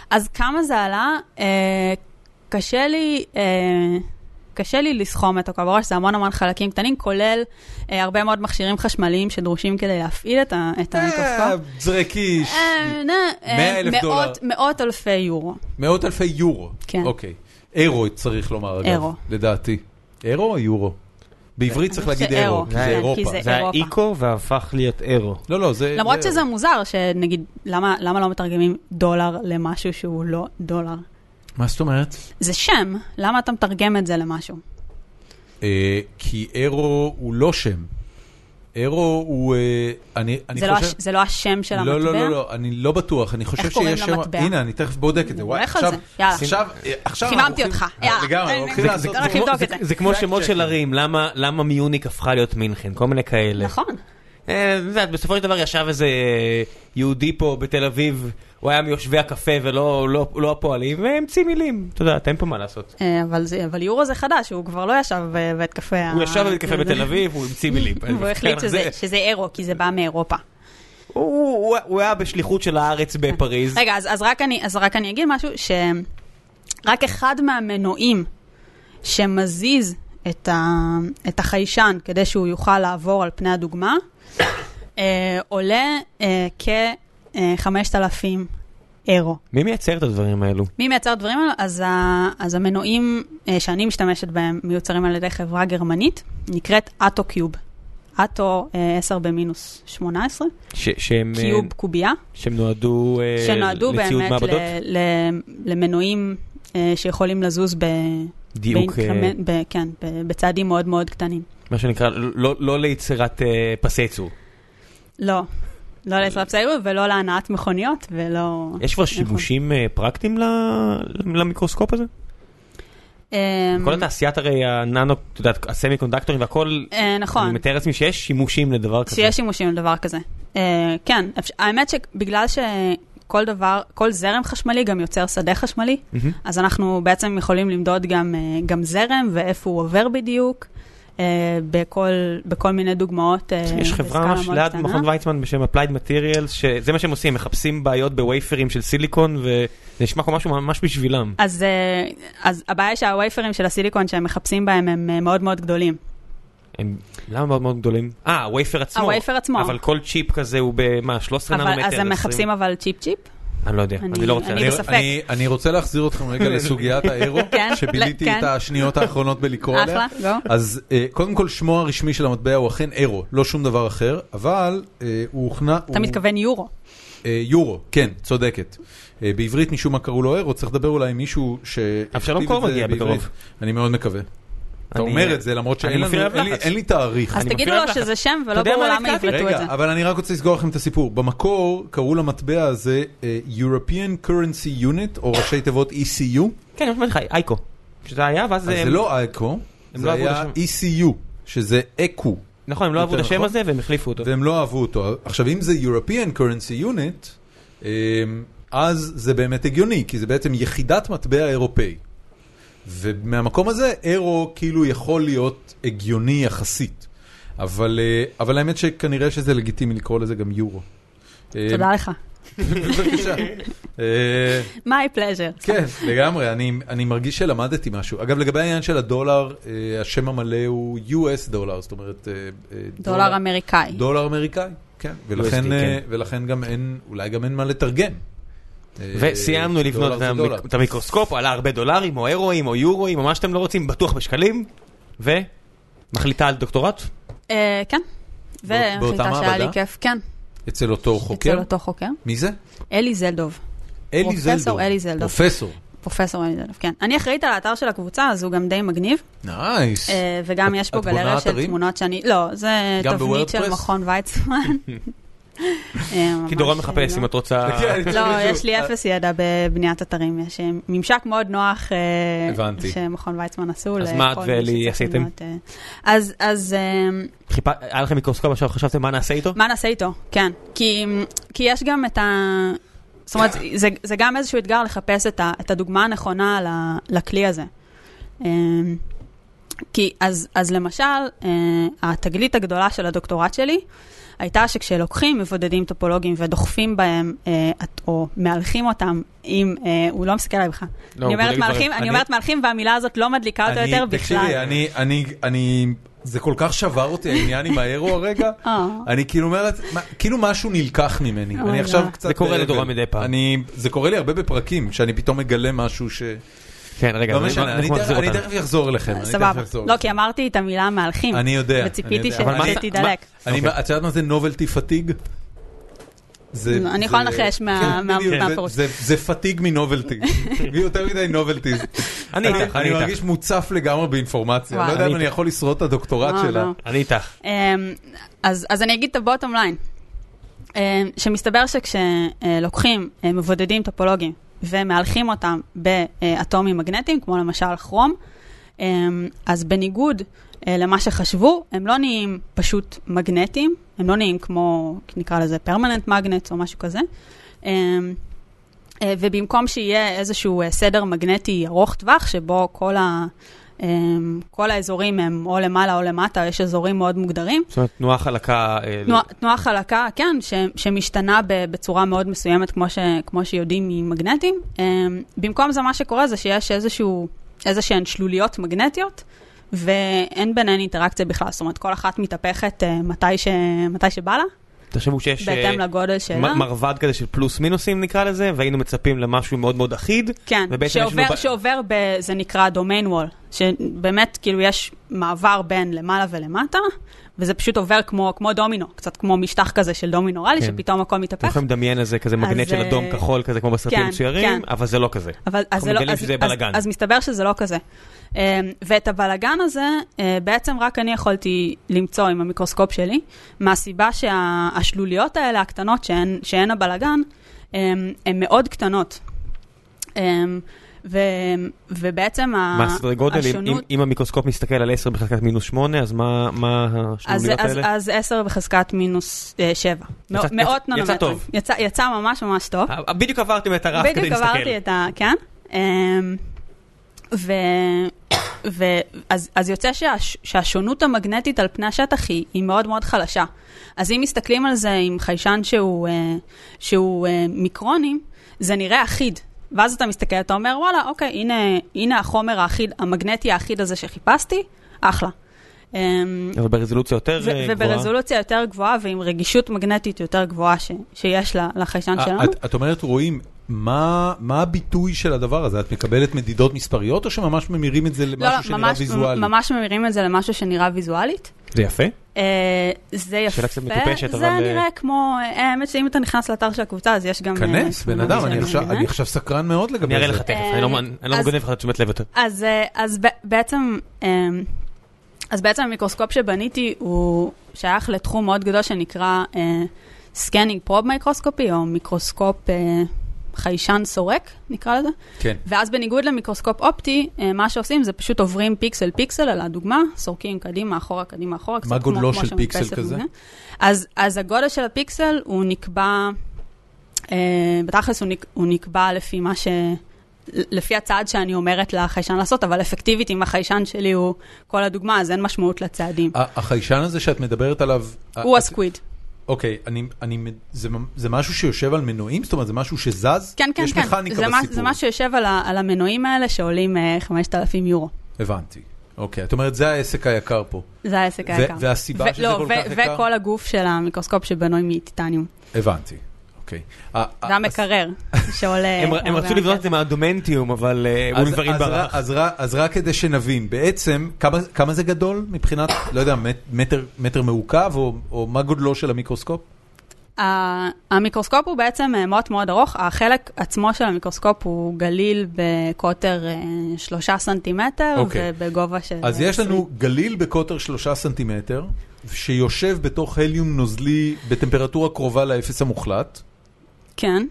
S3: אז כמה זה עלה? אה, קשה לי... אה, קשה לי לסכום את הכל בראש, זה המון המון חלקים קטנים, כולל אה, הרבה מאוד מכשירים חשמליים שדרושים כדי להפעיל את, ה, את
S1: אה,
S3: המיקרוסקופ.
S1: זרקיש.
S3: אה, נה, אה,
S1: מאה אלף דולר.
S3: מאות- מאות אלפי יורו.
S1: מאות אלפי יורו.
S3: כן.
S1: אוקיי. אירו צריך לומר, אגב.
S3: אירו.
S1: לדעתי. אירו או יורו? בעברית צריך
S3: אני חושבת
S1: להגיד אירו,
S3: שאירו,
S1: כי זה אירופה.
S3: כן, כי זה-
S2: זה היה
S3: אירופה.
S2: איקו והפך להיות אירו.
S1: לא, לא, זה...
S3: למרות
S1: זה
S3: שזה
S1: אירו.
S3: מוזר, שנגיד, למה, למה לא מתרגמים דולר למשהו שהוא לא דולר?
S1: מה זאת אומרת?
S3: זה שם, למה אתה מתרגם את זה למשהו?
S1: אה, כי אירו הוא לא שם. אירו הוא... אה, אני אני
S3: זה לא,
S1: חושב...
S3: הש, זה לא השם של
S1: לא,
S3: המטבע?
S1: לא, לא, לא, אני לא בטוח, אני חושב
S3: איך קוראים
S1: שיש שם...
S3: למטבע?
S1: הנה, אני תכף בודק את זה. וואי,
S3: נלך על
S1: עכשיו...
S3: זה, יאללה.
S1: עכשיו, אה, עכשיו... אנחנו
S3: חיממתי
S1: הולכים-
S3: אותך,
S1: אה,
S3: יאללה. לא,
S1: לגמרי,
S3: אין,
S1: הולכים
S3: אין,
S1: לעשות...
S3: זה הולך לבדוק את זה.
S2: זה כמו שמות
S1: Fact-checking.
S2: של ערים, למה- למה מיוניק הפכה להיות מינכן, כל מיני כאלה.
S3: נכון.
S2: אה, את יודעת, בסופו של דבר ישב איזה אה, יהודי פה בתל אביב, הוא היה מיושבי הקפה ולא לא- לא הפועלים, והמציא מילים. את יודעת, אין פה מה לעשות.
S3: אה, אבל, זה, אבל יורו זה חדש, הוא כבר לא ישב ב- בבית קפה.
S2: הוא
S3: ה-
S2: ישב בבית קפה
S3: זה-
S2: בתל אביב, כן, הוא המציא מילים.
S3: אה, אוקיי.
S2: אה,
S3: והוא החליט שזה, שזה אירו, כי זה בא מאירופה.
S2: הוא- הוא הוא- הוא היה בשליחות של הארץ
S3: אה.
S2: בפריז.
S3: רגע, אז, אז, רק אני, אז רק אני אגיד משהו, שרק אחד מהמנועים שמזיז את, ה, את החיישן כדי שהוא יוכל לעבור על פני הדוגמה, אה, עולה אה, כ-5,000 אירו.
S2: מי מייצר את הדברים האלו?
S3: מי מייצר דברים האלה? אז, ה, אז המנועים אה, שאני משתמשת בהם מיוצרים על ידי חברה גרמנית, נקראת אטו-קיוב. אטו אה, 10 במינוס 18,
S2: ש- שהם אה,
S3: קיוב קובייה,
S2: שהם נועדו אה,
S3: שנועדו
S2: לציוד
S3: באמת
S2: מעבדות?
S3: ל, ל, למנועים אה, שיכולים לזוז ב,
S2: דיוק, אה,
S3: באינקרמנט, ב, כן, ב, בצעדים מאוד מאוד קטנים.
S2: מה שנקרא, לא לא ליצירת אה, פסי ייצור.
S3: לא, לא לעזרת צעירות ולא להנעת מכוניות ולא...
S2: יש כבר שימושים אה, פרקטיים ל- למיקרוסקופ הזה?
S3: אה,
S2: כל התעשיית הרי הננו, את יודעת, הסמי קונדקטורים והכל,
S3: אה, נכון.
S2: אני מתאר לעצמי שיש שימושים לדבר כזה.
S3: שיש שימושים לדבר כזה. אה, כן, אפשר, האמת שבגלל שכל דבר, כל זרם חשמלי גם יוצר שדה חשמלי,
S2: מהמם.
S3: אז אנחנו בעצם יכולים למדוד גם, אה, גם זרם ואיפה הוא עובר בדיוק, אה, בכל, בכל מיני דוגמאות. אה,
S2: יש
S3: בסקאלה
S2: חברה ממש
S3: מאוד
S2: ליד
S3: קטנה.
S2: מכון ויצמן בשם Applied Materials, שזה מה שהם עושים, מחפשים בעיות בווייפרים של סיליקון, וזה נשמע כמו משהו ממש בשבילם.
S3: אז, אה, אז הבעיה שהווייפרים של הסיליקון שהם מחפשים בהם הם אה, מאוד מאוד גדולים.
S2: הם, למה מאוד מאוד גדולים? אה, הווייפר עצמו.
S3: הווייפר עצמו.
S2: אבל כל צ'יפ כזה הוא במה, 13
S3: אבל,
S2: ננומטר?
S3: אז הם
S2: 20?
S3: מחפשים אבל צ'יפ צ'יפ?
S2: אני לא יודע,
S3: אני-
S2: אני לא רוצה.
S3: אני
S1: אני-
S2: לדעת.
S3: בספק.
S1: אני- אני רוצה להחזיר אתכם רגע לסוגיית האירו,
S3: כן, ל-
S1: שביליתי
S3: כן.
S1: את השניות האחרונות בלקרוא עליה.
S3: אחלה, גו.
S1: אז אה, קודם כל שמו הרשמי של המטבע הוא אכן אירו, לא שום דבר אחר, אבל אה, הוא הוכנה...
S3: אתה
S1: הוא-
S3: מתכוון יורו.
S1: אה, יורו, כן, צודקת. אה, בעברית משום מה קראו לו אירו, צריך לדבר אולי עם מישהו ש...
S2: אבשלום קור מגיע בקרוב.
S1: אני מאוד מקווה. אתה
S2: אני-
S1: אומר את זה למרות
S2: אני
S1: שאין לנו-
S2: מפעיל עליו
S1: אין לי-
S2: לחץ.
S1: אין לי תאריך.
S3: אז
S2: אני
S3: תגידו
S2: מפריע
S3: לו
S2: לך.
S3: שזה שם
S2: אתה
S3: ולא
S2: יודע
S3: ברור
S2: מה
S3: למה
S2: נתקעתי?
S3: יבלטו את זה.
S1: רגע, אבל אני רק רוצה לסגור לכם את הסיפור. במקור קראו למטבע הזה אה, European Currency Unit, או ראשי תיבות E ECU.
S2: כן, אני אומר לך, אייקו. שזה היה, ואז...
S1: אז
S2: הם-
S1: זה לא אייקו,
S2: הם
S1: זה
S2: לא אהבו
S1: היה ECU, שזה E אקו,
S2: נכון, הם לא אהבו את
S1: יותר
S2: השם
S1: נכון.
S2: הזה והם החליפו אותו.
S1: והם לא אהבו אותו. עכשיו, אם זה European Currency Unit, אמ, אז זה באמת הגיוני, כי זה בעצם יחידת מטבע אירופאי. ומהמקום הזה, אירו כאילו יכול להיות הגיוני יחסית. אבל, אה, אבל האמת שכנראה שזה לגיטימי לקרוא לזה גם יורו. אמ,
S3: תודה לך.
S1: בבקשה. אה,
S3: My pleasure.
S1: כן, לגמרי, אני, אני מרגיש שלמדתי משהו. אגב, לגבי העניין של הדולר, אה, השם המלא הוא US דולר, זאת אומרת... אה, אה,
S3: דולר אמריקאי.
S1: דולר אמריקאי, כן. ולכן,
S2: USD,
S1: אה,
S2: כן.
S1: ולכן גם אין, אולי גם אין מה לתרגם. אה,
S2: וסיימנו
S1: דולר
S2: לבנות את
S1: זה דולר.
S2: המק- את המיקרוסקופ, עלה הרבה דולרים, או אירואים, או יורואים, או מה שאתם לא רוצים, בטוח בשקלים, ומחליטה על דוקטורט.
S3: אה, כן.
S1: בא- באותה
S3: והחליטה שהיה לי
S1: מעבדה?
S3: כיף, כן.
S1: אצל אותו חוקר?
S3: אצל אותו חוקר.
S1: מי זה?
S3: אלי זלדוב.
S1: אלי
S3: פרופסור
S1: זלדוב.
S3: אלי זלדוב.
S1: פרופסור.
S3: פרופסור אלי זלדוב, כן. אני אחראית על האתר של הקבוצה, אז הוא גם די מגניב.
S1: נייס.
S3: אה, וגם
S1: את-
S3: יש פה
S1: את בונה
S3: גלריה של
S1: אתרים?
S3: תמונות שאני... לא, זה
S1: גם
S3: תבנית של
S1: בוורדפרס?
S3: מכון ויצמן. אה, ממש
S2: כי דורון
S3: לא.
S2: מחפש אם את רוצה...
S1: כן.
S3: לא,
S1: מישהו-
S3: יש לי אפס ידע בבניית אתרים, יש אה, ממשק מאוד נוח אה,
S1: הבנתי.
S3: שמכון ויצמן עשו.
S2: אז
S3: לכל
S2: מה את
S3: מי
S2: ואלי
S3: שצריך
S2: עשיתם?
S3: לבנות, אה, אז- אז אה,
S2: חיפה- היה לכם מיקרוסקופ, עכשיו חשבתם מה נעשה איתו?
S3: מה נעשה איתו? כן. כי, כי יש גם את ה... זאת אומרת, זה, זה גם איזשהו אתגר לחפש את, ה, את הדוגמה הנכונה ל- לכלי הזה. אמ, כי אז, אז למשל, אה, התגלית הגדולה של הדוקטורט שלי הייתה שכשלוקחים מבודדים טופולוגיים ודוחפים בהם, אה, את- או מהלכים אותם עם, אה, הוא לא מסתכל עליי בכלל.
S2: לא,
S3: אני
S2: הוא
S3: אומרת
S2: בודק
S3: מהלכים,
S2: דברים.
S3: אני
S2: אני-
S3: אומרת מהלכים והמילה הזאת לא מדליקה אותו
S1: אה, אני-
S3: יותר בכלל.
S1: תקשיבי, אני, אני, אני, זה כל כך שבר אותי העניין עם האירו הרגע.
S3: אה.
S1: אני כאילו אומרת, מה- כאילו משהו נלקח ממני.
S3: אוי,
S1: אני עכשיו
S3: לא.
S1: קצת...
S2: זה קורה
S1: באבל.
S2: לדורון מדי פעם.
S1: אני, זה קורה לי הרבה בפרקים, שאני פתאום מגלה משהו ש...
S2: כן, רגע,
S1: לא
S2: אני-
S1: משנה, אני
S2: אנחנו
S1: תכף-
S2: נחזיר
S1: אני
S2: אותנו.
S1: תכף אחזור אליכם. אני תכף
S3: סבבה.
S1: אחזור.
S3: לא, כי אמרתי את המילה מהלכים.
S1: אני יודע.
S3: וציפיתי
S1: אני
S3: ש-
S1: יודע. אבל מה-
S3: שתידלק.
S1: אני-
S2: אוקיי.
S1: את יודעת מה זה נובלטי פתיג? זה-
S3: אני יכולה
S1: זה-
S3: לנחש מה-
S1: כן,
S3: מה-
S1: בדיוק,
S3: מה
S1: זה-
S3: הפירוש.
S1: זה זה פתיג מנובלטי. יותר מדי נובלטיז.
S2: אני איתך,
S1: אני
S2: אני
S1: מרגיש
S2: איתך.
S1: מוצף לגמרי באינפורמציה.
S3: וואו.
S1: לא יודע אם
S2: אני
S1: אני יכול לשרוד את הדוקטורט
S3: לא,
S1: שלה.
S3: לא.
S2: אני איתך.
S3: אמ, אז, אז אני אגיד את הבוטום ליין, אמ, שמסתבר שכשלוקחים אה, מבודדים טופולוגיים ומהלכים אותם באטומים מגנטיים, כמו למשל כרום, אמ, אז בניגוד אה, למה שחשבו, הם לא נהיים פשוט מגנטיים, הם לא נהיים כמו, נקרא לזה פרמננט מגנט או משהו כזה. אמ, אה, ובמקום שיהיה איזשהו אה, סדר מגנטי ארוך טווח, שבו כל, ה, אמ, כל האזורים הם או למעלה או למטה, יש אזורים מאוד מוגדרים,
S2: זאת אומרת, תנועה חלקה... אה,
S3: תנועה, תנועה חלקה, כן, ש, שמשתנה ב, בצורה מאוד מסוימת, כמו, ש, כמו שיודעים ממגנטים. אמ, במקום זה, מה שקורה זה שיש איזשהו, איזשהן שלוליות מגנטיות, ואין ביניהן אינטראקציה בכלל. זאת אומרת, כל אחת מתהפכת אה, מתי, ש, מתי שבא לה,
S2: תחשבו שיש... אה,
S3: בהתאם לגודל שלה.
S2: מ- מרבד כזה של פלוס מינוסים נקרא לזה, והיינו מצפים למשהו מאוד מאוד אחיד.
S3: כן,
S2: ובעצם יש לנו
S3: שעובר,
S2: ב-
S3: שעובר ב... זה נקרא domain wall, שבאמת כאילו יש מעבר בין למעלה ולמטה, וזה פשוט עובר כמו, כמו דומינו, קצת כמו משטח כזה של דומינו ריאלי,
S2: כן.
S3: שפתאום הכל
S2: אתם
S3: מתהפך.
S2: יכולים לדמיין איזה כזה מגנט
S3: אה? אז,
S2: של
S3: אה,
S2: אדום כחול כזה כמו בסרטים
S3: כן,
S2: מצוירים,
S3: כן.
S2: אבל זה לא כזה.
S3: אבל אז
S2: אנחנו
S3: זה לא,
S2: מגלים
S3: אז,
S2: שזה
S3: אז,
S2: בלאגן.
S3: אז מסתבר שזה לא כזה. אמ, ואת הבלגן הזה אה, בעצם רק אני יכולתי למצוא עם המיקרוסקופ שלי, מהסיבה שהשלוליות האלה הקטנות שהן, שהן הבלגן, אמ, הן מאוד קטנות. אמ, ו, ובעצם ה-
S2: מה הסדרי גודל? אם-
S3: השונות...
S2: אם- אם המיקרוסקופ מסתכל על 10 בחזקת מינוס 8, אז מה מה
S3: אז,
S2: השלוליות
S3: אז,
S2: האלה?
S3: אז 10 בחזקת מינוס 7.
S2: יצא-
S3: מאות
S2: יצא-
S3: ננומטרים.
S2: יצא טוב.
S3: יצא, יצא ממש ממש טוב.
S2: אה, בדיוק עברתם את הרף כדי
S3: בדיוק
S2: להסתכל.
S3: עברתי את ה... כן. אמ, ו... ו... אז, אז יוצא שהש, שהשונות המגנטית על פני השטח היא, היא מאוד מאוד חלשה. אז אם מסתכלים על זה עם חיישן שהוא, אה, שהוא אה, מיקרונים, זה נראה אחיד. ואז אתה מסתכל, אתה אומר, וואלה, אוקיי, הנה, הנה החומר האחיד, המגנטי האחיד הזה שחיפשתי, אחלה. אמ,
S2: אבל ברזולוציה יותר
S3: ו-
S2: אה, גבוהה.
S3: וברזולוציה יותר גבוהה ועם רגישות מגנטית יותר גבוהה ש- שיש ל- לחיישן שלנו.
S1: אה, את- את אומרת, רואים, מה מה הביטוי של הדבר הזה? את מקבלת מדידות מספריות, או שממש ממירים את זה
S3: לא,
S1: למשהו
S3: לא,
S1: שנראה
S3: ממש,
S1: ויזואלי?
S3: ממש ממירים את זה למשהו שנראה ויזואלית.
S2: זה יפה.
S3: אה, זה יפה,
S2: שאלה קצת מטופשת,
S3: זה
S2: אבל,
S3: נראה
S2: אה,
S3: כמו, אה, האמת שאם אתה נכנס לאתר של הקבוצה אז יש גם... אה,
S1: כנס, בן
S3: תמונות
S1: אדם,
S3: של
S1: אני עכשיו-
S3: המדינה.
S1: אני עכשיו סקרן מאוד לגבי
S2: אני
S1: זה.
S2: אראה לך תכף, אני לא- אני לא
S3: אה, אז-
S2: מגונב לך את תשומת לב יותר.
S3: אז, אה, אז ב- בעצם, אה, אז בעצם המיקרוסקופ שבניתי הוא שייך לתחום מאוד גדול שנקרא אה, סקנינג פרוב מייקרוסקופי, או מיקרוסקופ אה, חיישן סורק, נקרא לזה.
S1: כן.
S3: ואז בניגוד למיקרוסקופ אופטי, אה, מה שעושים זה פשוט עוברים פיקסל פיקסל על הדוגמה, סורקים קדימה, אחורה, קדימה, אחורה, קצת
S1: מה
S3: כמו,
S1: גודלו
S3: כמו
S1: של
S3: שמודפסת
S1: פיקסל כזה?
S3: דוגמה. אז, אז הגודל של הפיקסל הוא נקבע אה, בתכלס הוא, נק, הוא נקבע לפי מה ש... לפי הצעד שאני אומרת לחיישן לעשות, אבל אפקטיבית, אם החיישן שלי הוא כל הדוגמה, אז אין משמעות לצעדים.
S1: ה- החיישן הזה שאת מדברת עליו... אה,
S3: הוא
S1: את-
S3: הסקוויד.
S1: אוקיי, אני, אני, זה, ממ- זה משהו שיושב על מנועים? זאת אומרת, זה משהו שזז?
S3: כן, כן,
S1: יש
S3: כן.
S1: מכניקה
S3: זה מה-
S1: בסיפור.
S3: זה מה שיושב על, ה, על המנועים האלה שעולים אה, 5,000 יורו.
S1: הבנתי. אוקיי, את אומרת, זה העסק היקר פה.
S3: זה העסק
S1: ו-
S3: היקר.
S1: והסיבה שזה
S3: לא,
S1: כל
S3: ו-
S1: כך יקר? אה,
S3: וכל הגוף של המיקרוסקופ שבנוי מטיטניום.
S1: הבנתי. אוקיי. ה- ה-
S3: והמקרר שעולה...
S2: הם- הם
S3: הרבה
S2: רצו לבנות
S3: מאוד
S2: את זה מהדומנטיום, אבל אה,
S1: אז-
S2: הוא דברים
S1: אז רק-
S2: ברח.
S1: אז רק- אז רק כדי שנבין, בעצם, כמה- כמה זה גדול מבחינת, לא יודע, מט- מטר- מטר מעוקב, או- או מה גודלו של המיקרוסקופ?
S3: ה- המיקרוסקופ הוא בעצם אה, מאוד מאוד ארוך, החלק עצמו של המיקרוסקופ הוא גליל בקוטר אה, שלושה סנטימטר
S1: אוקיי.
S3: ובגובה של...
S1: אז
S3: אה,
S1: יש לנו גליל בקוטר שלושה סנטימטר, שיושב בתוך הליום נוזלי בטמפרטורה קרובה לאפס המוחלט,
S3: כן,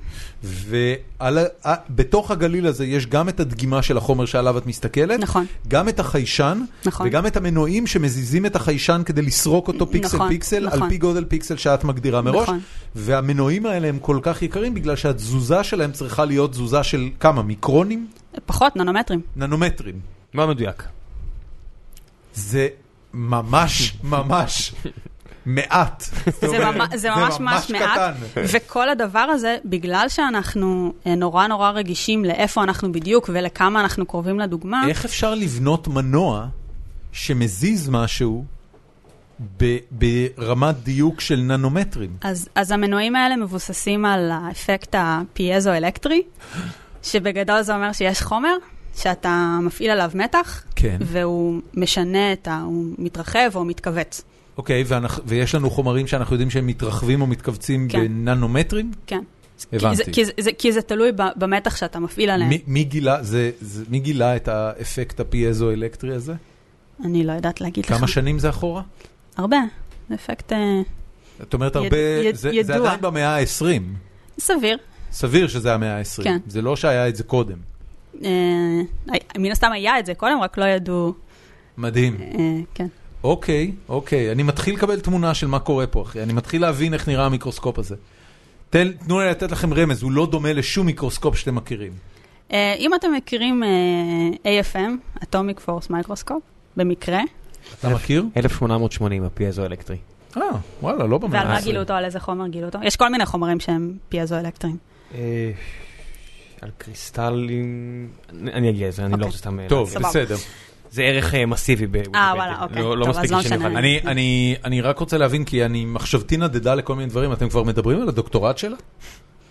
S1: ובתוך הגליל הזה יש גם את הדגימה של החומר שעליו את מסתכלת,
S3: נכון.
S1: גם את החיישן,
S3: נכון.
S1: וגם את המנועים שמזיזים את החיישן כדי לסרוק אותו פיקסל
S3: נכון,
S1: פיקסל, על
S3: נכון.
S1: פי גודל פיקסל שאת מגדירה מראש,
S3: נכון.
S1: והמנועים האלה הם כל כך יקרים בגלל שהתזוזה שלהם צריכה להיות תזוזה של כמה? מיקרונים?
S3: פחות ננומטרים.
S1: ננומטרים.
S2: מאוד מדויק.
S1: זה ממש ממש מעט. זאת
S3: זה
S1: אומרת,
S3: ממש- זה ממש ממש מעט,
S1: קטן.
S3: וכל הדבר הזה, בגלל שאנחנו אה, נורא נורא רגישים לאיפה אנחנו בדיוק ולכמה אנחנו קרובים לדוגמה,
S1: איך אפשר לבנות מנוע שמזיז משהו ב- ברמת דיוק של ננומטרים?
S3: אז, אז המנועים האלה מבוססים על האפקט הפיאזו-אלקטרי, שבגדול זה אומר שיש חומר שאתה מפעיל עליו מתח,
S1: כן.
S3: והוא משנה את ה... הוא מתרחב או מתכווץ.
S1: אוקיי, ואנחנו- ויש לנו חומרים שאנחנו יודעים שהם מתרחבים או מתכווצים
S3: כן.
S1: בננומטרים?
S3: כן. כי זה,
S1: הבנתי.
S3: כי, זה, זה, כי זה תלוי ב- במתח שאתה מפעיל עליהם.
S1: מי- מי גילה- זה- זה- מי גילה את האפקט הפיאזו-אלקטרי הזה?
S3: אני לא יודעת להגיד לך.
S1: כמה שנים זה אחורה?
S3: הרבה. זה אפקט אה,
S1: את אומרת
S3: יד-
S1: הרבה,
S3: יד-
S1: זה זה
S3: ידוע.
S1: עדיין במאה ה-20.
S3: סביר.
S1: סביר שזה המאה ה-20.
S3: כן.
S1: זה לא שהיה את זה קודם.
S3: אה, הי- מן הסתם היה את זה קודם, רק לא ידעו.
S1: מדהים.
S3: אה, כן.
S1: אוקיי, אוקיי. אני מתחיל לקבל תמונה של מה קורה פה, אחי. אני מתחיל להבין איך נראה המיקרוסקופ הזה. תן, תנו לי לתת לכם רמז, הוא לא דומה לשום מיקרוסקופ שאתם מכירים.
S3: אה, אם אתם מכירים אה, AFM, Atomic Force Microscope, במקרה,
S1: אתה מכיר?
S2: 1880 הפיאזו-אלקטרי.
S1: אה, וואלה, לא
S3: ועל
S1: במאה
S3: מה
S1: ה-20.
S3: גילו אותו, על איזה חומר גילו אותו. יש כל מיני חומרים שהם פיאזו-אלקטריים.
S2: אה, על קריסטלים... אני אני אגיע לזה, אני לא
S3: אוקיי.
S2: רוצה סתם... אה,
S1: טוב,
S2: להגיד.
S3: סבבה.
S1: בסדר.
S2: זה ערך אה, מסיבי בוויקיפדיה.
S3: וואלה, אוקיי.
S2: לא- לא
S3: טוב, אז
S2: מספיק
S3: לא
S2: שאני
S3: משנה.
S2: אוכל...
S1: אני, אני, אני רק רוצה להבין, כי אני מחשבתי נדדה לכל מיני דברים, אתם כבר מדברים על הדוקטורט שלה?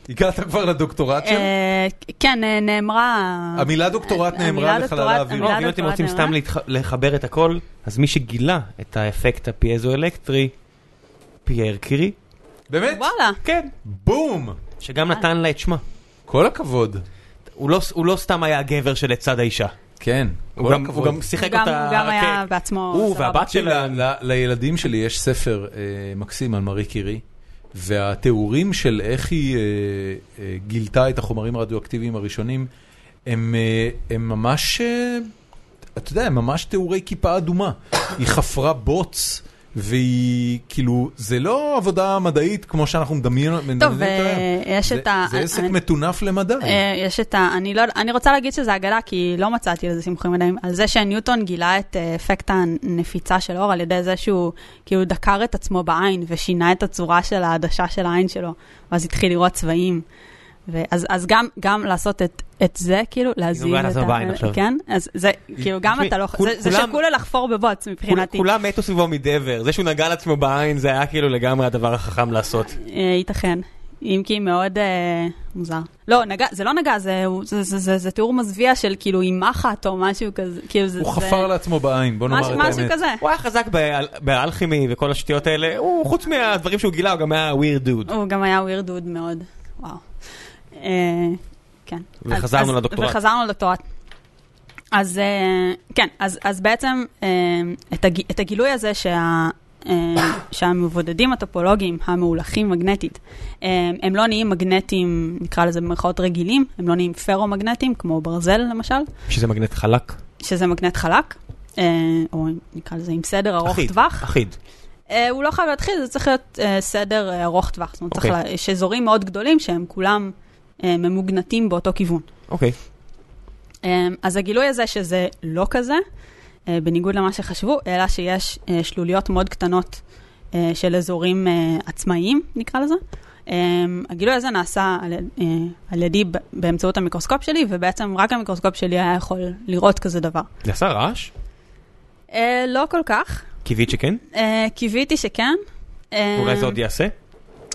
S1: הגעת כבר לדוקטורט שלה?
S3: אה, כן, אה, נאמרה...
S1: המילה דוקטורט
S3: המילה
S1: נאמרה לחלל
S3: דוקטורט-
S1: האוויר.
S3: המילה
S2: לא, אם אתם
S3: דוקטורט
S2: רוצים סתם
S3: נאמרה.
S2: להתח- לחבר את הכל, אז מי שגילה את האפקט הפיאזו-אלקטרי, פייר קירי,
S1: באמת?
S3: וואלה,
S2: כן,
S1: בום!
S2: שגם
S3: אה.
S2: נתן לה את שמה.
S1: כל הכבוד.
S2: הוא לא- הוא לא סתם היה הגבר שלצד האישה.
S1: כן,
S2: הוא
S1: כל
S2: גם- הוא
S1: הכבוד.
S2: גם שיחק
S3: הוא גם-
S2: אותה...
S3: הוא גם היה
S2: כן.
S3: בעצמו...
S2: הוא
S3: סבבה.
S2: והבת
S1: של...
S2: שלה...
S1: לילדים שלי יש ספר אה, מקסים על מארי קירי, והתיאורים של איך היא אה, אה, גילתה את החומרים הרדיואקטיביים הראשונים, הם, אה, הם ממש, אה, אתה יודע, הם ממש תיאורי כיפה אדומה. היא חפרה בוץ. והיא, כאילו, זה לא עבודה מדעית כמו שאנחנו מדמיין- מדמיינים
S3: טוב,
S1: אותה היום.
S3: אה, יש
S1: זה-
S3: את ה-
S1: זה עסק
S3: אני-
S1: מטונף למדי.
S3: אה, יש את ה... אני לא... אני רוצה להגיד שזה אגדה, כי לא מצאתי לזה סימוכי מדעים, על זה שניוטון גילה את אה, אפקט הנפיצה של אור על ידי זה שהוא כאילו דקר את עצמו בעין ושינה את הצורה של העדשה של העין שלו, ואז התחיל לראות צבעים. ואז, אז גם, גם לעשות את, את זה, כאילו, להזיז
S2: נוגעת
S3: את
S2: לעשות בעין עכשיו.
S3: כן? אז זה, כאילו, גם
S2: תשמעי,
S3: אתה לא...
S2: כול-
S3: זה, זה
S2: כולם-
S3: שכולה לחפור בבוץ מבחינתי.
S2: כולם מתו סביבו מדבר, זה שהוא נגע לעצמו בעין זה היה כאילו לגמרי הדבר החכם לעשות.
S3: אה, ייתכן. אם כי מאוד אה, מוזר. לא, נגע, זה לא נגע, זה, הוא- זה, זה, זה, זה תיאור מזוויע של כאילו עם מחט או משהו כזה. כאילו זה,
S1: הוא
S3: זה,
S1: חפר לעצמו בעין, בוא נאמר
S3: משהו,
S1: את
S3: משהו
S1: האמת.
S3: כזה.
S2: הוא היה חזק באל- באלכימי וכל השטויות האלה, הוא חוץ מהדברים שהוא גילה הוא גם היה וויר דוד.
S3: הוא גם היה weird dude מאוד. וואו. אה, כן.
S2: וחזרנו
S3: אז- אז-
S2: לדוקטורט.
S3: וחזרנו לדוקטורט. אז אה, כן, אז, אז בעצם אה, את, הג, את הגילוי הזה שה, אה, שהמבודדים הטופולוגיים המהולכים מגנטית, אה, הם לא נהיים מגנטים, נקרא לזה במרכאות רגילים, הם לא נהיים פרומגנטים, כמו ברזל למשל,
S2: שזה מגנט חלק.
S3: שזה מגנט חלק, אה, או נקרא לזה עם סדר ארוך
S2: אחיד,
S3: טווח.
S2: אחיד.
S3: אה, הוא לא חייב להתחיל, זה צריך להיות אה, סדר אה, ארוך טווח. זאת אומרת, צריך
S2: אוקיי.
S3: לה- יש אזורים מאוד גדולים שהם כולם אה, ממוגנטים באותו כיוון.
S2: אוקיי.
S3: אה, אז הגילוי הזה שזה לא כזה, אה, בניגוד למה שחשבו, אלא שיש אה, שלוליות מאוד קטנות אה, של אזורים אה, עצמאיים, נקרא לזה. אה, הגילוי הזה נעשה על, אה, על ידי ב- באמצעות המיקרוסקופ שלי, ובעצם רק המיקרוסקופ שלי היה יכול לראות כזה דבר.
S2: זה עשה רעש?
S3: אה, לא כל כך,
S2: קיווית שכן?
S3: אה, קיוויתי שכן. אה,
S2: אולי זה עוד יעשה?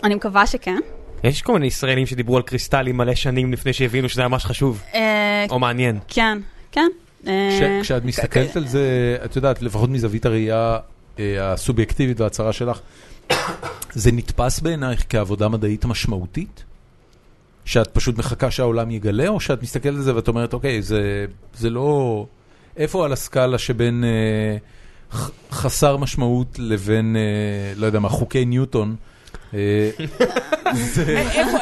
S3: אני מקווה שכן.
S2: יש כל מיני ישראלים שדיברו על קריסטלים מלא שנים לפני שהבינו שזה ממש חשוב,
S3: אה,
S2: או מעניין.
S3: כן, כן. אה,
S1: כש- כשאת
S3: כ-
S1: מסתכלת על זה, את יודעת, לפחות מזווית הראייה אה, הסובייקטיבית וההצהרה שלך, זה נתפס בעינייך כעבודה מדעית משמעותית? שאת פשוט מחכה שהעולם יגלה, או שאת מסתכלת על זה ואת אומרת, אוקיי, זה, זה לא... איפה על הסקאלה שבין אה, ח- חסר משמעות לבין, אה, לא יודע מה, חוקי ניוטון? אה,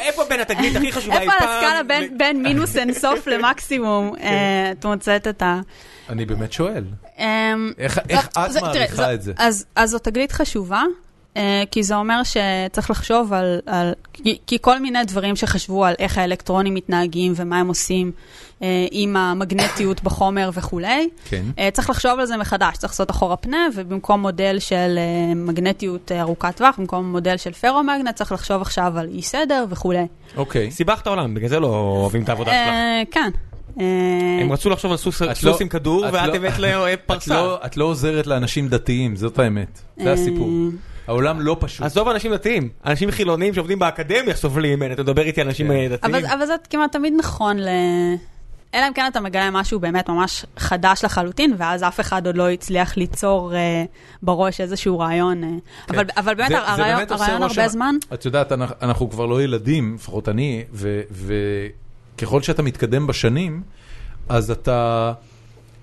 S2: איפה בין התגלית הכי חשובה
S3: איפה על הסקאלה בין- בין מינוס אינסוף למקסימום
S2: כן.
S3: אה, את מוצאת את ה...
S1: אני באמת שואל,
S3: אמ,
S1: איך, איך
S3: זאת-
S1: את
S3: זאת- תראה, זאת-
S1: מעריכה את זה?
S3: אז אז זו תגלית חשובה, אה, כי זה אומר שצריך לחשוב על... על- כי- כי כל מיני דברים שחשבו על איך האלקטרונים מתנהגים ומה הם עושים אה, עם המגנטיות בחומר וכולי,
S1: כן.
S3: אה, צריך לחשוב על זה מחדש, צריך לעשות אחורה פנה, ובמקום מודל של אה, מגנטיות אה, ארוכת טווח, במקום מודל של פרומגנט, צריך לחשוב עכשיו על אי סדר וכולי.
S1: אוקיי.
S2: סיבכת עולם, בגלל זה לא אוהבים את העבודה שלך.
S3: אה, כן. אה,
S2: הם רצו לחשוב על סוס
S1: את
S2: סוס
S1: לא-
S2: עם כדור,
S1: את
S2: ואת
S1: לא-
S2: הבאת אה,
S1: את
S2: לפרסה.
S1: לא, את לא עוזרת לאנשים דתיים, זאת האמת. זה
S3: אה,
S1: הסיפור. העולם לא פשוט.
S2: עזוב אנשים דתיים, אנשים חילונים שעובדים באקדמיה סובלים ממנה, אתה מדבר איתי על אנשים
S1: כן.
S2: אה, דתיים.
S3: אבל, אבל זה כמעט תמיד נכון ל... אלא אם כן אתה מגלה משהו באמת ממש חדש לחלוטין, ואז אף אחד עוד לא הצליח ליצור אה, בראש איזשהו רעיון. אה.
S1: כן.
S3: אבל, אבל באמת,
S1: זה- זה
S3: הרעיון,
S1: באמת עושה
S3: הרעיון
S1: רושם.
S3: הרבה זמן,
S1: את יודעת, אנחנו, אנחנו כבר לא ילדים, לפחות אני, ו- וככל שאתה מתקדם בשנים, אז אתה,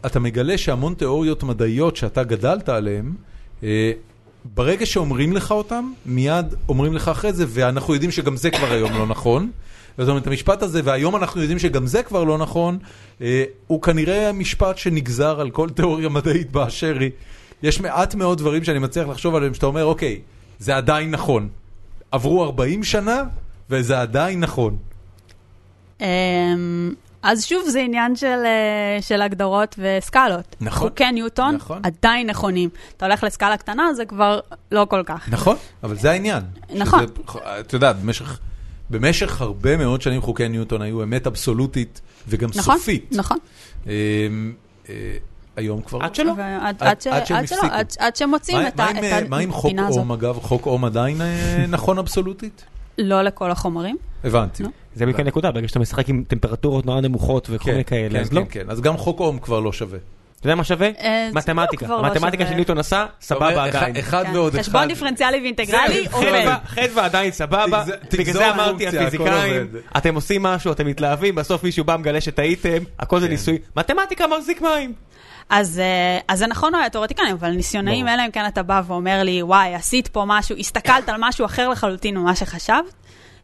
S1: אתה מגלה שהמון תיאוריות מדעיות שאתה גדלת עליהן, אה, ברגע שאומרים לך אותם, מיד אומרים לך אחרי זה, ואנחנו יודעים שגם זה כבר היום לא נכון. זאת אומרת, המשפט הזה, והיום אנחנו יודעים שגם זה כבר לא נכון, אה, הוא כנראה משפט שנגזר על כל תיאוריה מדעית באשר היא. יש מעט מאוד דברים שאני מצליח לחשוב עליהם, שאתה אומר, אוקיי, זה עדיין נכון. עברו 40 שנה, וזה עדיין נכון.
S3: אה, אז שוב זה עניין של, אה, של הגדרות וסקלות.
S1: נכון.
S3: חוקי ניוטון
S1: נכון.
S3: עדיין נכונים. אתה הולך לסקאלה קטנה, זה כבר לא כל כך.
S1: נכון. אבל זה העניין.
S3: נכון.
S1: שזה, את יודעת, במשך, במשך הרבה מאוד שנים חוקי ניוטון היו אמת אבסולוטית וגם
S3: נכון?
S1: סופית.
S3: נכון.
S1: אמ, אה, היום כבר...
S2: עד שלא.
S3: ועד-
S1: כאילו? עד-
S3: עד ש-
S1: עד שהם
S3: עד שלא,
S1: הפסיקו.
S3: עד- עד שמוצאים
S1: מה-
S3: את
S1: מה
S3: ה-
S1: עם,
S3: את
S1: אה, מה עם חוק
S3: הפינה הזאת.
S1: אום, אגב? חוק אום עדיין אה, נכון אבסולוטית?
S3: לא לכל החומרים.
S1: הבנתי.
S3: לא.
S2: זה בדיוק הנקודה, ברגע שאתה משחק עם טמפרטורות נורא נמוכות וכל מיני כאלה, אז
S1: כן,
S2: לא.
S1: כן, כן. אז גם חוק אום כבר לא שווה.
S2: אתה יודע מה שווה?
S3: אה, זה
S2: מתמטיקה.
S3: לא, כבר לא
S2: המתמטיקה
S3: שווה.
S2: שניוטון עשה, סבבה
S1: אתה אומר,
S2: עדיין.
S1: אה, אחד- אחד
S3: כן.
S1: ועוד אחד.
S3: חשבון דיפרנציאלי ואינטגרלי
S2: זהו,
S3: עובד.
S2: חדווה- חדווה עדיין סבבה,
S1: תגז-
S2: בגלל
S1: תגזור
S2: זה אמרתי
S1: פונקציה, הכל
S2: הפיזיקאים,
S1: עובד.
S2: אתם עושים משהו, אתם מתלהבים, בסוף מישהו בא מגלה שטעיתם, הכל זה
S1: כן.
S2: ניסוי, מתמטיקה מחזיק מים.
S3: אז אה, אז זה נכון, אולי התיאורטיקנים, אבל ניסיונאים,
S1: ברור.
S3: אלא אם כן אתה בא ואומר לי, וואי, עשית פה משהו, הסתכלת על משהו אחר לחלוטין ממה שחשבת.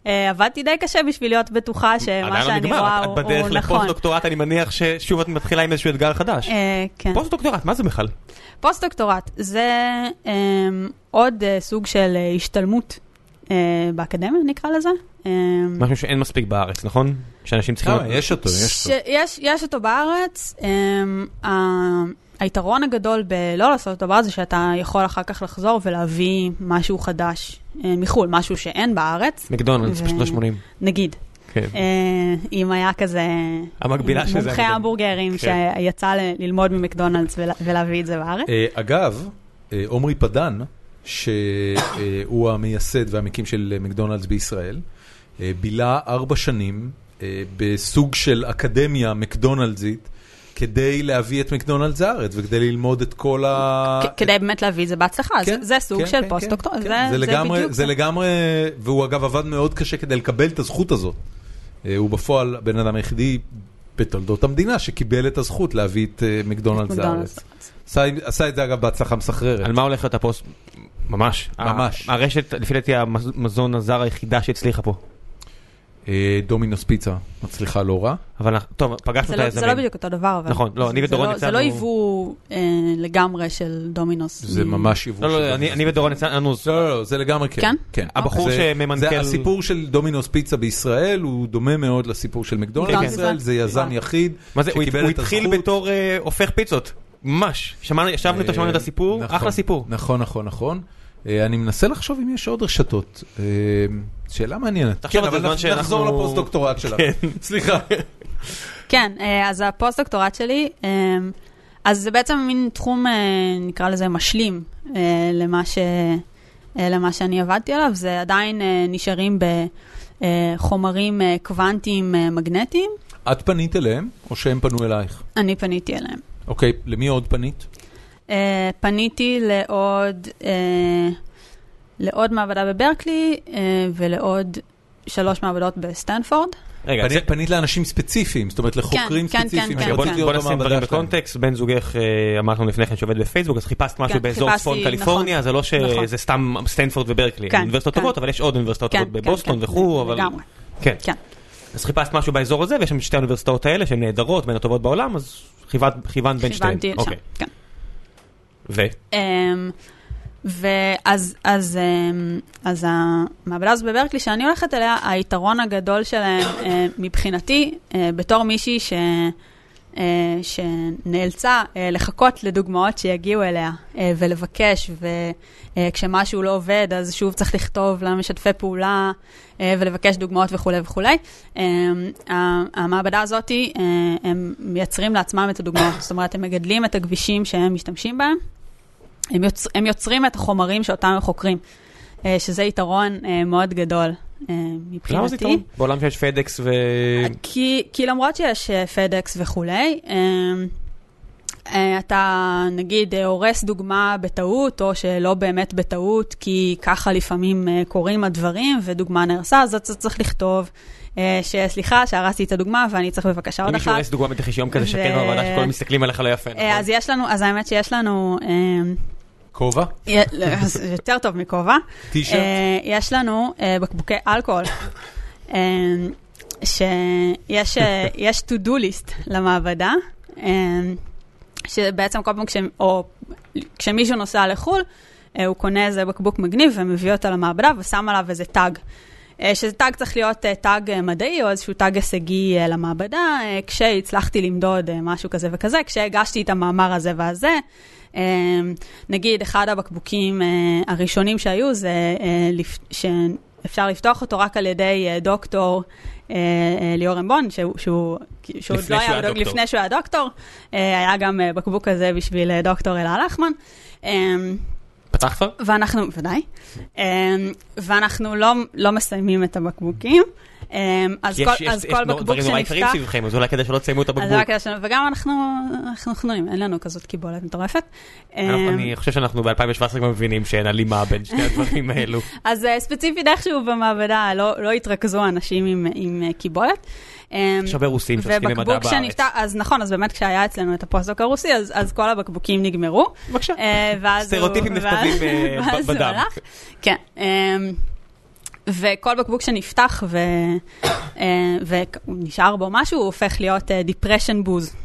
S3: אה, עבדתי די קשה בשביל להיות בטוחה שמה
S2: עדיין לא
S3: שאני רואה
S2: נגמר, את
S3: הוא הוא
S2: בדרך
S3: נכון.
S2: לפוסט-דוקטורט, אני מניח ששוב את מתחילה עם איזשהו אתגר חדש.
S3: אה, כן.
S2: פוסט-דוקטורט, מה זה בכלל?
S3: פוסט-דוקטורט זה אה, עוד אה, סוג של אה, השתלמות אה, באקדמיה, נקרא לזה. אה,
S2: משהו שאין מספיק בארץ, נכון? שאנשים צריכים...
S1: אה, יש אותו, יש אותו.
S3: שיש יש אותו בארץ, אמ, ה- היתרון הגדול בלא לעשות אותו בארץ זה שאתה יכול אחר כך לחזור ולהביא משהו חדש אה, מחו"ל, משהו שאין בארץ,
S2: מקדונלדס
S3: ו-
S2: בשנות ה-80.
S3: נגיד.
S2: כן.
S3: אה, אם היה כזה
S2: המקבילה של זה,
S3: מומחה
S2: אני גם-
S3: המבורגרים
S2: כן.
S3: שיצא ל- ללמוד ממקדונלדס ולה- ולהביא את זה בארץ.
S1: אה, אגב, אה, עומרי פדן, שהוא המייסד והמקים של אה, מקדונלדס בישראל, אה, בילה ארבע שנים אה, בסוג של אקדמיה מקדונלדסית, כדי להביא את מקדונלדס לארץ וכדי ללמוד את כל ה...
S3: כ- כדי באמת להביא את זה בהצלחה,
S1: אה, כן,
S3: זה- זה סוג
S1: כן,
S3: של
S1: כן,
S3: פוסט-דוקטור,
S1: כן,
S3: זה
S1: כן.
S3: זה
S1: לגמרי-
S3: בדיוק.
S1: זה לגמרי, והוא אגב עבד מאוד קשה כדי לקבל את הזכות הזאת. אה, הוא בפועל הבן אדם היחידי בתולדות המדינה שקיבל את הזכות להביא את אה, מקדונלדס לארץ.
S3: מקדונלדס.
S1: עשה, עשה את זה אגב בהצלחה מסחררת.
S2: על מה הולך להיות הפוסט? ממש.
S1: ממש.
S2: ה- הרשת, לפי דעתי, המזון הזר היחידה שהצליחה פה.
S1: אה, דומינוס פיצה מצליחה לא רע.
S2: אבל אנחנו- טוב, פגשנו
S3: זה
S2: את
S3: לא-
S2: היזמים.
S3: זה לא בדיוק אותו דבר, אבל...
S2: נכון, לא,
S3: זה-
S2: אני
S3: זה
S2: ודורון
S3: לא- זה
S2: יצאנו-
S3: לא יבוא אה, לגמרי של דומינוס.
S1: זה ממש יבוא.
S2: לא,
S1: של
S2: לא, אני
S1: דומינוס
S2: אני ודורון יצאנו,
S1: לא, לא, לא, זה לגמרי כן.
S3: כן?
S2: הבחור
S1: זה-
S2: שממנכ"ל-
S1: זה הסיפור של דומינוס פיצה בישראל, הוא דומה מאוד לסיפור של מקדונלד
S2: כן, כן.
S1: בישראל, זה יזם
S3: כן.
S1: יחיד,
S2: מה זה, הוא
S1: שקיבל
S2: הוא
S1: את
S2: התחיל
S1: הזכות.
S2: בתור אה, הופך פיצות, ממש. שמענו- ישבנו איתו, שמענו את הסיפור,
S1: נכון,
S2: אחלה סיפור.
S1: נכון, נכון, נכון. אה, אני מנסה לחשוב אם יש עוד רשתות. אה, שאלה מעניינת.
S2: תחשוב
S1: כן,
S2: על זה
S1: אבל
S2: בזמן
S1: נח-
S2: שאנחנו-
S1: נחזור לפוסט-דוקטורט שלך. נכון. סליחה.
S3: כן, אה, אז הפוסט-דוקטורט שלי, אה, אז זה בעצם מין תחום, אה, נקרא לזה, משלים אה, למה, ש, אה, למה שאני עבדתי עליו. זה עדיין אה, נשארים בחומרים אה, קוונטיים אה, מגנטיים.
S2: כן.
S1: את פנית אליהם, או שהם פנו אלייך?
S3: אני פניתי אליהם.
S1: אוקיי, למי עוד פנית?
S3: אה, פניתי לעוד, אה, לעוד מעבדה בברקלי אה, ולעוד שלוש מעבדות בסטנפורד.
S2: רגע,
S1: פנית-
S2: זה-
S1: פנית לאנשים ספציפיים, זאת אומרת לחוקרים
S3: כן, כן,
S1: ספציפיים.
S3: כן.
S2: רגע, בוא
S1: שרצית
S2: בוא
S1: להיות
S2: נשים
S1: במעבדה
S2: דברים
S1: שלהם.
S2: בקונטקסט, בן זוגך אה, אמרת לנו לפני כן שעובד בפייסבוק, אז חיפשת משהו
S3: כן,
S2: באזור
S3: חיפשתי,
S2: צפון
S3: נכון.
S2: קליפורניה, זה לא
S3: נכון.
S2: שזה סתם סטנפורד וברקלי,
S3: כן,
S2: אוניברסיטאות
S3: כן.
S2: טובות, אבל יש עוד אוניברסיטאות
S3: כן,
S2: טובות
S3: כן,
S2: בבוסטון
S3: כן,
S2: וכו', אבל...
S3: לגמרי,
S2: כן.
S3: כן.
S2: אז חיפשת משהו באזור הזה, ויש שם שתי האוניברסיטאות האלה שהן נהדרות, בין הטובות בעולם, אז כיוונת- כיוונת בין שתיהן.
S3: כיוונתי לשם,
S2: אוקיי.
S3: כן.
S2: ו?
S3: אמ, ואז אז, אמ, אז המעבדה הזו בברקלי שאני הולכת אליה, היתרון הגדול שלהם אה, מבחינתי, אה, בתור מישהי ש, אה, שנאלצה אה, לחכות לדוגמאות שיגיעו אליה אה, ולבקש, וכשמשהו לא עובד אז שוב צריך לכתוב למשתפי פעולה אה, ולבקש דוגמאות וכולי וכולי. אמ, ה- המעבדה הזאת, אה, הם מייצרים לעצמם את הדוגמאות, זאת אומרת, הם מגדלים את הכבישים שהם משתמשים בהם. הם, יוצ... הם יוצרים את החומרים שאותם הם חוקרים, אה, שזה יתרון אה, מאוד גדול אה, מבחינתי.
S2: למה זה יתרון? בעולם שיש פדקס ו...
S3: כי, כי למרות שיש אה, פדקס וכולי, אה, אה, אתה נגיד אה, הורס דוגמה בטעות, או שלא באמת בטעות, כי ככה לפעמים אה, קורים הדברים, ודוגמה נהרסה, אז אתה צריך לכתוב אה, שסליחה, שהרסתי את הדוגמה ואני צריך בבקשה
S2: אם
S3: עוד
S2: מישהו
S3: אחת.
S2: הורס דוגמה בטח יש יום כזה שקט
S3: ו-
S2: בוועדה שכולם מסתכלים עליך לא יפה, נכון?
S3: אה, אז יש לנו, אז האמת שיש לנו, אה,
S1: כובע?
S3: יה- לא, אז יותר טוב מכובע.
S1: טישרט?
S3: אה, יש לנו אה, בקבוקי אלכוהול, אה, שיש אה, יש to do list למעבדה, אה, שבעצם כל פעם כש, או, כשמישהו נוסע לחו"ל, אה, הוא קונה איזה בקבוק מגניב ומביא אותו למעבדה ושם עליו איזה טאג. אה, שזה טאג צריך להיות אה, טאג אה, מדעי או איזשהו טאג הישגי אה, למעבדה, אה, כשהצלחתי למדוד אה, משהו כזה וכזה, כשהגשתי את המאמר הזה והזה. אה, נגיד, אחד הבקבוקים אה, הראשונים שהיו זה אה, לפ- שאפשר לפתוח אותו רק על ידי אה, דוקטור אה, אה, ליאור אמבון, שהוא- שהוא שהוא עוד
S2: לפני
S3: לא
S2: שהוא
S3: היה
S2: היה
S3: דוק-
S2: דוקטור.
S3: לפני שהוא היה דוקטור. אה, היה גם אה, בקבוק כזה בשביל אה, דוקטור אלה לחמן. אה,
S2: פתח כבר?
S3: ואנחנו, ודאי, אמ, ואנחנו לא, לא מסיימים את הבקבוקים. אמ, אז
S2: כי
S3: כל,
S2: יש-
S3: אז
S2: יש
S3: כל
S2: נור-
S3: בקבוק
S2: דברים נורא יקרים
S3: שנפתח,
S2: סביבכם, אז אולי כדאי שלא תסיימו את
S3: אז זה
S2: הבקבוק.
S3: רק כדי שלא- וגם אנחנו, אנחנו חנונים, אין לנו כזאת קיבולת מטורפת.
S2: אנחנו-
S3: אמ,
S2: אה, אני חושב שאנחנו ב-2017 כבר מבינים שאין הלימה בין שני הדברים האלו.
S3: אז אה, ספציפית איכשהו במעבדה לא, לא התרכזו אנשים עם, עם אה, קיבולת. אמ,
S2: יש הרבה רוסים שעוסקים במדע
S3: ובקבוק
S2: בארץ.
S3: שנפתח, אז נכון, אז באמת כשהיה אצלנו את הפוסט-דוק הרוסי, אז, אז כל הבקבוקים נגמרו.
S2: בבקשה.
S3: אה, ואז הוא-
S2: סטריאוטיפים
S3: ואז-
S2: נכתבים, אה, ב-
S3: ואז הוא
S2: בדם.
S3: הלך. כן. אמ, וכל בקבוק שנפתח ו- אה, ונשאר בו משהו, הוא הופך להיות אה, דיפרשן בוז.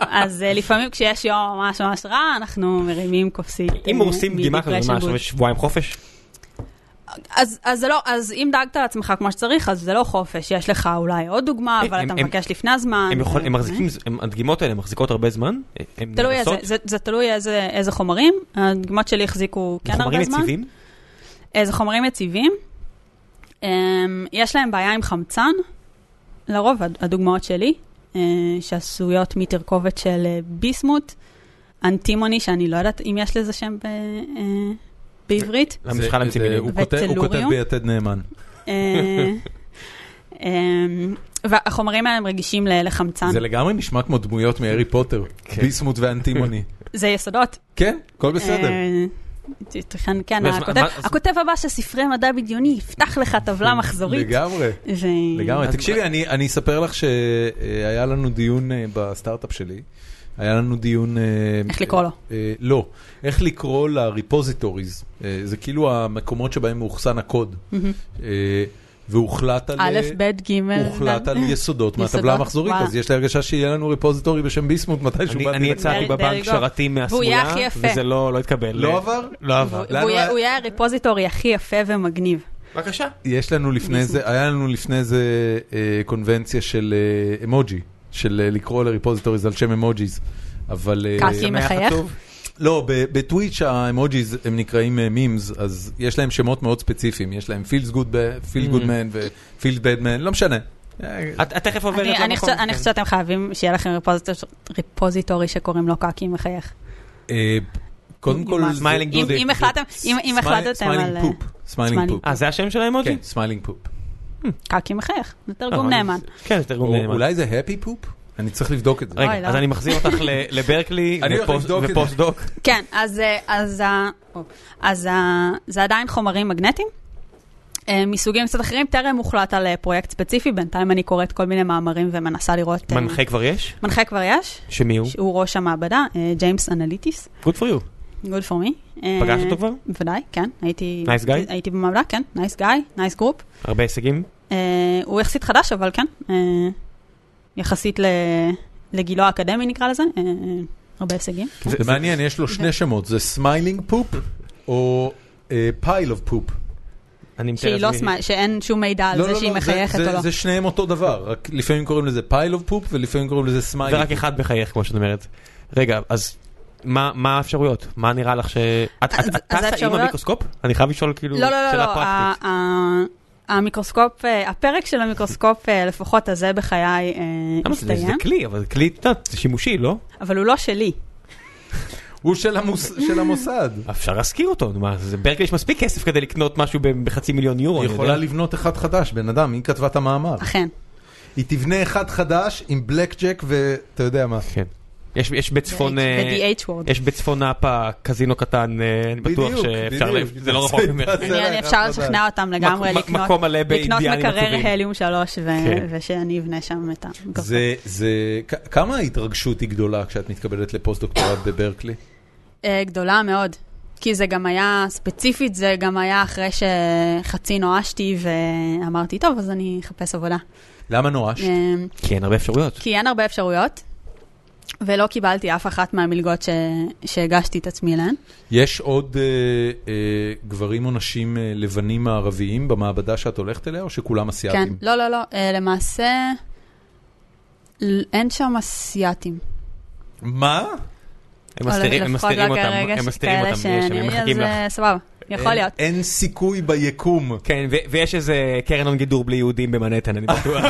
S3: אז אה, לפעמים כשיש יום ממש ממש רע, אנחנו מרימים כוסית.
S2: אם
S3: אה,
S2: הורסים דגימה כזאת,
S3: מ-depression
S2: מה,
S3: booze.
S2: עכשיו יש שבועיים חופש?
S3: אה, אז, אז זה לא, אז אם דאגת לעצמך כמו שצריך, אז זה לא חופש. יש לך אולי עוד דוגמה,
S2: אה,
S3: אבל
S2: הם-
S3: אתה
S2: הם-
S3: מבקש לפני הזמן.
S2: הם יכול-
S3: אה,
S2: הם מחזיקים, הם- הדגימות האלה מחזיקות הרבה זמן? אה, הם
S3: תלוי איזה,
S2: נהרסות?
S3: זה, זה תלוי איזה, איזה חומרים. הדגימות שלי החזיקו כן
S2: הם חומרים
S3: הרבה זמן.
S2: יציבים?
S3: אה, זה חומרים יציבים. אמ, יש להם בעיה עם חמצן, לרוב הד- הדוגמאות שלי, אה, שעשויות מתרכובת של אה, ביסמוט, אנטימוני, שאני לא יודעת אם יש לזה שם ב- אה, בעברית.
S2: למה
S1: זה-
S2: יש לך להמציא
S1: זה-
S2: מילים?
S1: הוא כותב- הוא כותב
S3: וטלוריום?
S1: ביתד נאמן.
S3: אה, אמ, והחומרים האלה הם רגישים ל- לחמצן.
S1: זה לגמרי נשמע כמו דמויות מהארי פוטר,
S2: כן.
S1: ביסמוט ואנטימוני.
S3: זה יסודות.
S1: כן, הכל בסדר.
S3: אה, ת- כן, כן,
S2: ואז מה-
S3: הכותב-
S2: מה-
S3: הכותב הבא של ספרי מדע בדיוני יפתח לך טבלה מחזורית.
S1: לגמרי.
S3: ו-
S1: לגמרי.
S2: אז-
S1: תקשיבי, אני אני אספר לך שהיה לנו דיון אה, בסטארט-אפ שלי, היה לנו דיון... אה,
S3: איך לקרוא לו?
S1: אה, לא, איך לקרוא ל-repositories, אה, זה כאילו המקומות שבהם מאוחסן הקוד. אה, והוחלט על...
S4: א', ב', ג',
S1: הוחלט על יסודות מהטבלה
S4: יסודות,
S1: המחזורית,
S3: וואלה.
S1: אז יש לי הרגשה שיהיה לנו ריפוזיטורי בשם ביסמוט מתישהו
S2: אני-
S1: בעתיד.
S2: אני יצאתי
S3: there you
S2: בבנק
S3: go.
S2: שרתים
S3: לא- והוא יהיה
S2: מהשמאלה,
S3: הכי יפה.
S2: וזה לא לא התקבל.
S1: לא עבר?
S2: לא עבר.
S3: והוא-
S1: לנו
S3: והוא
S1: היה-
S3: יהיה- הוא יהיה הרפוזיטורי הכי יפה ומגניב.
S2: בבקשה.
S1: יש לנו לפני זה, היה לנו לפני זה אה, קונבנציה של אה, אמוג'י, של אה, לקרוא לריפוזיטוריז על שם אמוג'יז, אבל... אה,
S3: כעסים.
S2: שמח
S3: מחייך?
S2: עצוב?
S1: לא, ב- בטוויץ' האמוג'יז הם נקראים מימס, אז יש להם שמות מאוד ספציפיים, יש להם פילס גוד מן ופילס בד מן, לא משנה. אה,
S2: את את תכף עוברת
S3: אני-
S2: למקום.
S3: אני חושבת- אני
S2: כן.
S3: חושבת שאתם חייבים שיהיה לכם רפוזיטור- ריפוזיטורי שקוראים לו קקי מחייך.
S1: אה, קודם כל...
S3: Human.
S2: Smiling
S1: זה-
S2: Dude.
S1: זה-
S3: אם החלטתם-
S1: זה-
S3: אם- אם
S1: smile-
S3: החלטתם על,
S1: smiling
S3: אה,
S1: poop, smiling
S3: smiling
S1: poop.
S2: אה, זה השם של האמוג'י?
S1: כן, סמיילינג פופ.
S3: קקי מחייך, זה תרגום
S2: אה,
S3: נאמן.
S2: אז- כן, זה תרגום נאמן.
S1: אולי זה הפי פופ? אני צריך לבדוק את זה.
S3: אוי,
S2: רגע,
S3: לא.
S2: אז אני מחזיר אותך ל- לברקלי
S1: אני הולך
S2: ופוסט-
S1: לבדוק את זה.
S2: ופוסט-דוק.
S3: כן, אז, אה, אז, ה- או, אז ה- זה עדיין חומרים מגנטיים. אה, מסוגים קצת אחרים, טרם הוחלט על אה, פרויקט ספציפי, בינתיים אני קוראת כל מיני מאמרים ומנסה לראות... אה,
S2: מנחה כבר יש?
S3: מנחה כבר יש,
S2: שמי הוא?
S3: שהוא ראש המעבדה, אה, ג'יימס אנליטיס,
S2: Good for you.
S3: good for me. אה,
S2: פגשת אותו כבר?
S3: בוודאי, כן, הייתי...
S2: Nice guy?
S3: הייתי במעבדה, כן, נייס גיא, נייס גרופ.
S2: הרבה הישגים?
S3: אה, הוא יחסית חדש, אבל כן, אה, יחסית ל- לגילו האקדמי נקרא לזה, אה, אה, הרבה הישגים.
S1: זה מעניין, יש לו שני שמות, זה סמיילינג פופ או אה, פייל אוף פופ.
S2: אני מתאר
S3: שהיא לא
S2: לעצמי-
S3: סמי... שאין שום מידע על זה שהיא מחייכת או לא.
S1: זה שניהם אותו דבר, רק לפעמים קוראים לזה פייל אוף פופ ולפעמים קוראים לזה סמיילינג.
S2: ורק אחד מחייך, כמו שאת אומרת. רגע, אז מה מה האפשרויות? מה נראה לך ש... את את-
S3: אז-
S2: את
S3: אז
S2: טסה עם
S3: האפשרויות-
S2: המיקרוסקופ? אני חייב לשאול כאילו
S3: לא, לא, לא,
S2: שאלה
S3: לא,
S2: פרקטית.
S3: ה- ה- המיקרוסקופ, אה, הפרק של המיקרוסקופ, אה, לפחות הזה בחיי, אה,
S2: למה זה- זה
S3: הסתיים,
S2: כלי, אבל זה כלי, את יודעת, זה שימושי, לא?
S3: אבל הוא לא שלי.
S1: הוא של המוס- של המוסד.
S2: אפשר להשכיר אותו, נו, מה, זה ברקלי יש מספיק כסף כדי לקנות משהו ב- בחצי מיליון יורו.
S1: היא
S2: אני
S1: יכולה
S2: יודע.
S1: לבנות אחד חדש, בן אדם, היא כתבה את המאמר.
S3: אכן,
S1: היא תבנה אחד חדש עם בלק ג'ק ואתה יודע מה.
S2: כן. יש- יש בצפון... אה,
S3: ב-DH וורד.
S2: יש בצפון נאפה קזינו קטן, אה, אני בטוח
S1: בדיוק,
S2: שאפשר,
S1: בדיוק.
S2: ל- זה לא רחוק ממך.
S1: זה לא
S3: אני
S1: אחד
S3: אפשר
S1: חדש.
S3: לשכנע אותם לגמרי
S2: מק-
S3: לקנות אה,
S2: מקום מלא
S3: לקנות
S2: באינדיאנים
S3: מקרר
S2: עצובים.
S3: הליום 3
S2: כן.
S3: ושאני אבנה שם את המיקרוסקופ.
S1: זה, זה, כ- כמה ההתרגשות היא גדולה כשאת מתקבלת לפוסט דוקטורט בברקלי?
S3: אה, גדולה מאוד. כי זה גם היה, ספציפית זה גם היה אחרי שחצי נואשתי ואמרתי, טוב, אז אני אחפש עבודה.
S1: למה נואש?
S3: אה,
S2: כי אין כן, הרבה אפשרויות.
S3: כי אין הרבה אפשרויות, ולא קיבלתי אף אחת מהמלגות ש... שהגשתי את עצמי אליהן.
S1: יש עוד אה, אה, גברים או נשים אה, לבנים מערביים במעבדה שאת הולכת אליה, או שכולם
S3: כן,
S1: אסיאתים?
S3: לא, לא, לא, אה, למעשה, ל- אין שם אסיאתים. לא.
S1: מה?
S2: הם מסתירים
S3: או
S2: הם
S3: לפחות
S2: מסתירים
S3: לא
S2: אותם,
S3: כרגע
S2: הם
S3: ש-
S2: מסתירים
S3: כאלה
S2: אותם, יש, הם
S3: שנראי,
S2: מחכים
S3: אז,
S2: לך.
S3: אה, סבבה, יכול
S1: אין-
S3: להיות.
S1: אין סיכוי ביקום.
S2: כן, ו- ויש איזה קרן הון גידור בלי יהודים במנהטן, אני בטוח.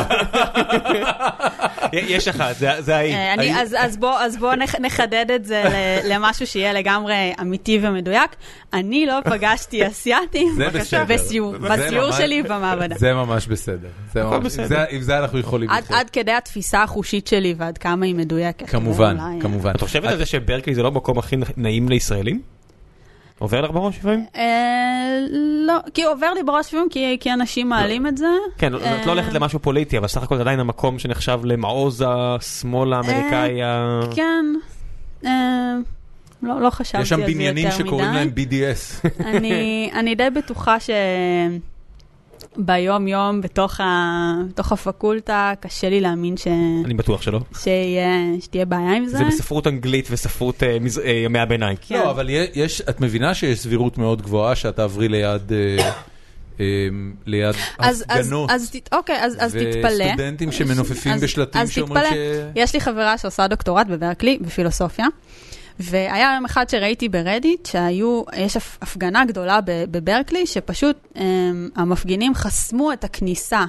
S2: יש אחת, זה זה האי.
S3: אה, אני, אז, אז בואו אז בוא נח- נחדד את זה ל- למשהו שיהיה לגמרי אמיתי ומדויק. אני לא פגשתי אסיאתים
S1: זה בסדר.
S3: בסיור,
S1: זה
S3: בסיור
S1: ממש-
S3: שלי במעבדה.
S1: זה ממש בסדר. זה
S2: הכל
S1: ממש-
S2: בסדר.
S1: עם זה- עם זה אנחנו יכולים
S3: כן. עד, עד כדי התפיסה החושית שלי ועד כמה היא מדויקת.
S1: כמובן,
S3: זה אולי- אה,
S1: כמובן.
S2: את חושבת על זה שברקלי זה לא המקום הכי נעים לישראלים? עובר לך בראש לפעמים?
S3: אה, לא, כי עובר לי בראש לפעמים, כי, כי אנשים
S1: לא.
S3: מעלים את זה.
S1: אה.
S2: כן,
S3: אה.
S2: את לא הולכת למשהו פוליטי, אבל סך הכל זה עדיין המקום שנחשב למעוז השמאל האמריקאי ה...
S3: כן, אה, לא, לא חשבתי על
S1: יש
S3: זה
S1: שם
S3: יותר מדי.
S1: בניינים שקוראים להם BDS.
S3: אני, אני די בטוחה שביום-יום, בתוך, ה... בתוך הפקולטה, קשה לי להאמין ש...
S2: אני בטוח שלא.
S3: שיה... שתהיה בעיה עם זה.
S2: זה בספרות אנגלית וספרות אה, מז- אה, ימי הביניים.
S3: כן.
S1: לא, אבל יה- יש, את מבינה שיש סבירות מאוד גבוהה שאת תעברי ליד... אה, אה, ליד
S3: אז, אז,
S1: הפגנות.
S3: אז, ת- אוקיי, אז, אז תתפלא.
S1: וסטודנטים שמנופפים
S3: אז-
S1: בשלטים
S3: אז
S1: שאומרים
S3: תתפלא.
S1: ש-
S3: יש לי חברה שעושה דוקטורט בברקלי, בפילוסופיה, והיה יום אחד שראיתי ברדיט שהיו, יש הפ- הפגנה גדולה ב- בברקלי, שפשוט אמ, המפגינים חסמו את הכניסה.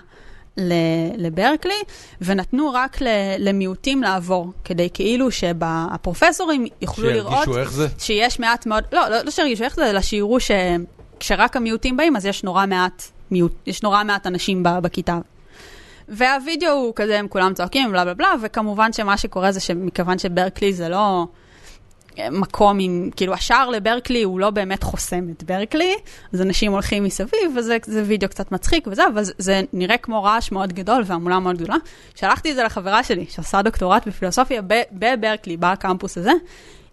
S3: ל- לברקלי, ונתנו רק ל- למיעוטים לעבור, כדי כאילו שהפרופסורים יוכלו לראות
S1: שירגישו איך זה?
S3: שיש מעט מאוד, לא, לא, לא שירגישו איך זה, אלא שיראו שכשרק המיעוטים באים, אז יש נורא מעט, מיעוט, יש נורא מעט אנשים ב, בכיתה. והווידאו הוא כזה, הם כולם צועקים, בלה בלה בלה, וכמובן שמה שקורה זה שמכיוון שברקלי זה לא מקום עם, כאילו השער לברקלי הוא לא באמת חוסם את ברקלי, אז אנשים הולכים מסביב, וזה זה וידאו קצת מצחיק וזה, אבל זה, זה נראה כמו רעש מאוד גדול והמולה מאוד גדולה. שלחתי את זה לחברה שלי, שעושה דוקטורט בפילוסופיה ב- בברקלי, בקמפוס הזה.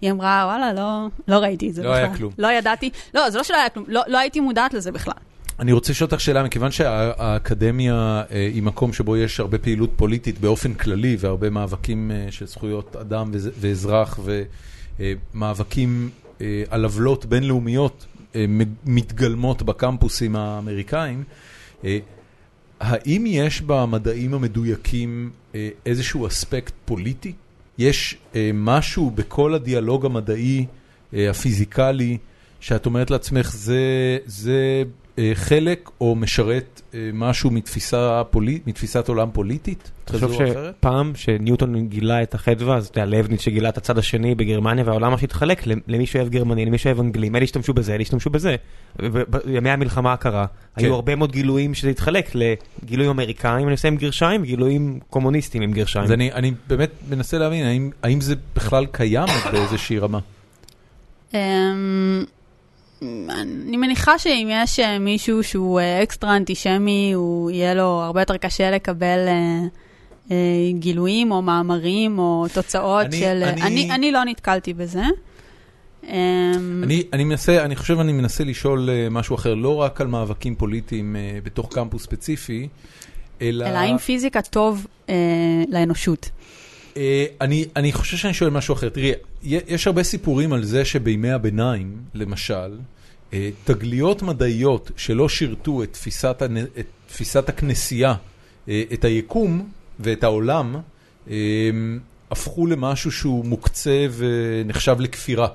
S3: היא אמרה, וואלה, לא, לא ראיתי את זה
S1: לא
S3: בכלל.
S1: היה כלום.
S3: לא ידעתי, לא, זה לא שלא היה כלום, לא, לא הייתי מודעת לזה בכלל.
S1: אני רוצה לשאול אותך שאלה, מכיוון שהאקדמיה אה, היא מקום שבו יש הרבה פעילות פוליטית באופן כללי, והרבה מאבקים אה, של זכויות אדם וזה- ואזרח, ומאבקים אה, על עוולות בינלאומיות אה, מג- מתגלמות בקמפוסים האמריקאים, אה, האם יש במדעים המדויקים אה, איזשהו אספקט פוליטי? יש אה, משהו בכל הדיאלוג המדעי, אה, הפיזיקלי, שאת אומרת לעצמך, זה, זה אה, חלק או משרת אה, משהו מתפיסה פולי, מתפיסת עולם פוליטית?
S2: תחשוב
S1: כזו או אחרת?
S2: שפעם שניוטון גילה את החדווה, אז אתה יודע, לבניץ שגילה את הצד השני בגרמניה, והעולם ממש התחלק למ- למי שאוהב גרמני, למי שאוהב אנגלים, אלה השתמשו בזה, אלה השתמשו בזה. בימי המלחמה הקרה,
S1: כן.
S2: היו הרבה מאוד גילויים שזה התחלק לגילויים אמריקאים, אני עושה עם גרשיים, גילויים קומוניסטיים עם גרשיים.
S1: אז אני, אני באמת מנסה להבין, האם, האם זה בכלל קיים באיזושהי רמה?
S3: אמ, אני מניחה שאם יש אה, מישהו שהוא אה, אקסטרה אנטישמי, הוא יהיה לו הרבה יותר קשה לקבל אה, אה, גילויים או מאמרים או תוצאות
S1: אני-
S3: של...
S1: אני-
S3: אני, אני, אני לא נתקלתי בזה. אמ,
S1: אני, אני מנסה, אני חושב אני מנסה לשאול אה, משהו אחר, לא רק על מאבקים פוליטיים אה, בתוך קמפוס ספציפי, אלא...
S3: אלא האם פיזיקה טוב אה, לאנושות.
S1: אה, אני, אני חושב שאני שואל משהו אחר. תראי, י- יש הרבה סיפורים על זה שבימי הביניים, למשל, אה, תגליות מדעיות שלא שירתו את תפיסת, הנ- את תפיסת הכנסייה, אה, את היקום ואת העולם, אה, הפכו למשהו שהוא מוקצה ונחשב לכפירה.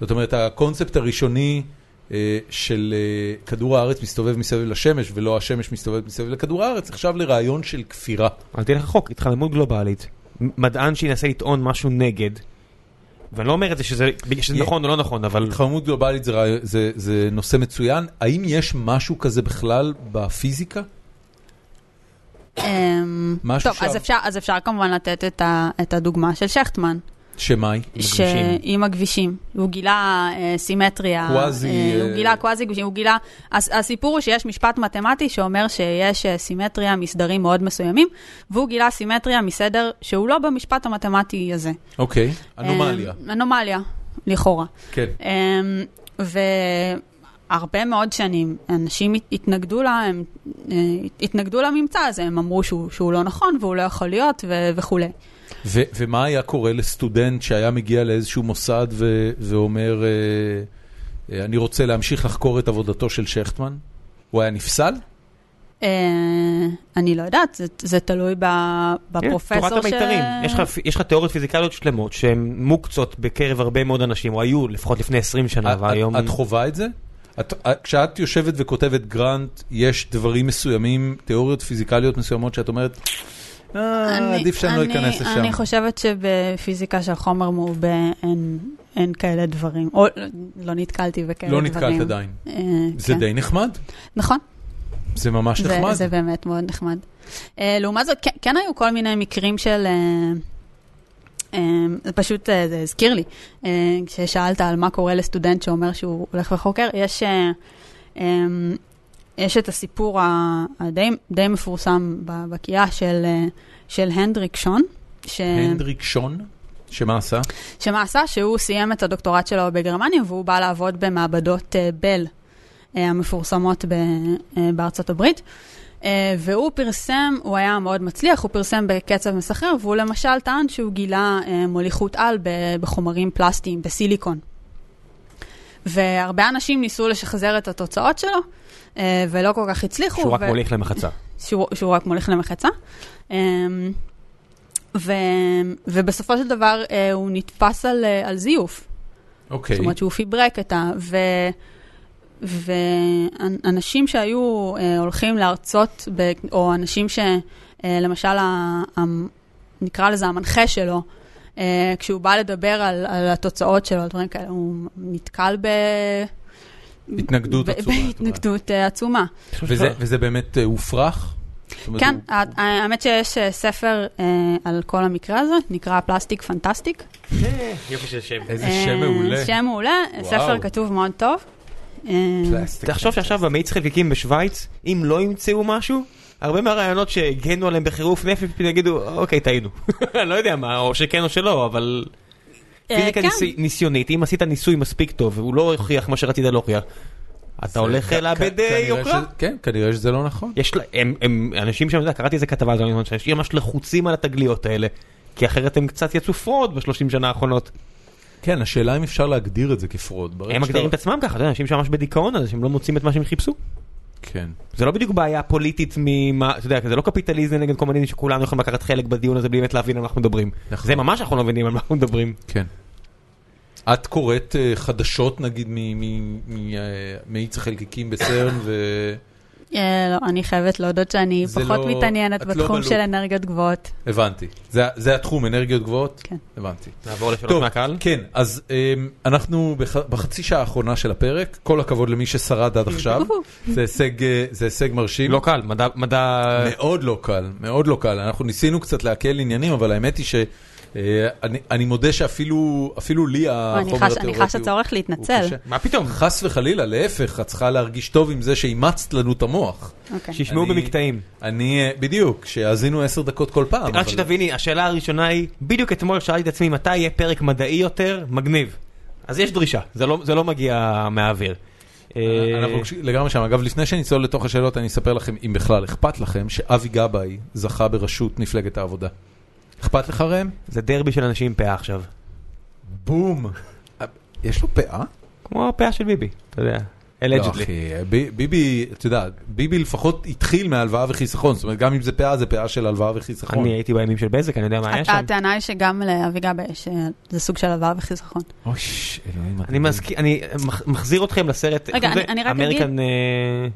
S1: זאת אומרת, הקונספט הראשוני אה, של אה, כדור הארץ מסתובב מסביב לשמש, ולא השמש מסתובבת מסביב לכדור הארץ, נחשב לרעיון של כפירה.
S2: אל תלך רחוק, התחממות גלובלית, מ- מדען שינסה לטעון משהו נגד, ואני לא אומר את זה שזה בגלל שזה
S1: יה-
S2: נכון או לא נכון, אבל
S1: התחממות גלובלית זה, רעי- זה, זה נושא מצוין. האם יש משהו כזה בכלל בפיזיקה?
S3: אמ,
S1: משהו
S3: טוב,
S1: שם.
S3: אז אפשר, אז אפשר כמובן לתת את, ה, את הדוגמה של שכטמן,
S1: שמה היא?
S2: הכבישים.
S3: ש... עם הכבישים. הוא גילה אה, סימטריה.
S1: קוואזי,
S3: אה,
S1: אה,
S3: הוא גילה קוואזי גבישים, הוא גילה... הס, הסיפור הוא שיש משפט מתמטי שאומר שיש אה, סימטריה מסדרים מאוד מסוימים, והוא גילה סימטריה מסדר שהוא לא במשפט המתמטי הזה.
S1: אוקיי, אנומליה.
S3: אה, אנומליה, לכאורה.
S1: כן.
S3: Um, והרבה מאוד שנים אנשים הת- התנגדו, לה, הם, uh, התנגדו לממצא הזה, הם אמרו שהוא, שהוא לא נכון והוא לא יכול להיות ו- וכולי.
S1: ו- ומה היה קורה לסטודנט שהיה מגיע לאיזשהו מוסד ו- ואומר, אה, אה, אני רוצה להמשיך לחקור את עבודתו של שכטמן? הוא היה נפסל?
S3: Uh, אני לא יודעת, זה, זה תלוי ב,
S2: כן,
S3: בפרופסור
S2: תורת המיתרים. יש לך- יש לך תיאוריות פיזיקליות שלמות שהן מוקצות בקרב הרבה מאוד אנשים, או היו לפחות לפני 20 שנה,
S1: את-
S2: והיום...
S1: את, את חווה את זה? את, את, כשאת יושבת וכותבת גרנט, יש דברים מסוימים, תיאוריות פיזיקליות מסוימות שאת אומרת, "אה,
S3: אני-
S1: עדיף שאני לא
S3: אני-
S1: אכנס לשם.
S3: אני חושבת שבפיזיקה של חומר מעובה אין, אין כאלה דברים, או לא- לא נתקלתי בכאלה
S1: לא
S3: דברים.
S1: נתקלת עדיין.
S3: אה,
S1: זה
S3: כן.
S1: די נחמד,
S3: נכון.
S1: זה ממש
S3: זה-
S1: נחמד.
S3: זה באמת מאוד נחמד. אה, לעומת זאת, כן- כן היו כל מיני מקרים של... אה, אה, זה פשוט, אה, זה הזכיר לי, אה, כששאלת על מה קורה לסטודנט שאומר שהוא הולך וחוקר, יש, אה, אה, יש את הסיפור ה- הדי די מפורסם ב- בקהילה של, אה, של הנדריק שון, ש...
S1: הנדריק שון, שמה עשה?
S3: שמה עשה? שהוא סיים את הדוקטורט שלו בגרמניה והוא בא לעבוד במעבדות אה, בל אה, המפורסמות ב- אה, בארצות הברית. אה, והוא פרסם, הוא היה מאוד מצליח, הוא פרסם בקצב מסחרר, והוא למשל טען שהוא גילה אה, מוליכות על ב- בחומרים פלסטיים, בסיליקון. והרבה אנשים ניסו לשחזר את התוצאות שלו, אה, ולא כל כך הצליחו.
S2: שהוא רק
S3: ו-
S2: מוליך למחצה.
S3: שהוא, שהוא רק מוליך למחצה. אמ, ו, ובסופו של דבר אה, הוא נתפס על, אה, על זיוף.
S1: אוקיי.
S3: זאת אומרת שהוא פיברק את ה... ו, ואנשים שהיו אה, הולכים להרצות, ב, או אנשים שלמשל, ה, ה, נקרא לזה המנחה שלו, אה, כשהוא בא לדבר על, על התוצאות שלו, על דברים כאלה, הוא נתקל ב...
S1: התנגדות
S3: ב-
S1: עצומה, את אומרת.
S3: בהתנגדות אה, עצומה.
S1: וזה- וזה באמת אה, הופרך? זאת אומרת,
S3: כן,
S1: הוא-
S3: ה- האמת שיש אה, ספר אה, על כל המקרה הזה, נקרא פלסטיק פנטסטיק.
S2: יופי של שם.
S1: איזה
S3: אה,
S1: שם מעולה.
S3: שם מעולה,
S1: וואו.
S3: ספר כתוב מאוד טוב. אה,
S4: פלסטיק.
S2: תחשוב שעכשיו במאיץ חלקיקים בשוויץ, אם לא ימצאו משהו, הרבה מהרעיונות שהגנו עליהם בחירוף נפש, פתאום יגידו, אוקיי, טעינו. לא יודע מה, או שכן או שלא, אבל...
S3: אה,
S2: פיזיקה
S3: כן.
S2: ניסי- ניסיונית, אם עשית ניסוי מספיק טוב, והוא לא הוכיח מה שרצית להוכיח, אתה הולך
S1: כ- כ-
S2: לאבד אה,
S1: כנראה
S2: יוקרה.
S1: שזה- כן, כנראה שזה לא נכון.
S2: יש לה, הם, הם אנשים שם, אתה יודע, קראתי איזה כתבה, הזו, שיש ממש לחוצים על התגליות האלה, כי אחרת הם קצת יצאו פרוד בשלושים שנה האחרונות.
S1: כן, השאלה אם אפשר להגדיר את זה כפרוד. ברגע
S2: הם
S1: שאתה-
S2: מגדירים את עצמם ככה, אתה יודע, אנשים שממש בדיכאון הזה, שהם לא מוצאים את מה שהם חיפשו.
S1: כן.
S2: זה לא בדיוק בעיה פוליטית ממה, אתה יודע, זה לא קפיטליזם נגד קומוניזם שכולנו יכולים לקחת חלק בדיון הזה בלי באמת להבין על מה אנחנו מדברים.
S1: נכון.
S2: זה ממש אנחנו לא מבינים על מה אנחנו מדברים.
S1: כן. את קוראת אה, חדשות נגיד ממאיץ אה, החלקיקים בסרן ו...
S3: אה, לא, אני חייבת להודות שאני
S1: זה
S3: פחות
S1: לא-
S3: מתעניינת
S1: את לא
S3: בתחום
S1: בלופ.
S3: של אנרגיות גבוהות.
S1: הבנתי. זה- זה התחום, אנרגיות גבוהות?
S3: כן.
S1: הבנתי.
S2: נעבור לשאלות
S1: טוב,
S2: מהקהל.
S1: כן, אז אמ, אנחנו בח- בחצי שעה האחרונה של הפרק, כל הכבוד למי ששרד עד עכשיו, זה הישג, אה, זה הישג מרשים.
S2: לא קל, מדע, מדע,
S1: מאוד לא קל, מאוד לא קל. אנחנו ניסינו קצת להקל עניינים, אבל האמת היא שאני מודה שאפילו אפילו לי
S3: אני
S1: החומר
S3: חש-
S1: התיאורטי
S3: אני חש
S1: הוא-
S3: הצורך
S1: הוא
S3: להתנצל.
S1: קשה.
S2: מה פתאום?
S1: חס וחלילה, להפך, את צריכה להרגיש טוב עם זה שאימצת לנו את המוח.
S3: אוקיי.
S2: שישמעו
S1: אני-
S2: במקטעים.
S1: אני, אה, בדיוק, שיאזינו עשר דקות כל פעם.
S2: רק
S1: אבל-
S2: שתביני, השאלה הראשונה היא, בדיוק אתמול שאלתי את עצמי מתי יהיה פרק מדעי יותר מגניב. אז יש דרישה, זה לא, זה לא מגיע מהאוויר. אה,
S1: אנחנו לגמרי שם. אגב, לפני שנצלול לתוך השאלות, אני אספר לכם, אם בכלל אכפת לכם, שאבי גבאי זכה בראשות מפלגת העבודה. אכפת לך ראם?
S2: זה דרבי של אנשים עם פאה עכשיו.
S1: בום. יש לו פאה?
S2: כמו הפאה של ביבי, אתה יודע.
S1: לא,
S2: אלג'דלי.
S1: אחי, ב- ביבי, אתה יודע, ביבי לפחות התחיל מהלוואה וחיסכון, זאת אומרת, גם אם זה פאה, זה פאה של הלוואה וחיסכון.
S2: אני הייתי בימים של בזק, אני יודע מה היה שם.
S3: הטענה היא שגם לאביגב יש, אה, זה סוג של עבר וחיסכון.
S1: אוש, אלוהים.
S2: אני מזכיר, אני מח- מחזיר אתכם לסרט,
S3: רגע, אני- אני רק
S2: אמריקן,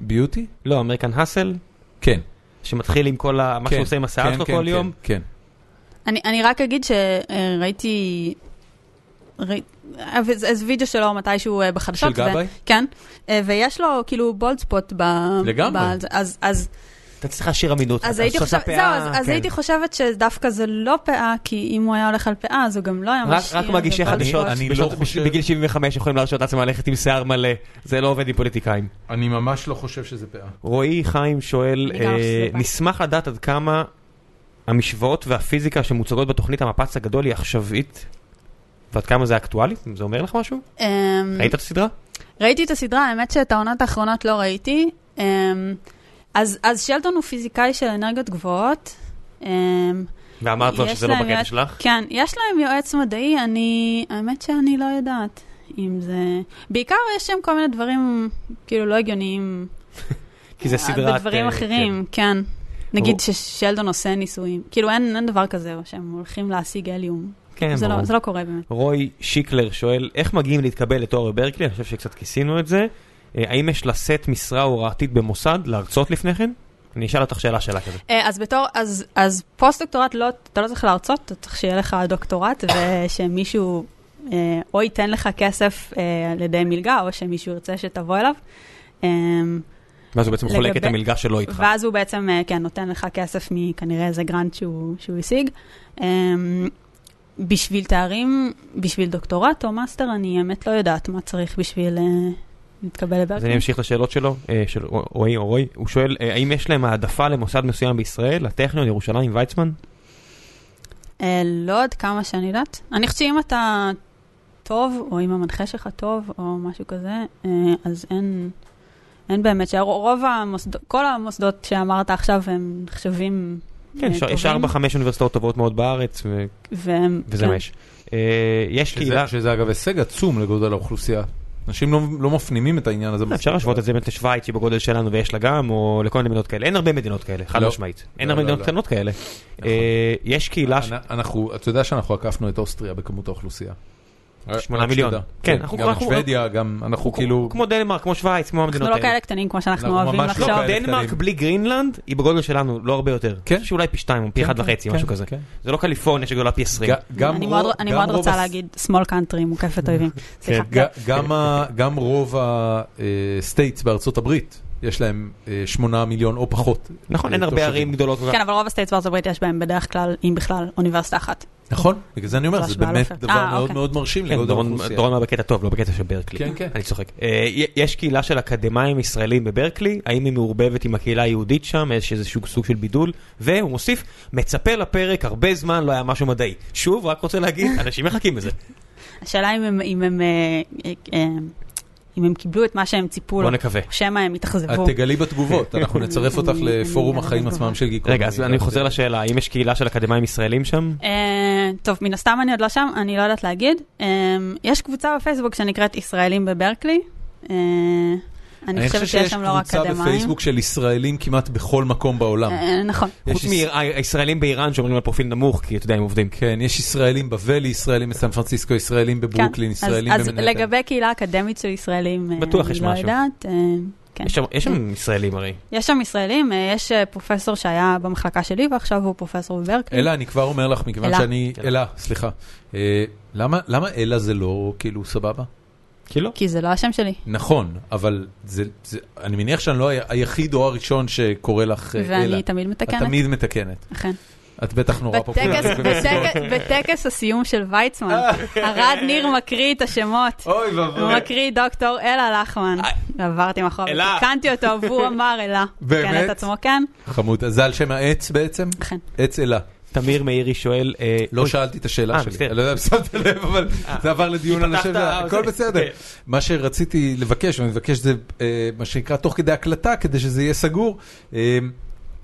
S1: ביוטי?
S2: לא, אמריקן האסל,
S1: כן.
S2: שמתחיל עם כל ה- מה
S1: כן,
S2: שהוא עושה עם השיער
S1: כן,
S2: שלו
S1: כן,
S2: כל
S1: כן,
S2: יום.
S1: כן.
S3: אני, אני רק אגיד שראיתי... ראי- איזה איזה וידאו שלו מתישהו אה, בחדשות.
S1: של
S3: ו-
S1: גבאי?
S3: כן, אה, ויש לו כאילו בולד ספוט ב...
S1: לגמרי.
S3: ב- אז, אז,
S2: אתה צריך להשאיר אמינות.
S3: אז,
S2: אתה
S3: הייתי,
S2: עושה
S3: חושב...
S2: פאה,
S3: זהו, אז, אז
S2: כן.
S3: הייתי חושבת שדווקא זה לא פאה, כי אם הוא היה הולך על פאה, אז הוא גם לא היה
S2: רק-
S3: משאיר
S2: רק מגישי
S3: את הבולד
S2: חדשות
S3: ספוט.
S1: אני
S2: בשנות-
S1: לא חושב-
S2: בגיל 75 יכולים להרשות לעצמם ללכת עם שיער מלא, זה לא עובד עם פוליטיקאים.
S1: אני ממש לא חושב שזה פאה.
S2: רועי חיים שואל,
S3: אני לא גם
S2: אה,
S3: חושבת שזה
S2: נשמח לדעת עד כמה המשוואות והפיזיקה שמוצגות בתוכנית המפץ הגדול היא עכשווית, ועד כמה זה אקטואלי? זה אומר לך משהו?
S3: אמ,
S2: ראית את הסדרה?
S3: ראיתי את הסדרה, האמת שאת העונות האחרונות לא ראיתי. אמ, אז, אז שלטון הוא פיזיקאי של אנרגיות גבוהות. אמ,
S2: ואמרת לו
S3: יש
S2: שזה לא
S3: להם
S2: בקטע
S3: יועץ-
S2: שלך?
S3: כן, יש להם יועץ מדעי, אני, האמת שאני לא יודעת אם זה... בעיקר יש שם כל מיני דברים כאילו לא הגיוניים.
S2: כי זה סדרת...
S3: בדברים
S2: אה,
S3: אחרים, כן. נגיד
S2: ברור.
S3: ששלדון עושה ניסויים. כאילו אין, אין דבר כזה, או שהם הולכים להשיג הליום.
S2: כן, כן,
S3: זה, לא,
S2: ברור.
S3: זה לא קורה באמת.
S2: רוי שיקלר שואל, איך מגיעים להתקבל לתואר בברקלי? אני חושב שקצת כיסינו את זה. אה, האם יש לשאת משרה הוראתית במוסד, להרצות לפני כן? אני אשאל אותך שאלה שאלה כזה.
S3: אה, אז בתור, אז, אז פוסט-דוקטורט, לא, אתה לא צריך להרצות, אתה צריך שיהיה לך דוקטורט, ושמישהו אה, או ייתן לך כסף אה, על ידי מלגה, או שמישהו ירצה שתבוא אליו. אה,
S2: ואז הוא בעצם חולק את
S3: לגבי-
S2: המלגה שלו איתך.
S3: ואז הוא בעצם, אה, כן, נותן לך כסף מכנראה איזה גרנט שהוא, שהוא השיג. אמ, בשביל תארים, בשביל דוקטורט או מאסטר, אני האמת לא יודעת מה צריך בשביל אה,
S2: אז
S3: להתקבל
S2: אני
S3: לברקלי.
S2: אמשיך לשאלות שלו, אה, של רוע- רועי או רועי. הוא שואל, אה, האם יש להם העדפה למוסד מסוים בישראל, לטכניון, ירושלים, ויצמן?
S3: אה, לא עד כמה שאני יודעת. אני חושבת שאם אתה טוב, או אם המנחה שלך טוב, או משהו כזה, אה, אז אין... אין באמת, שרוב המוסדות, כל המוסדות שאמרת עכשיו הם נחשבים אה,
S2: כן,
S3: טובים.
S2: יש- יש 4-5 אוניברסיטאות טובות מאוד בארץ, ו-
S3: והם-
S2: וזה
S3: כן.
S2: מה יש. אה, יש קהילה...
S1: שזה- שזה אגב הישג עצום לגודל האוכלוסייה. אנשים לא- לא מפנימים את העניין הזה.
S2: אה, אפשר להשוות את זה באמת לשוויץ, שהיא בגודל שלנו ויש לה גם, או לכל מיני מדינות כאלה. אין הרבה מדינות כאלה, חד
S1: לא.
S2: משמעית. אין
S1: לא,
S2: הרבה
S1: לא,
S2: מדינות
S1: לא.
S2: קטנות כאלה.
S1: נכון.
S2: אה, יש קהילה... ש-
S1: אנ- אנחנו, אתה יודע שאנחנו עקפנו את אוסטריה בכמות האוכלוסייה.
S2: שמונה
S1: רק
S2: מיליון.
S1: אה, שתדע.
S2: כן,
S1: גם
S2: אנחנו-
S1: את
S2: אנחנו-
S1: שוודיה, גם אנחנו כאילו...
S2: כמו דנמרק, כמו שווייץ, כמו
S3: אנחנו
S2: המדינות
S3: לא
S2: האלה.
S3: כאלה קטנים כמו שאנחנו
S1: אנחנו
S3: אוהבים
S1: ממש לא
S3: לחשוב.
S1: כאלה.
S2: דנמרק
S1: קטנים.
S2: בלי גרינלנד היא בגודל שלנו, לא הרבה יותר.
S1: כן.
S2: כן. שאולי פי שתיים או פי
S1: כן,
S2: אחד
S1: כן,
S2: וחצי,
S1: כן,
S2: משהו כזה.
S1: כן.
S2: זה לא קליפורניה שגדולה פי עשרים.
S1: ג- גם
S3: אני
S1: רוב-
S3: מאוד- אני
S1: גם
S3: מאוד
S1: רוב
S3: רוצה
S1: הס- כן,
S3: להגיד, שמאל קאנטרי מוקפת אויבים. סליחה.
S1: ג- גם ה- גם רוב הסטייטס אה, בארצות הברית יש להם אה, שמונה מיליון או פחות.
S2: נכון,
S1: אה,
S2: אין הרבה
S1: תושבים.
S2: ערים גדולות. כל כך.
S3: כן, אבל רוב הסטייטס בארצות הברית יש בהם בדרך כלל, אם בכלל, אוניברסיטה אחת.
S1: נכון, בגלל זה אני אומר, זה
S3: בהשוואה
S1: באמת
S3: לאופק.
S1: דבר
S3: אה,
S1: מאוד
S3: אוקיי.
S1: מאוד מרשים
S2: כן,
S1: לגודל
S2: דורון
S1: האוכלוסייה.
S2: דורון בקטע טוב, לא בקטע של ברקלי.
S1: כן, כן.
S2: אני צוחק. אה, י- יש קהילה של אקדמאים ישראלים בברקלי, האם היא מעורבבת עם הקהילה היהודית שם, יש איזשהו סוג של בידול, והוא מוסיף, מצפה לפרק, הרבה זמן לא היה משהו מדעי. שוב, רק רוצה להגיד, אנשים מחכים לזה.
S3: השאלה אם הם, אם הם, אה, אה, אה, אם הם קיבלו את מה שהם ציפו לו,
S2: בוא נקווה.
S3: או שמא הם
S1: את
S3: התאכזבו.
S1: תגלי בתגובות, אנחנו נצרף אותך
S3: אני- אני-
S1: לפורום
S3: אני-
S1: החיים
S3: אני-
S1: עצמם של גיקונומי.
S2: רגע, אז אני חוזר לשאלה, האם יש קהילה של אקדמאים ישראלים שם?
S3: אה, טוב, מן הסתם אני עוד לא שם, אני לא יודעת להגיד. אה, יש קבוצה בפייסבוק שנקראת ישראלים בברקלי. אה, אני חושבת שיש שם לא רק
S1: אני חושב שיש קבוצה
S3: אקדמאים.
S1: בפייסבוק של ישראלים כמעט בכל מקום בעולם.
S3: אה, נכון.
S2: חוץ
S1: יש-
S2: מהישראלים באיראן שאומרים על פרופיל נמוך, כי אתה יודע, הם עובדים.
S1: כן, יש ישראלים בבלי, ישראלים בסן פרנסיסקו, ישראלים
S3: כן.
S1: בברוקלין,
S3: אז-
S1: ישראלים
S3: אז
S1: במנהטן.
S3: לגבי קהילה אקדמית של ישראלים, אה,
S2: בטוח יש משהו.
S3: אני לא יודעת. אה, כן.
S2: יש שם- יש שם ישראלים הרי.
S3: יש שם ישראלים, אה, יש אה, פרופסור שהיה במחלקה שלי ועכשיו הוא פרופסור בברקלי.
S1: אלה, אני כבר אומר לך, מכיוון
S3: אלה.
S1: שאני...
S2: כן.
S1: אלה, סליחה. אה, למה למה אלה זה לא כאילו סבבה?
S2: כי לא.
S3: כי זה לא השם שלי.
S1: נכון, אבל זה, זה, אני מניח שאני לא ה- היחיד או הראשון שקורא לך אה, אלה.
S3: ואני תמיד
S1: את
S3: מתקנת,
S1: תמיד מתקנת.
S3: אכן.
S1: את בטח נורא פופולרית.
S3: בטקס- בטקס- בטקס הסיום של ויצמן, הרד ניר מקריא את השמות.
S1: אוי
S3: הוא מקריא דוקטור אלה לחמן. עברתי מאחוריו,
S2: אלה.
S3: תיקנתי אותו, והוא אמר אלה.
S1: באמת?
S3: תיקן את עצמו, כן,
S1: חמוד, אז זה על שם העץ בעצם?
S3: אכן.
S1: עץ אלה.
S2: תמיר מאירי שואל... אה,
S1: לא
S2: אוי,
S1: שאלתי את השאלה
S2: אה,
S1: שלי.
S2: בסדר.
S1: אני לא יודע אם שמת לב, אבל זה עבר לדיון על
S2: פתחת,
S1: השם,
S2: אה,
S1: הכל
S2: זה-
S1: בסדר.
S2: כן.
S1: מה שרציתי לבקש, ואני מבקש את זה, אה, מה שנקרא, תוך כדי הקלטה, כדי שזה יהיה סגור. אה,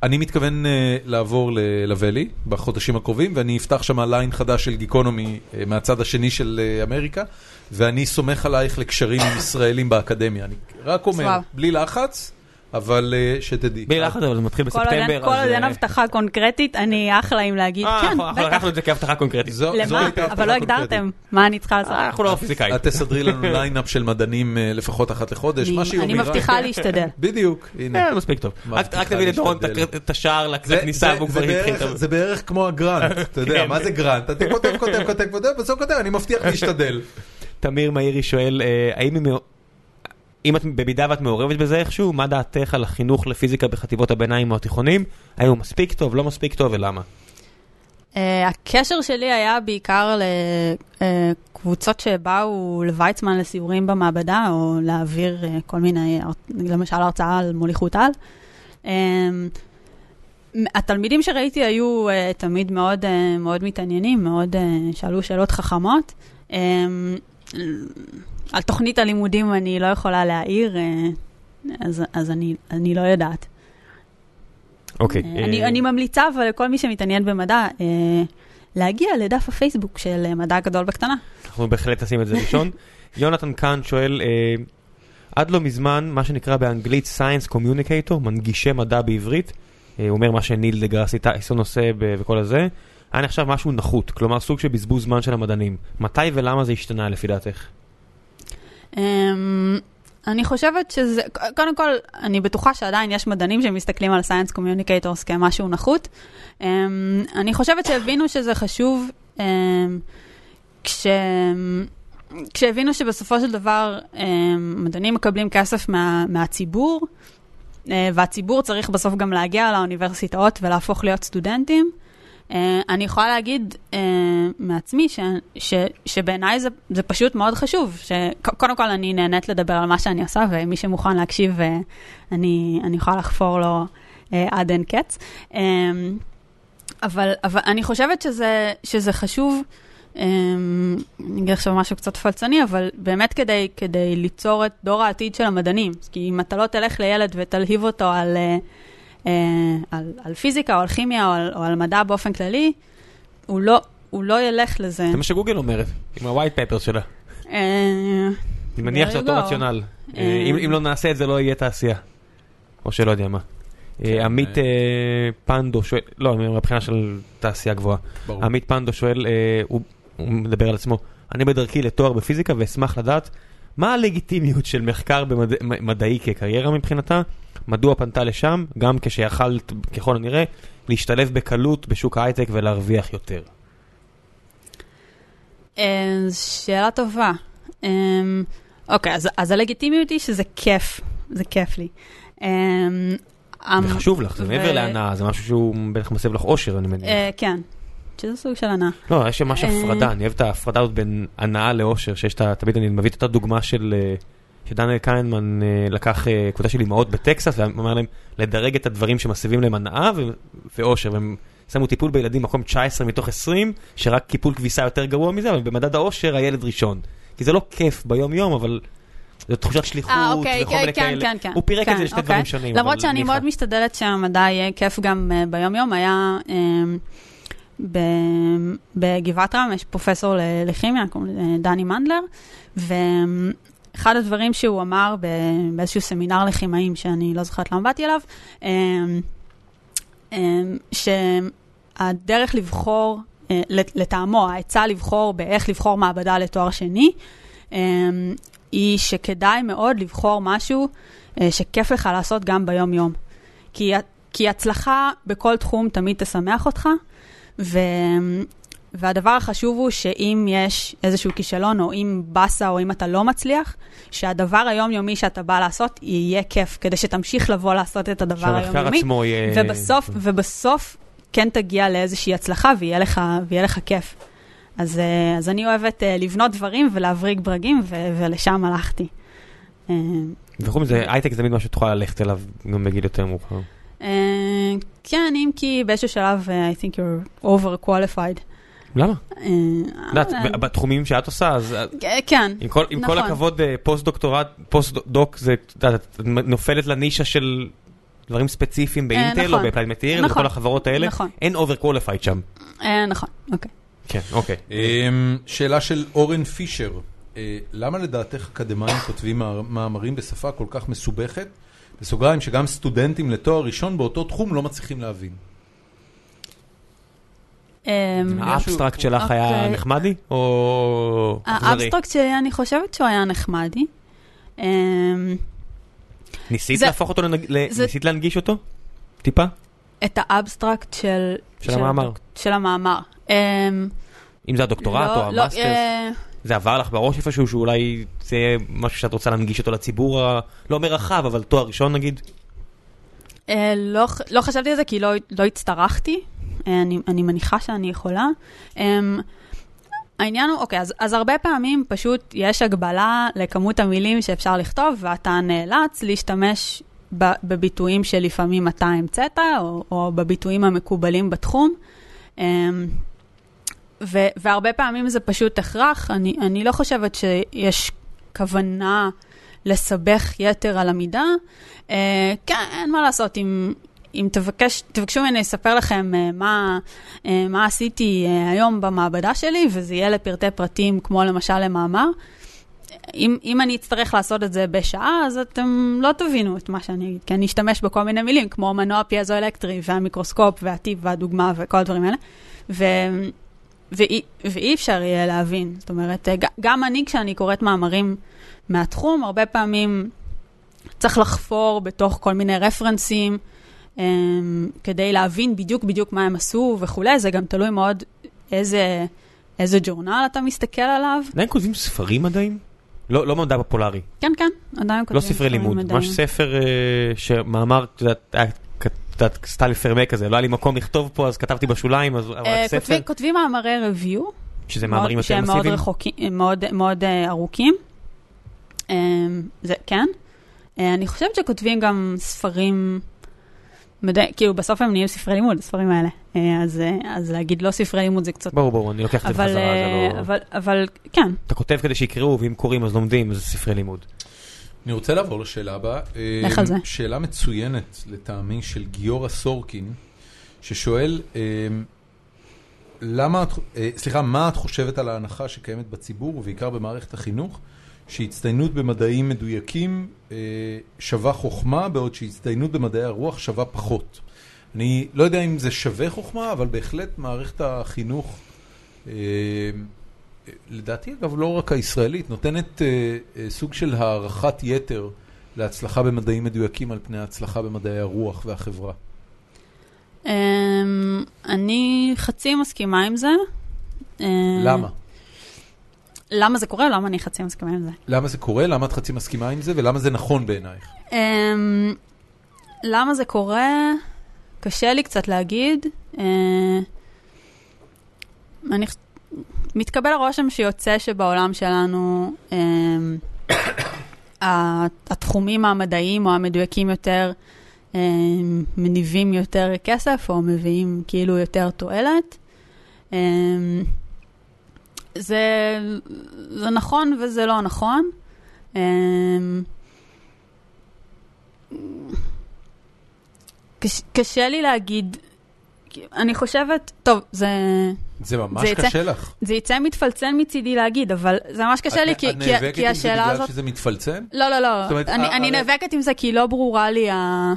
S1: אני מתכוון אה, לעבור ל- לוואלי בחודשים הקרובים, ואני אפתח שם ליין חדש של גיקונומי אה, מהצד השני של אה, אמריקה, ואני סומך עלייך לקשרים עם ישראלים באקדמיה. אני רק אומר,
S3: וואו.
S1: בלי לחץ, אבל אה, שתדעי.
S2: בלי לחץ, אבל זה מתחיל
S3: כל עוד אין-
S2: בספטמבר.
S3: כל
S2: אז,
S3: עוד אין
S2: אה,
S3: הבטחה קונקרטית, אני אחלה אם להגיד,
S2: אה,
S3: כן,
S2: אנחנו אנחנו
S3: בטח.
S2: לקחנו את זה כהבטחה קונקרטית.
S1: זו- זו
S3: למה?
S1: הייתה
S3: אבל לא
S1: הבטחה קונקרטית.
S3: הגדרתם. מה אני צריכה לעשות?
S2: אה, אנחנו לא פיזיקאים.
S1: את תסדרי לנו ליינאפ של מדענים אה, לפחות אחת לחודש, מה
S3: אני-
S1: שהיא
S3: אני
S1: אומרת. אוקיי.
S3: מבטיחה להשתדל.
S1: בדיוק, הנה.
S2: אה, מספיק טוב. רק
S1: מבטיחה
S2: רק תביא לדורון
S1: להשתדל.
S2: את- את השער לכ-
S1: זה-
S2: לכניסה
S1: זה-
S2: והוא
S1: זה
S2: כבר התחיל.
S1: בערך-
S2: את ה- כן.
S1: זה בערך כמו הגרנט, אתה יודע, מה זה גרנט? אתה כותב, כותב, כותב, כותב, בסוף כותב, אני מבטיח להשתדל.
S2: תמיר מאירי שואל, אה, האם היא מאו- אם את, במידה ואת מעורבת בזה איכשהו, מה דעתך על החינוך לפיזיקה בחטיבות הביניים או התיכונים? האם הוא מספיק טוב, לא מספיק טוב ולמה?
S3: אה, הקשר שלי היה בעיקר לקבוצות שבאו לוויצמן לסיורים במעבדה, או להעביר אה, כל מיני, הר- למשל הרצאה על מוליכות על. אה, התלמידים שראיתי היו אה, תמיד מאוד, אה, מאוד מתעניינים, מאוד אה, שאלו שאלות חכמות. אה, על תוכנית הלימודים אני לא יכולה להעיר, אה, אז, אז אני, אני לא יודעת.
S2: אוקיי.
S3: אני, אני ממליצה אבל לכל מי שמתעניין במדע, אה, להגיע לדף הפייסבוק של אה, מדע גדול בקטנה.
S2: אנחנו בהחלט נשים את זה ראשון. יונתן קאן שואל, אה, עד לא מזמן, מה שנקרא באנגלית Science Communicator, מנגישי מדע בעברית, אה, הוא אומר מה שניל דגרסי טייסון עושה ב- וכל הזה, היה נחשב משהו נחות, כלומר סוג של בזבוז זמן של המדענים. מתי ולמה זה השתנה לפי דעתך?
S3: אמ, אני חושבת שזה, ק- קודם כל, אני בטוחה שעדיין יש מדענים שמסתכלים על Science Communicators כמשהו נחות. אמ, אני חושבת שהבינו שזה חשוב אמ, כש... כשהבינו שבסופו של דבר אמ, מדענים מקבלים כסף מה, מהציבור, אה, והציבור צריך בסוף גם להגיע לאוניברסיטאות ולהפוך להיות סטודנטים. אה, אני יכולה להגיד אה, מעצמי ש, ש, שבעיניי זה, זה פשוט מאוד חשוב, שקודם כל אני נהנית לדבר על מה שאני עושה, ומי שמוכן להקשיב, אה, אני, אני יכולה לחפור לו אה, עד אין קץ. אה, אבל, אבל אני חושבת שזה, שזה חשוב, אה, אני אגיד עכשיו משהו קצת פלצני, אבל באמת כדי, כדי ליצור את דור העתיד של המדענים. כי אם אתה לא תלך לילד ותלהיב אותו על... אה, אה, על, על פיזיקה או על כימיה או על, או על מדע באופן כללי, הוא לא, הוא לא ילך לזה.
S2: זה מה שגוגל אומרת, עם ה-white papers שלה.
S3: אה,
S2: אני מניח
S3: there
S2: זה
S3: you
S2: אותו
S3: go.
S2: רציונל. אה,
S3: אה.
S2: אם אם לא נעשה את זה לא יהיה תעשייה. או שלא יודע מה. אה, עמית
S1: אה.
S2: אה, פנדו שואל, לא, אני אומר מבחינה של תעשייה גבוהה.
S1: ברור.
S2: עמית פנדו שואל, אה, הוא הוא מדבר על עצמו, אני בדרכי לתואר בפיזיקה ואשמח לדעת מה הלגיטימיות של מחקר במדעי כקריירה מבחינתה, מדוע פנתה לשם, גם כשיכלת, ככל הנראה, להשתלב בקלות בשוק ההייטק ולהרוויח יותר.
S3: אמ, אה, זו שאלה טובה. אה, אוקיי, אז, אז הלגיטימיות היא שזה כיף זה כיף לי. אמ,
S2: זה
S3: אמ,
S2: חשוב לך, זה
S3: ו-
S2: מעבר להנאה, זה משהו שהוא בטח מסב לך אושר, אני מניח.
S3: אה, כן, שזה סוג של הנאה.
S2: לא, יש שם ממש
S3: אה.
S2: הפרדה, אני אוהב את ההפרדה הזאת בין הנאה לאושר, שיש את ה... תמיד אני מביא את אותה דוגמה של... אה, שדניאל קיינמן אה, לקח אה, קבוצה של אמהות בטקסס ואמר להם לדרג את הדברים שמסבים להם הנאה ו- ואושר, והם שמו טיפול בילדים במקום 19 מתוך 20, שרק טיפול כביסה יותר גרוע מזה, אבל במדד האושר הילד ראשון. כי זה לא כיף ביום יום, אבל זו תחושת שליחות
S3: אה,
S2: וכל
S3: אוקיי,
S2: מיני כאלה.
S3: כן, כן, כן, כן.
S2: הוא פירק את
S3: כן,
S2: זה לשתי
S3: אוקיי.
S2: דברים שונים.
S3: למרות
S2: אבל
S3: שאני
S2: ניחא.
S3: מאוד משתדלת שהמדע יהיה כיף גם אה, ביום-יום, היה אמ, ב- בגבעת רם, יש פרופסור ל- לכימיה, קוראים לו אה, דני מנדלר, ואחד הדברים שהוא אמר ב- באיזשהו סמינר לכימאים, שאני לא זוכרת למה באתי אליו, אמ, אמ, שהדרך לבחור, אה, לטעמו, העצה לבחור באיך לבחור מעבדה לתואר שני, אמ, היא שכדאי מאוד לבחור משהו אה, שכיף לך לעשות גם ביום-יום. כי, כי הצלחה בכל תחום תמיד תשמח אותך, ו, והדבר החשוב הוא שאם יש איזשהו כישלון, או אם באסה, או אם אתה לא מצליח, שהדבר היומיומי שאתה בא לעשות יהיה כיף, כדי שתמשיך לבוא לעשות את הדבר
S2: שהמחקר
S3: היומיומי.
S2: עצמו אה, יהיה...
S3: ובסוף, ובסוף כן תגיע לאיזושהי הצלחה ויהיה לך, ויהיה לך כיף. אז, אה, אז אני אוהבת אה, לבנות דברים ולהבריג ברגים, ו- ולשם הלכתי. אה,
S2: וחוץ מזה, הייטק זה תמיד משהו שתוכל ללכת אליו גם בגיל יותר מאוחר.
S3: אה, כן, אם כי באיזשהו שלב, אה, I think you're overqualified.
S2: למה?
S3: אה,
S2: את יודעת,
S3: אה,
S2: ב- בתחומים שאת עושה, אז אז
S3: אה, כן,
S2: עם כל, עם כל
S3: נכון.
S2: הכבוד, אה, פוסט-דוקטורט, פוסט-דוק, זה, את יודעת, את נופלת לנישה של דברים ספציפיים
S3: אה,
S2: באינטל או
S3: נכון.
S2: באפלייד מטיר,
S3: נכון.
S2: וכל החברות האלה,
S3: נכון.
S2: אין over qualified שם.
S3: אה, נכון, אוקיי.
S2: כן, אוקיי.
S1: אמ, שאלה של אורן פישר, אה, למה לדעתך אקדמאים כותבים מאמר- מאמרים בשפה כל כך מסובכת? בסוגריים, שגם סטודנטים לתואר ראשון באותו תחום לא מצליחים להבין.
S3: אה,
S2: האבסטרקט שלך היה
S3: אוקיי.
S2: נחמדי? או...
S3: אה,
S2: אכזרי?
S3: האבסטרקט שלי, אני חושבת שהוא היה נחמדי. אה,
S2: ניסית
S3: זה-
S2: להפוך אותו, לנג- ל-
S3: זה-
S2: ניסית להנגיש אותו? טיפה?
S3: את האבסטרקט של...
S2: של המאמר.
S3: הדוק- של המאמר. אמ,
S2: אם זה הדוקטורט
S3: לא-
S2: או
S3: לא,
S2: המאסטרס?
S3: אה,
S2: זה עבר לך בראש איפשהו שאולי זה יהיה משהו שאת רוצה להנגיש אותו לציבור ה... לא אומר רחב, אבל תואר ראשון נגיד?
S3: אה, לא ח- לא חשבתי על זה כי לא לא הצטרחתי, אה, אני- אני מניחה שאני יכולה. אמ, העניין הוא, אוקיי, אז, אז הרבה פעמים פשוט יש הגבלה לכמות המילים שאפשר לכתוב, ואתה נאלץ להשתמש ב, בביטויים שלפעמים אתה המצאת, או, או בביטויים המקובלים בתחום. אמ, ו, והרבה פעמים זה פשוט הכרח. אני, אני לא חושבת שיש כוונה לסבך יתר על המידה. אה, כן, אין מה לעשות, אם, אם תבקש, תבקשו ממני לספר לכם אה, מה, אה, מה עשיתי אה, היום במעבדה שלי, וזה יהיה לפרטי פרטים, כמו למשל למאמר. אם, אם אני אצטרך לעשות את זה בשעה, אז אתם לא תבינו את מה שאני אגיד, כי אני אשתמש בכל מיני מילים, כמו מנוע פיאזואלקטרי, והמיקרוסקופ, והטיפ, והדוגמה, וכל הדברים האלה. ו... ואי, ואי אפשר יהיה להבין. זאת אומרת, אה, ג- גם אני, כשאני קוראת מאמרים מהתחום, הרבה פעמים צריך לחפור בתוך כל מיני רפרנסים אמ, כדי להבין בדיוק בדיוק מה הם עשו וכולי, זה גם תלוי מאוד איזה, איזה ג'ורנל אתה מסתכל עליו.
S2: עדיין כותבים ספרים עדיין? לא, לא מדע פופולרי,
S3: כן, כן, עדיין כותבים.
S2: לא ספרי
S3: דברים
S2: לימוד,
S3: מדעיים.
S2: ממש ספר אה, שמאמר, את יודעת, היה כ- את יודעת, סטייל פרמה כזה, לא היה לי מקום לכתוב פה, אז כתבתי בשוליים, אז אבל
S3: אה,
S2: רק ספר,
S3: כותבים- כותבים מאמרי review,
S2: שזה
S3: מאוד-
S2: מאמרים יותר
S3: שהם מאוד
S2: מסיביים.
S3: רחוקים, מאוד, מאוד אה, ארוכים. אמ, זה, כן. אה, אני חושבת שכותבים גם ספרים, מדע, כאילו בסוף הם נהיים ספרי לימוד, הספרים האלה. אה, אז, אה, אז להגיד לא ספרי לימוד זה קצת...
S2: ברור, ברור, אני לוקח את זה
S3: אבל,
S2: בחזרה,
S3: אה,
S2: זה לא...
S3: אבל, אבל כן,
S2: אתה כותב כדי שיקראו, ואם קוראים אז לומדים, אז זה ספרי לימוד.
S1: אני רוצה לעבור לשאלה הבאה. אמ,
S3: לך על זה.
S1: שאלה מצוינת לטעמי של גיורא סורקין, ששואל, אמ, למה את, אה, סליחה, מה את חושבת על ההנחה שקיימת בציבור, ובעיקר במערכת החינוך, שהצטיינות במדעים מדויקים אה, שווה חוכמה, בעוד שהצטיינות במדעי הרוח שווה פחות? אני לא יודע אם זה שווה חוכמה, אבל בהחלט מערכת החינוך... אה, לדעתי, אגב, לא רק הישראלית, נותנת אה, אה, סוג של הערכת יתר להצלחה במדעים מדויקים על פני ההצלחה במדעי הרוח והחברה.
S3: Mm. אמ, אני חצי מסכימה עם זה. אמ,
S1: למה?
S3: למה זה קורה, למה אני חצי מסכימה עם זה.
S1: למה זה קורה? למה את חצי מסכימה עם זה? ולמה זה נכון בעינייך?
S3: אמ, למה זה קורה? קשה לי קצת להגיד. אה, אני חוש- מתקבל הרושם שיוצא שבעולם שלנו אמ, ה- התחומים המדעיים או המדויקים יותר אמ, מניבים יותר כסף או מביאים כאילו יותר תועלת. אמ, זה, זה נכון וזה לא נכון. אמ, קש, קשה לי להגיד, כי אני חושבת, טוב, זה,
S1: זה ממש
S3: זה יצא-
S1: קשה לך.
S3: זה יצא מתפלצל מצידי להגיד, אבל זה ממש קשה לי,
S1: את-
S3: כי,
S1: את
S3: כי,
S1: נאבקת
S3: כי
S1: עם זה
S3: השאלה
S1: בגלל
S3: הזאת...
S1: שזה מתפלצל?
S3: לא, לא, לא,
S1: זאת אומרת, אה,
S3: אני,
S1: ה-
S3: אני
S1: הרי-
S3: נאבקת עם זה כי לא ברורה לי ה-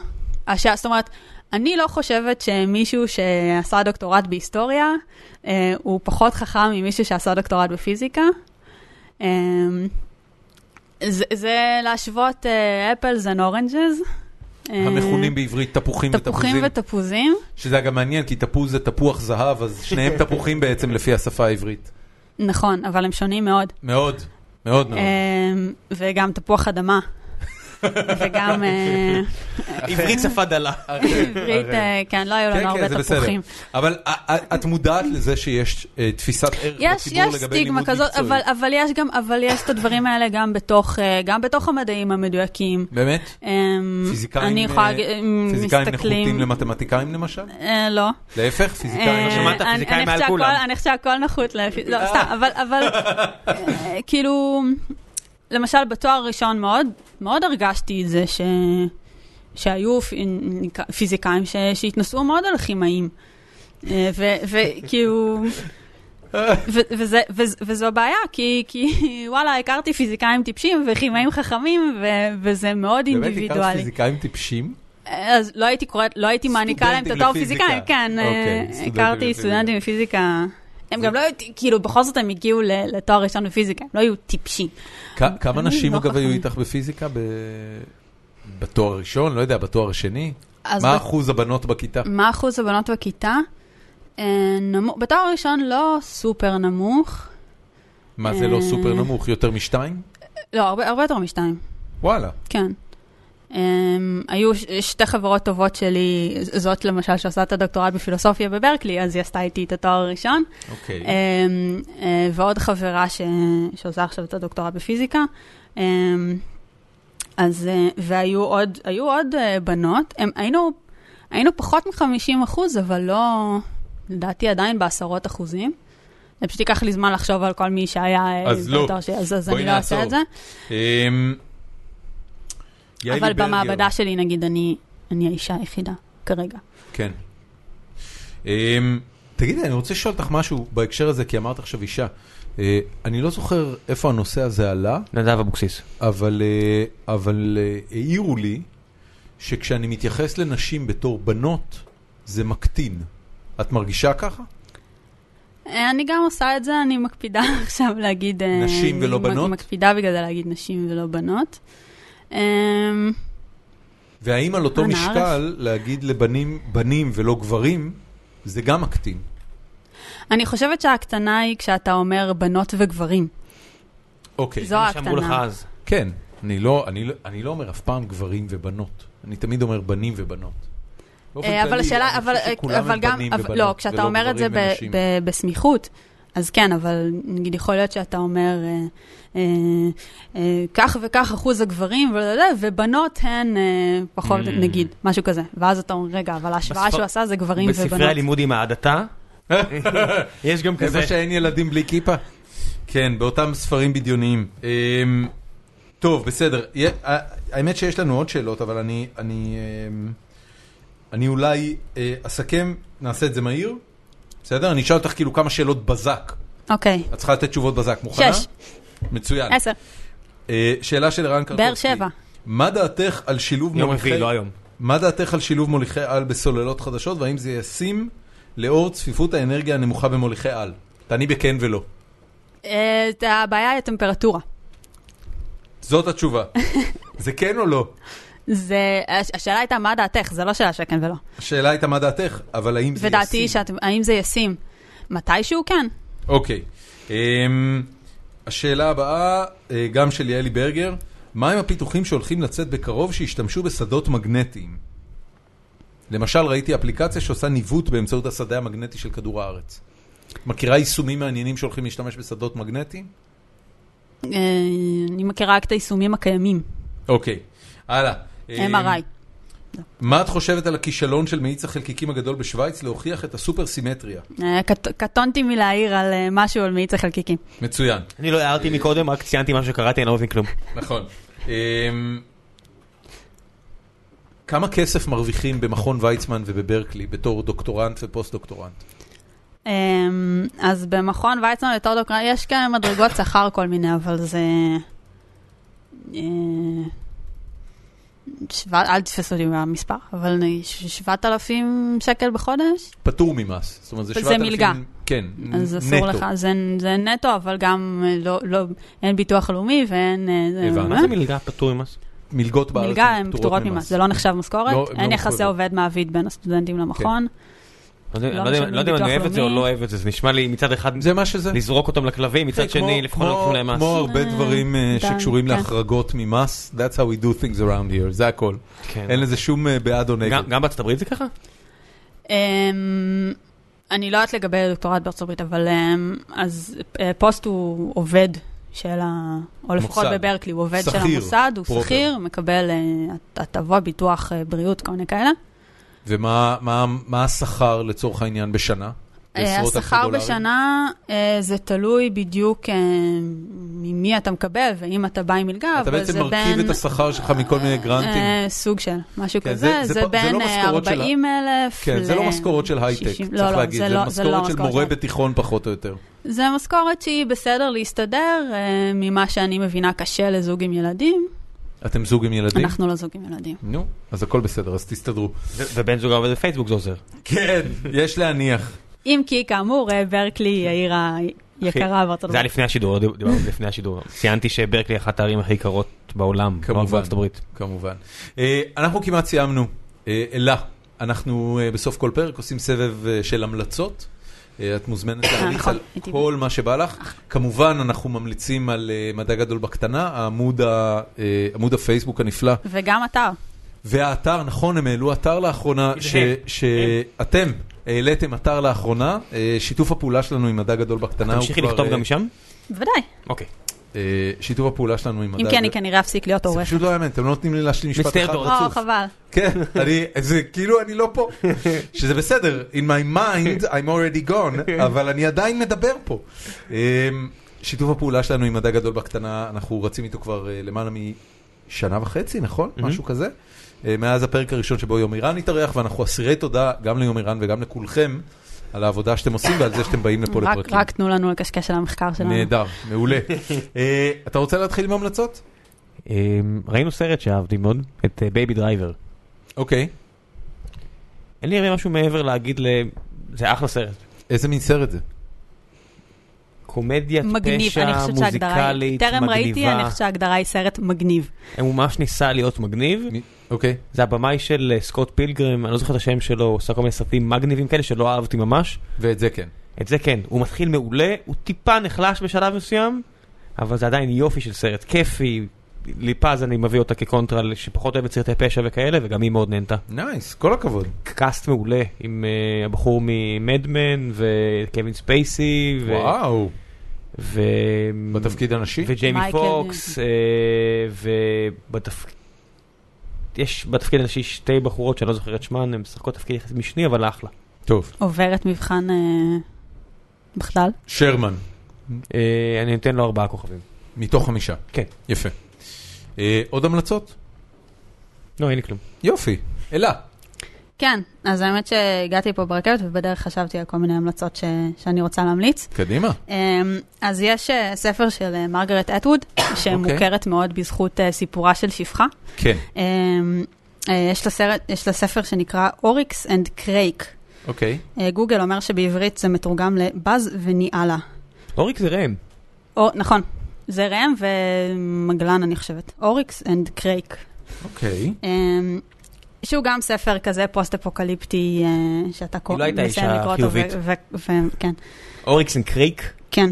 S3: השעה, זאת אומרת, אני לא חושבת שמישהו שעשה דוקטורט בהיסטוריה אה, הוא פחות חכם ממישהו שעשה דוקטורט בפיזיקה. אה, זה, זה להשוות אה, אפלס אנד אורנג'ז.
S1: המכונים בעברית תפוחים
S3: אה, תפוחים
S1: ותפוזים.
S3: ותפוזים.
S1: שזה אגב מעניין, כי תפוז זה תפוח זהב, אז שניהם תפוחים בעצם לפי השפה העברית.
S3: נכון, אבל הם שונים מאוד.
S1: מאוד, מאוד מאוד.
S3: אמ, וגם תפוח אדמה. וגם
S1: אוקיי.
S3: אה,
S2: עברית שפה דלה.
S3: עברית, אה, כן, לא היו
S1: כן,
S3: לנו
S1: כן, זה
S3: הרבה
S1: בסדר.
S3: תפוחים.
S1: אבל א- א- את מודעת לזה שיש אה, תפיסת ערך
S3: יש,
S1: בציבור
S3: יש
S1: לגבי
S3: סטיגמה
S1: לימוד
S3: כזאת, אבל,
S1: מקצועי.
S3: אבל יש גם, אבל יש את הדברים האלה גם בתוך, אה, גם בתוך המדעים המדויקים.
S1: באמת?
S3: אמ,
S1: פיזיקאים,
S3: אני יכולה
S1: אה,
S3: להגיד, אמ,
S1: פיזיקאים נחותים
S3: מסתכלים,
S1: למתמטיקאים למשל?
S3: אה, לא.
S1: להפך, פיזיקאים...
S2: לא
S3: אה,
S2: שמעת?
S3: אני-
S2: פיזיקאים
S3: אני
S2: מעל
S3: חושבת
S2: כולם.
S3: שהכל- אני חושבת שהכל נחות לפי... לא, סתם, אבל- אבל אה, כאילו, למשל בתואר ראשון מאוד, מאוד הרגשתי את זה ש... שהיו פ- נקרא- פיזיקאים ש... שהתנסו מאוד על כימאים. אה, ו- וכאילו... ו- וזה- ו- וזו בעיה, כי, כי וואלה, הכרתי פיזיקאים טיפשים וכימאים חכמים, ו- וזה מאוד
S1: באמת הכרת
S3: אינדיבידואלי.
S1: פיזיקאים טיפשים?
S3: אז לא הייתי קוראת, לא הייתי מעניקה להם את
S1: סטודנטים
S3: התואר
S1: לפיזיקה.
S3: פיזיקאים, כן,
S1: אוקיי,
S3: אה,
S1: סטודנטים
S3: הכרתי
S1: לפיזיקה.
S3: סטודנטים לפיזיקה. הם גם לא היו, כאילו, בכל זאת הם הגיעו ל- לתואר ראשון בפיזיקה, הם לא היו טיפשים.
S1: כ- כמה
S3: אני
S1: נשים
S3: לא
S1: אגב היו
S3: חכמה.
S1: איתך בפיזיקה? ב- בתואר הראשון? לא יודע, בתואר השני?
S3: אז
S1: מה
S3: ב-
S1: אחוז הבנות בכיתה?
S3: מה אחוז הבנות בכיתה? אה, נמוך- בתואר הראשון לא סופר נמוך,
S1: מה זה לא
S3: אה,
S1: סופר נמוך? יותר משתיים?
S3: לא, הרבה הרבה יותר משתיים.
S1: וואלה.
S3: כן. Um, היו ש- שתי חברות טובות שלי, ז- זאת למשל שעושה את הדוקטורט בפילוסופיה בברקלי, אז היא עשתה איתי את התואר הראשון, um,
S1: אוקיי.
S3: uh, ועוד חברה ש... שעושה עכשיו את הדוקטורט בפיזיקה. Um, אז, uh, והיו עוד, היו עוד uh, בנות, הם, היינו, היינו פחות מ-50 אחוז, אבל לא, לדעתי עדיין בעשרות אחוזים. זה פשוט ייקח לי זמן לחשוב על כל מי שהיה אה,
S1: אז לא.
S3: בתואר שלי, אז, אז
S1: בואי
S3: אני לא אעשה
S1: נעצור.
S3: את זה.
S1: אמ, יעלי
S3: אבל
S1: ברגר.
S3: במעבדה שלי, נגיד, אני, אני האישה היחידה כרגע.
S1: כן. אמ, תגידי, אני רוצה לשאול אותך משהו בהקשר הזה, כי אמרת עכשיו אישה. אה, אני לא זוכר איפה הנושא הזה עלה,
S2: נדב אבוקסיס.
S1: אבל, אה, אבל אה, העירו לי שכשאני מתייחס לנשים בתור בנות, זה מקטין. את מרגישה ככה?
S3: אה, אני גם עושה את זה, אני מקפידה עכשיו להגיד... אה,
S1: נשים ולא
S3: אני מק-
S1: בנות?
S3: מקפידה בגלל זה להגיד נשים ולא בנות. אה,
S1: והאם על אותו
S3: אנא
S1: משקל להגיד לבנים בנים ולא גברים, זה גם מקטין.
S3: אני חושבת שההקטנה היא כשאתה אומר בנות וגברים.
S1: אוקיי.
S3: זו
S2: מה שאמרו לך
S3: ההקטנה.
S2: אז.
S1: כן, אני לא, אני, לא- אני לא אומר אף פעם גברים ובנות, אני תמיד אומר בנים ובנות. באופן
S3: אה, אבל
S1: כללי,
S3: השאלה,
S1: אני
S3: אבל
S1: חושב שכולם
S3: אבל
S1: הם
S3: גם,
S1: בנים
S3: אבל-
S1: ובנות,
S3: לא, כשאתה
S1: ולא
S3: אומר את זה ב-
S1: גברים ונשים.
S3: ב- בסמיכות, אז כן, אבל נגיד יכול להיות שאתה אומר אה, אה, אה, כך וכך אחוז הגברים, ולא- ובנות הן אה, פחות,
S2: Mm.
S3: נגיד, משהו כזה. ואז אתה אומר, רגע, אבל ההשוואה
S2: בספר-
S3: שהוא עשה זה גברים
S2: בספרי
S3: ובנות.
S2: הלימוד עם ההדתה. יש גם כזה.
S1: איפה שאין ילדים בלי כיפה? כן, באותם ספרים בדיוניים. אמ, טוב, בסדר. יה- ה- האמת שיש לנו עוד שאלות, אבל אני, אני, אמ, אני אולי אה, אסכם, נעשה את זה מהיר. בסדר? אני אשאל אותך כאילו כמה שאלות בזק.
S3: אוקיי,
S1: את צריכה לתת תשובות בזק. מוכנה?
S3: שש,
S1: מצוין.
S3: עשר,
S1: אה, שאלה של ערן קרקובסקי.
S3: באר שבע.
S1: מה דעתך על שילוב
S2: יום
S1: מוליכי...
S2: רביעי, לא היום.
S1: מה דעתך על שילוב מוליכי על בסוללות חדשות, והאם זה ישים לאור צפיפות האנרגיה הנמוכה במוליכי על? תעני בכן ולא.
S3: אה, את הבעיה היא הטמפרטורה.
S1: זאת התשובה. זה כן או לא?
S3: זה, הש- השאלה הייתה, מה דעתך? זה לא שאלה של כן ולא.
S1: השאלה הייתה מה דעתך, אבל האם זה
S3: ודעתי היא
S1: ישים?
S3: שאתם- האם זה ישים? מתישהו כן.
S1: אוקיי. אמ, השאלה הבאה, אה, גם של יעלי ברגר, מה עם הפיתוחים שהולכים לצאת בקרוב שהשתמשו בשדות מגנטיים? למשל, ראיתי אפליקציה שעושה ניווט באמצעות השדה המגנטי של כדור הארץ. מכירה יישומים מעניינים שהולכים להשתמש בשדות מגנטיים?
S3: אה, אני מכירה רק את היישומים הקיימים,
S1: אוקיי, הלאה. אה,
S3: MRI.
S1: מה את חושבת על הכישלון של מאיץ החלקיקים הגדול בשוויץ להוכיח את הסופרסימטריה?
S3: אה, קט- קטונתי מלהעיר על אה, משהו על מאיץ החלקיקים.
S1: מצוין,
S2: אני לא הערתי מקודם, רק ציינתי מה שקראתי, אני לא מבין כלום.
S3: אה,
S1: נכון. אמ, כמה כסף מרוויחים במכון ויצמן ובברקלי בתור דוקטורנט ופוסט-דוקטורנט?
S3: אמ, אז במכון ויצמן לטורדוקרן יש כאן מדרגות שכר כל מיני, אבל זה... אה, שבע- אל תתפסו אותי במספר, אבל אני- ש- 7,000 שקל בחודש,
S1: פטור ממס. זאת אומרת, זה
S3: זה
S1: 7,000...
S3: מלגה.
S1: כן,
S3: אז
S1: נטו.
S3: אסור לך, זה, זה נטו, אבל גם אה, לא, לא, אין ביטוח לאומי ואין... אה, זה-
S1: הבנתי.
S2: מה זה מלגה פטור ממס?
S1: מלגות בארץ
S3: מלגה, הן פטורות ממס, זה לא נחשב משכורת,
S1: לא, הן
S3: אין
S1: לא
S3: יחסי
S1: מחויבות.
S3: עובד מעביד בין הסטודנטים למכון.
S2: אני לא
S3: לא
S2: יודע-
S3: משלמים
S2: לא יודע אם אני
S3: ביטוח
S2: אוהב את זה או
S3: לאומי.
S2: לא אוהב את זה, זה נשמע לי מצד אחד
S1: זה מה שזה.
S2: לזרוק אותם לכלבים, מצד
S1: כמו-
S2: שני לבחון
S1: כמו-
S2: לקחו להם מס.
S1: כמו הרבה
S3: אה,
S1: דברים אה,
S3: דן,
S1: שקשורים
S3: כן.
S1: להחרגות ממס, that's how we do things around here, זה הכל.
S2: כן.
S1: אין לזה שום אה, בעד או נגד.
S2: גם- גם בארצות הברית זה ככה?
S1: כן.
S3: אמ, אני לא יודעת לגבי הדוקטורט בארצות הברית, אבל אמ, אז אה, פוסט הוא עובד של ה... או לפחות
S1: מוסד.
S3: בברקלי, הוא עובד של
S1: שכיר,
S3: המוסד, הוא
S1: פרופר.
S3: שכיר, מקבל אה, הטבה, ביטוח, אה, בריאות, כל מיני כאלה.
S1: ומה מה- מה השכר לצורך העניין בשנה?
S3: אה,
S1: בעשרות אלפי
S3: השכר
S1: דולרים?
S3: בשנה אה, זה תלוי בדיוק אה, ממי אתה מקבל, ואם אתה בא עם מלגה,
S1: אתה
S3: אבל
S1: בעצם
S3: זה בין...
S1: מרכיב את השכר שלך מכל מיני גרנטים.
S3: אה, סוג של, משהו
S1: כן,
S3: כזה,
S1: זה- זה
S3: זה
S1: פ- זה
S3: בין
S1: לא
S3: אה,
S1: משכורות של ה-
S3: 40 אלף
S1: כן, זה לא
S3: ל-
S1: משכורות של הייטק,
S3: 60. לא,
S1: צריך
S3: לא,
S1: להגיד,
S3: זה
S1: זה
S3: לא- זה לא
S1: משכורת של מורה
S3: של-
S1: בתיכון פחות או יותר.
S3: זה משכורת שהיא בסדר להסתדר, אה, ממה שאני מבינה קשה לזוג עם ילדים.
S1: אתם זוג עם ילדים?
S3: אנחנו לא זוג עם ילדים.
S1: נו, אז הכל בסדר, אז תסתדרו.
S2: ו- ובן זוג עובד בפייסבוק זה עוזר.
S1: כן, יש להניח.
S3: אם כי, כאמור, אה, ברקלי היא
S1: אוקיי.
S3: העיר היקרה בארצות
S2: זה היה
S3: הברית.
S2: לפני השידור, לא דיברנו על זה לפני השידור. ציינתי שברקלי היא אחת הערים הכי יקרות בעולם, לא רק
S1: כמובן.
S2: בארצות הברית.
S1: כמובן. אה, אנחנו כמעט סיימנו. אה, אלה, אנחנו אה, בסוף כל פרק עושים סבב אה, של המלצות. אה, את מוזמנת להמליץ
S3: נכון,
S1: על
S3: הייתי- אה.
S1: כל מה שבא לך. כמובן, אנחנו ממליצים על אה, מדע גדול בקטנה, העמוד ה- אה, עמוד הפייסבוק הנפלא.
S3: וגם אתר.
S1: והאתר, נכון, הם העלו אתר לאחרונה,
S2: זה
S1: ש-
S2: הם.
S1: שאתם העליתם אתר לאחרונה, אה, שיתוף הפעולה שלנו עם מדע גדול בקטנה הוא כבר...
S2: תמשיכי לכתוב
S1: אה,
S2: גם משם?
S3: בוודאי.
S2: אוקיי.
S1: אה, שיתוף הפעולה שלנו עם מדע...
S3: אם כי אני כן
S1: גדול-
S3: כנראה אפסיק להיות
S1: זה
S3: עורך.
S1: פשוט לא האמת, אתם לא נותנים לי להשלים משפט
S2: מצטער,
S1: אחד
S2: דור.
S3: או,
S1: רצוף.
S3: חבל.
S1: כן, אני, זה כאילו אני לא פה, שזה בסדר, in my mind I'm already gone, אבל אני עדיין מדבר פה. אמ, שיתוף הפעולה שלנו עם מדע גדול בקטנה, אנחנו רצים איתו כבר אה, למעלה משנה וחצי, נכון?
S3: Mm-hmm.
S1: משהו כזה. אה, מאז הפרק הראשון שבו יום איראן התארח, ואנחנו אסירי תודה גם ליום איראן וגם לכולכם על העבודה שאתם עושים ועל זה שאתם באים לפה
S3: רק-
S1: לפרקים.
S3: רק תנו לנו לקשקש על המחקר שלנו.
S1: נהדר, מעולה. אה, אתה רוצה להתחיל עם המלצות?
S2: אמ, ראינו סרט שאהבתי מאוד, את אה, בייבי דרייבר.
S1: אוקיי.
S2: אין לי הרי משהו מעבר להגיד ל... זה אחלה סרט.
S1: איזה מין סרט זה?
S2: קומדיית
S3: מגניב, אני
S2: פשע,
S3: חושבת שההגדרה היא...
S2: מוזיקלית,
S3: טרם ראיתי, אני
S2: מגניבה.
S3: חושבת שההגדרה היא סרט מגניב.
S2: הוא ממש ניסה להיות מגניב.
S1: מי- אוקיי.
S2: זה הבמאי של אה, סקוט פילגרם, אני לא זוכר את השם שלו, הוא עושה כל מיני סרטים מגניבים כאלה שלא אהבתי ממש.
S1: ואת זה כן.
S2: את זה כן, הוא מתחיל מעולה, הוא טיפה נחלש בשלב מסוים, אבל זה עדיין יופי של סרט, כיפי. ליפז אני מביא אותה כקונטרה שפחות אוהבת סרטי פשע וכאלה, וגם היא מאוד נהנתה.
S1: נייס, כל הכבוד.
S2: קאסט מעולה עם אה, הבחור ממדמן וקווין ספייסי ו-
S1: וואו,
S2: ו...
S1: בתפקיד הנשי?
S2: וג'יימי
S3: מייקל
S2: פוקס, אה, ובתפקיד... יש בתפקיד הנשי שתי בחורות שאני לא זוכר את שמן, הן משחקות תפקיד יחסית משני, אבל אחלה.
S1: טוב.
S3: עוברת מבחן אה, בכלל.
S1: שרמן,
S2: אה, אני נותן לו ארבעה כוכבים.
S1: מתוך חמישה.
S2: כן.
S1: יפה. אה, עוד המלצות?
S2: לא, אין לי כלום.
S1: יופי. אלה.
S3: כן, אז האמת שהגעתי פה ברכבת ובדרך חשבתי על כל מיני המלצות ש... שאני רוצה להמליץ.
S1: קדימה.
S3: אמ, אז יש אה, ספר של אה, מרגרט אטווד,
S2: אוקיי.
S3: שמוכרת מאוד בזכות אה, סיפורה של שפחה.
S1: כן.
S3: אמ, אה, יש לה, סרט, יש לה ספר שנקרא אוריקס אנד קרייק.
S1: אוקיי.
S3: אה, גוגל אומר שבעברית זה מתורגם לבאז וניאלה.
S2: אוריק זה ראם.
S3: או, נכון, זה ראם ומגלן, אני חושבת. אוריקס אנד קרייק.
S1: אוקיי.
S3: אמ, שהוא גם ספר כזה פוסט-אפוקליפטי, אה, שאתה קורא,
S2: לא הייתה
S3: מסיים
S2: אישה
S3: לקרוא אותו, ו-
S2: חיובית.
S3: ו- ו- כן,
S2: אוריקס אנד קריק.
S3: כן,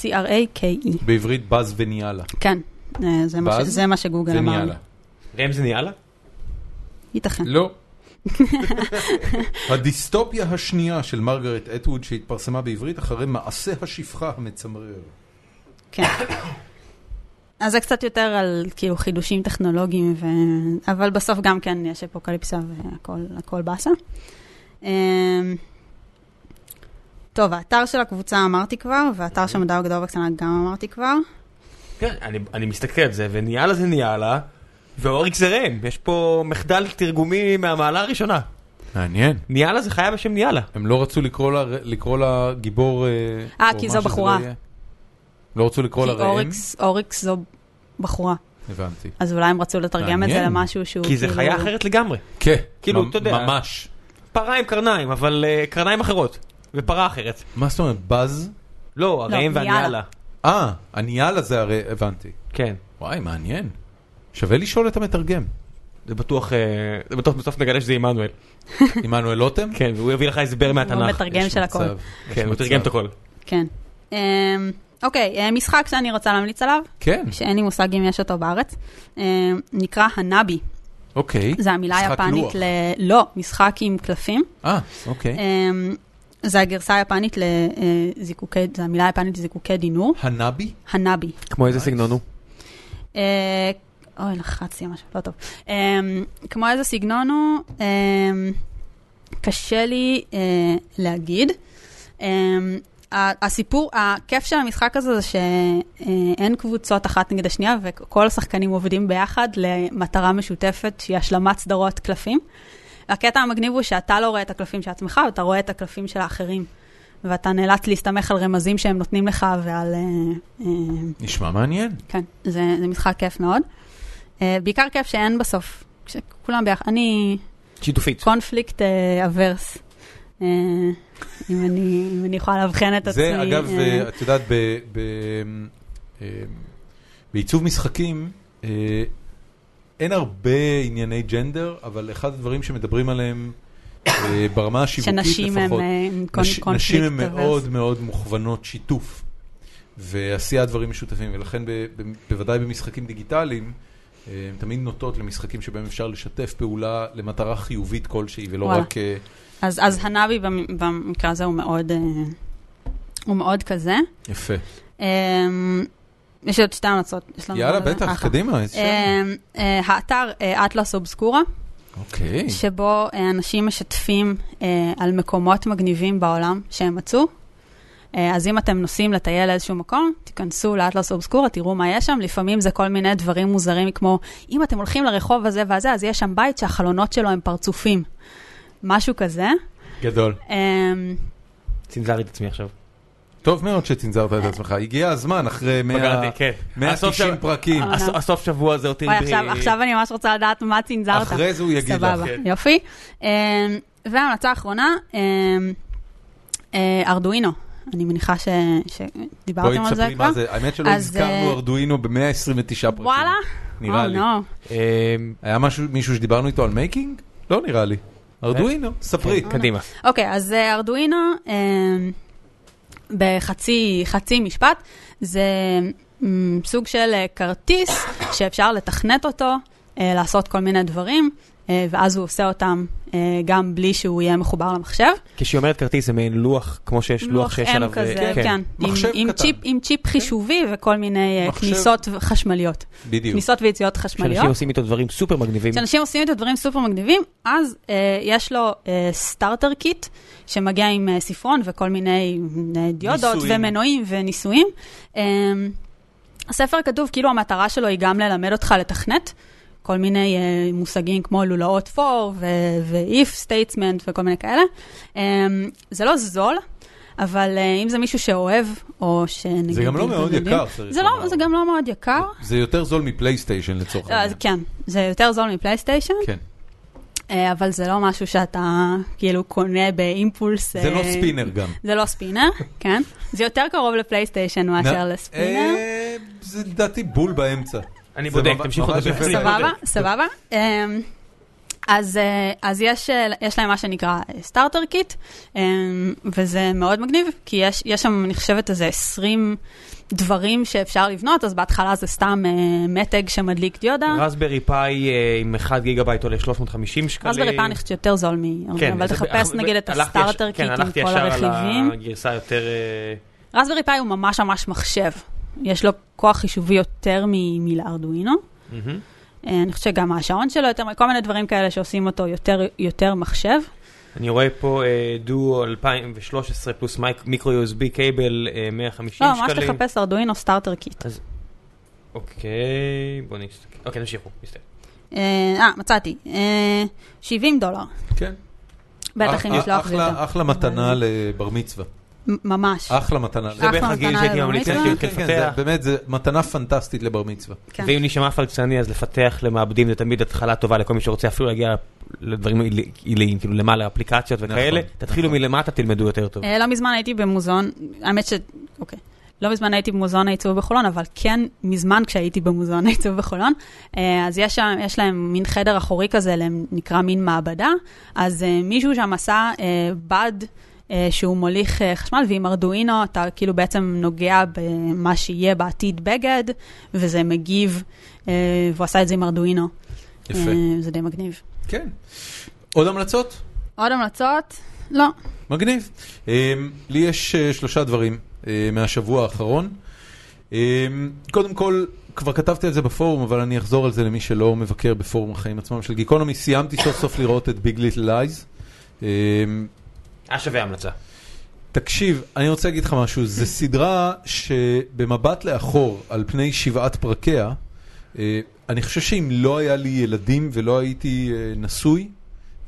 S3: C-R-A-K-E.
S1: בעברית בז וניאלה.
S3: E. כן, אה, זה מה ש-
S1: באז
S3: זה מה שגוגל
S1: זה
S3: אמר. לי.
S1: ניאלה.
S2: ראם זה ניאללה?
S3: ייתכן.
S1: לא. הדיסטופיה השנייה של מרגרט אטווד שהתפרסמה בעברית אחרי מעשה השפחה המצמרר.
S3: כן. אז זה קצת יותר על כאילו חידושים טכנולוגיים, ו... אבל בסוף גם כן יש אפוקליפסה והכל באסה. אמ, טוב, האתר של הקבוצה אמרתי כבר, והאתר של מדע הגדול והקטנה גם אמרתי כבר.
S2: כן, אני, אני מסתכל על זה, וניאללה זה ניאללה, ואוריק זה ראם. יש פה מחדל תרגומי מהמעלה הראשונה.
S1: מעניין.
S2: ניאללה זה חיה בשם ניאללה.
S1: הם לא רצו לקרוא לה, לקרוא לה גיבור...
S3: אה, כי זו בחורה.
S1: לא רצו לקרוא לה
S3: כי
S1: ראם?
S3: אוריקס, אוריקס זו בחורה,
S1: הבנתי.
S3: אז אולי הם רצו לתרגם את זה
S1: מעניין.
S3: למשהו שהוא
S2: כי זה
S3: כאילו-
S2: חיה אחרת לגמרי.
S1: כן.
S2: כאילו,
S1: ממ-
S2: אתה יודע.
S1: ממש.
S2: פרה עם קרניים, אבל אה, קרניים אחרות. ופרה אחרת.
S1: מה זאת אומרת, בז?
S2: לא,
S3: לא,
S2: הראם והניאללה.
S3: ניאללה.
S1: אה, הניאלה זה הרי, הבנתי.
S2: כן.
S1: וואי, מעניין. שווה לשאול את המתרגם.
S2: זה בטוח, אה, זה בטוח בסוף נגלה שזה עמנואל.
S1: עמנואל לוטם?
S2: כן, והוא יביא לך הסבר
S3: הוא
S2: מהתנ"ך.
S3: מתרגם של הכל.
S2: כן, הוא תרגם את הכל.
S3: כן. אמ, אוקיי, אה, משחק שאני רוצה להמליץ עליו,
S1: כן,
S3: שאין לי מושג אם יש אותו בארץ, אמ, נקרא הנבי.
S1: אוקיי.
S3: זה המילה
S1: משחק
S3: היפנית
S1: לוח.
S3: ל... לא, משחק עם קלפים.
S1: אה, אוקיי.
S3: אמ, זה הגרסה היפנית לזיקוקי, זה המילה היפנית לזיקוקי דינור,
S1: הנבי?
S3: הנבי.
S2: כמו איזה סגנון הוא?
S3: אה, אוי, לחצתי משהו, לא טוב. אמ, כמו איזה סגנון הוא, אמ, קשה לי אה, להגיד. אמ, ה- הסיפור, הכיף של המשחק הזה זה שאין קבוצות אחת נגד השנייה וכל השחקנים עובדים ביחד למטרה משותפת שהיא השלמת סדרות קלפים. הקטע המגניב הוא שאתה לא רואה את הקלפים של עצמך, אתה רואה את הקלפים של האחרים. ואתה נאלץ להסתמך על רמזים שהם נותנים לך ועל אה, אה,
S1: נשמע מעניין.
S3: כן, זה, זה משחק כיף מאוד. Uh, בעיקר כיף שאין בסוף, כשכולם ביחד. אני
S2: שיתופית.
S3: קונפליקט אברס, uh, אם, אני, אם אני יכולה לאבחן את
S1: זה
S3: עצמי.
S1: אגב,
S3: אה,
S1: אה, את יודעת, ב- ב- אה, בעיצוב משחקים, אה, אין הרבה ענייני ג'נדר, אבל אחד הדברים שמדברים עליהם אה, ברמה השיווקית לפחות,
S3: שנשים הם אה, עם קונ-
S1: נש-
S3: קונפליקט
S1: נשים הן
S3: אברס.
S1: מאוד מאוד מוכוונות שיתוף ועשיית דברים משותפים, ולכן ב, ב, בוודאי במשחקים דיגיטליים, אה, הן תמיד נוטות למשחקים שבהם אפשר לשתף פעולה למטרה חיובית כלשהי, ולא
S3: וואלה.
S1: רק... אה,
S3: אז, אז הנבי במ- במקרה הזה הוא מאוד, אה, הוא מאוד כזה.
S1: יפה.
S3: אה, יש לי עוד שתי המלצות. יש לנו
S1: יאללה,
S3: עוד איזה?
S1: בטח,
S3: לא אחלה.
S1: קדימה, איזה
S3: אה,
S1: שאלה.
S3: אה, האתר אטלס אובסקורה,
S1: אוקיי.
S3: שבו אה, אנשים משתפים אה, על מקומות מגניבים בעולם שהם מצאו. אה, אז אם אתם נוסעים לטייל לאיזשהו מקום, תיכנסו לאטלס אובסקורה, תראו מה יש שם. לפעמים זה כל מיני דברים מוזרים, כמו אם אתם הולכים לרחוב הזה והזה, אז יש שם בית שהחלונות שלו הם פרצופים. משהו כזה.
S1: גדול.
S3: אה,
S2: צנזר את עצמי עכשיו.
S1: טוב מאוד שצנזרת את עצמך, הגיע הזמן אחרי מאה-
S2: פגעתי, כן. הסוף
S1: 190
S2: של-
S1: פרקים.
S3: אה,
S2: הס- הסוף שבוע הזה אותי...
S3: וואי,
S2: ב-
S3: עכשיו, עכשיו אני ממש רוצה לדעת מה צנזרת.
S1: אחרי זה הוא יגיד לך.
S3: סבבה,
S2: כן.
S3: יופי. אה, וההמלצה האחרונה, אה, אה, ארדואינו. אני מניחה ש-
S1: בואי
S3: שדיברתם על זה
S1: תספרי
S3: כבר.
S1: מה זה, האמת שלא
S3: אז,
S1: הזכרנו
S3: אה,
S1: ארדואינו ב-129 פרקים.
S3: וואלה?
S1: נראה
S3: Oh,
S1: לי.
S3: no.
S2: אה,
S1: היה משהו- מישהו שדיברנו איתו על מייקינג? לא נראה לי. ארדואינו, ספרי.
S2: כן, קדימה.
S3: אוקיי, אז אה, ארדואינו, אה, בחצי חצי משפט, זה מ, סוג של אה, כרטיס שאפשר לתכנת אותו, אה, לעשות כל מיני דברים, אה, ואז הוא עושה אותם אה, גם בלי שהוא יהיה מחובר למחשב.
S2: כשהיא אומרת כרטיס זה מעין לוח, כמו שיש לוח שיש
S3: M
S2: עליו... אה,
S3: כזה, כן. עם-
S1: מחשב
S3: עם
S1: קטן.
S3: צ'יפ- עם צ'יפ חישובי וכל מיני אה,
S1: מחשב.
S3: כניסות ו- חשמליות.
S1: בדיוק.
S3: כניסות ויציאות
S2: שאנשים
S3: חשמליות.
S2: עושים איתו דברים סופר מגניבים.
S3: כשאנשים עושים את הדברים סופר מגניבים, אז אה, יש לו אה, סטארטר קיט, שמגיע עם אה, ספרון וכל מיני אה, דיודות
S1: ניסויים.
S3: ומנועים וניסויים. אה, הספר כתוב כאילו המטרה שלו היא גם ללמד אותך לתכנת. כל מיני אה, מושגים כמו לולאות for ו-if statement וכל מיני כאלה. אה, זה לא זול, אבל אה, אם זה מישהו שאוהב, או שנגיד...
S1: זה גם לא
S3: אם אתם
S1: מאוד
S3: יודעים-
S1: יקר, צריך
S3: זה, לא,
S1: לומר.
S3: זה גם לא מאוד יקר.
S1: זה יותר זול מפלייסטיישן לצורך
S3: לא, אז
S1: העניין.
S3: כן, זה יותר זול מפלייסטיישן.
S1: כן.
S3: אה, אבל זה לא משהו שאתה כאילו קונה באימפולס.
S1: זה
S3: אה,
S1: לא ספינר גם.
S3: זה לא ספינר, כן. זה יותר קרוב לפלייסטיישן מאשר
S1: נ-
S3: לספינר.
S1: אה, זה לדעתי בול באמצע.
S2: אני
S1: זה
S2: בודק,
S1: ממש-
S2: תמשיכו
S1: ממש
S2: לדבר.
S1: יפה.
S2: אני
S3: סבבה,
S2: בודק.
S3: סבבה. אמ, אז, אה, אז יש, אה, יש להם מה שנקרא סטארטר קיט, וזה מאוד מגניב, כי יש, יש שם, אני חושבת, איזה 20 דברים שאפשר לבנות, אז בהתחלה זה סתם אה, מתג שמדליק דיודה.
S2: רסברי פאי אה, עם 1 גיגה בייט עולה 350 שקלים.
S3: אז ברפאה אני חושבת שיותר זול מ...
S2: כן,
S3: אבל
S2: זה-
S3: תחפש
S2: אה,
S3: נגיד את
S2: הלכתי ישר-
S3: הסטארטר קיט
S2: כן,
S3: עם
S2: הלכתי
S3: כל
S2: ישר
S3: הרכיבים.
S2: על הגרסה יותר... אה,
S3: רסברי פאי הוא ממש ממש מחשב. יש לו כוח חישובי יותר מ- מלארדואינו.
S2: מהמם.
S3: אה, אני חושבת שגם השעון שלו יותר, כל מיני דברים כאלה שעושים אותו יותר, יותר מחשב.
S2: אני רואה פה אה, דו 2013 פלוס מייק- מיקרו USB קייבל אה, 150
S3: לא,
S2: שקלים.
S3: ממש תחפש ארדואינו סטארטר קיט.
S2: אוקיי, בוא נסתכל. אוקיי, נמשיכו, נסתכל.
S3: אה, אה, מצאתי. אה, 70 דולר.
S1: כן.
S2: אה,
S3: בטח אם
S1: אח-
S3: לשלוח זה
S1: אה, אחלה-
S3: יותר.
S1: אחלה
S3: אה.
S1: מתנה לבר מצווה.
S3: מ- ממש.
S1: אחלה מתנה.
S2: זה בערך
S3: אחלה
S2: הגיל
S3: מתנה
S2: שהייתי
S3: לבר
S2: ממליץ
S3: מצווה.
S2: להשאיר
S1: כן, כן, זה-
S2: כמפתח.
S1: באמת, זו מתנה פנטסטית לבר מצווה.
S3: כן.
S2: ואם נשמע פלצני, אז לפתח למעבדים זה תמיד התחלה טובה לכל מי שרוצה אפילו להגיע לדברים עילאיים, כאילו למעלה, אפליקציות וכאלה.
S1: נכון,
S2: תתחילו
S1: נכון.
S2: מלמטה, תלמדו יותר טוב.
S3: אה, לא מזמן הייתי במוזיאון, האמת ש... אוקיי. לא מזמן הייתי במוזיאון העיצוב בחולון, אבל כן מזמן כשהייתי במוזיאון העיצוב בחולון. אה, אז יש, שם, יש להם מין חדר אחורי כזה, להם נקרא מין מעבדה. אז אה, מישהו שם עשה אה, בד אה, שהוא מוליך אה, חשמל, ועם ארדואינו אתה כאילו בעצם נוגע במה שיהיה בעתיד בגד, וזה מגיב, אה, והוא עשה את זה עם ארדואינו.
S1: יפה.
S3: אה, זה די מגניב.
S1: כן. עוד המלצות?
S3: עוד המלצות? לא.
S1: מגניב. אמ, לי יש אה, שלושה דברים אה, מהשבוע האחרון. אמ, קודם כל, כבר כתבתי על זה בפורום, אבל אני אחזור על זה למי שלא מבקר בפורום החיים עצמם של גיקונומי. סיימתי סוף סוף לראות את ביג ליטל לייז. אמ,
S2: היה שווה המלצה.
S1: תקשיב, אני רוצה להגיד לך משהו, זו סדרה שבמבט לאחור, על פני שבעת פרקיה, אה, אני חושב שאם לא היה לי ילדים ולא הייתי אה, נשוי,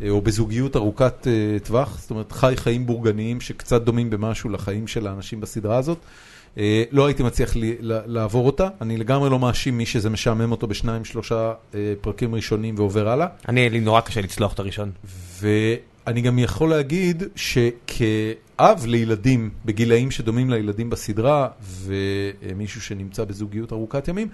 S1: אה, או בזוגיות ארוכת אה, טווח, זאת אומרת חי חיים בורגניים שקצת דומים במשהו לחיים של האנשים בסדרה הזאת, אה, לא הייתי מצליח לי, ל- לעבור אותה. אני לגמרי לא מאשים מי שזה משעמם אותו בשניים שלושה אה, פרקים ראשונים ועובר הלאה.
S2: אני, לי נורא קשה לצלוח את הראשון.
S1: ואני גם יכול להגיד שכאב לילדים בגילאים שדומים לילדים בסדרה, ומישהו שנמצא בזוגיות ארוכת ימים,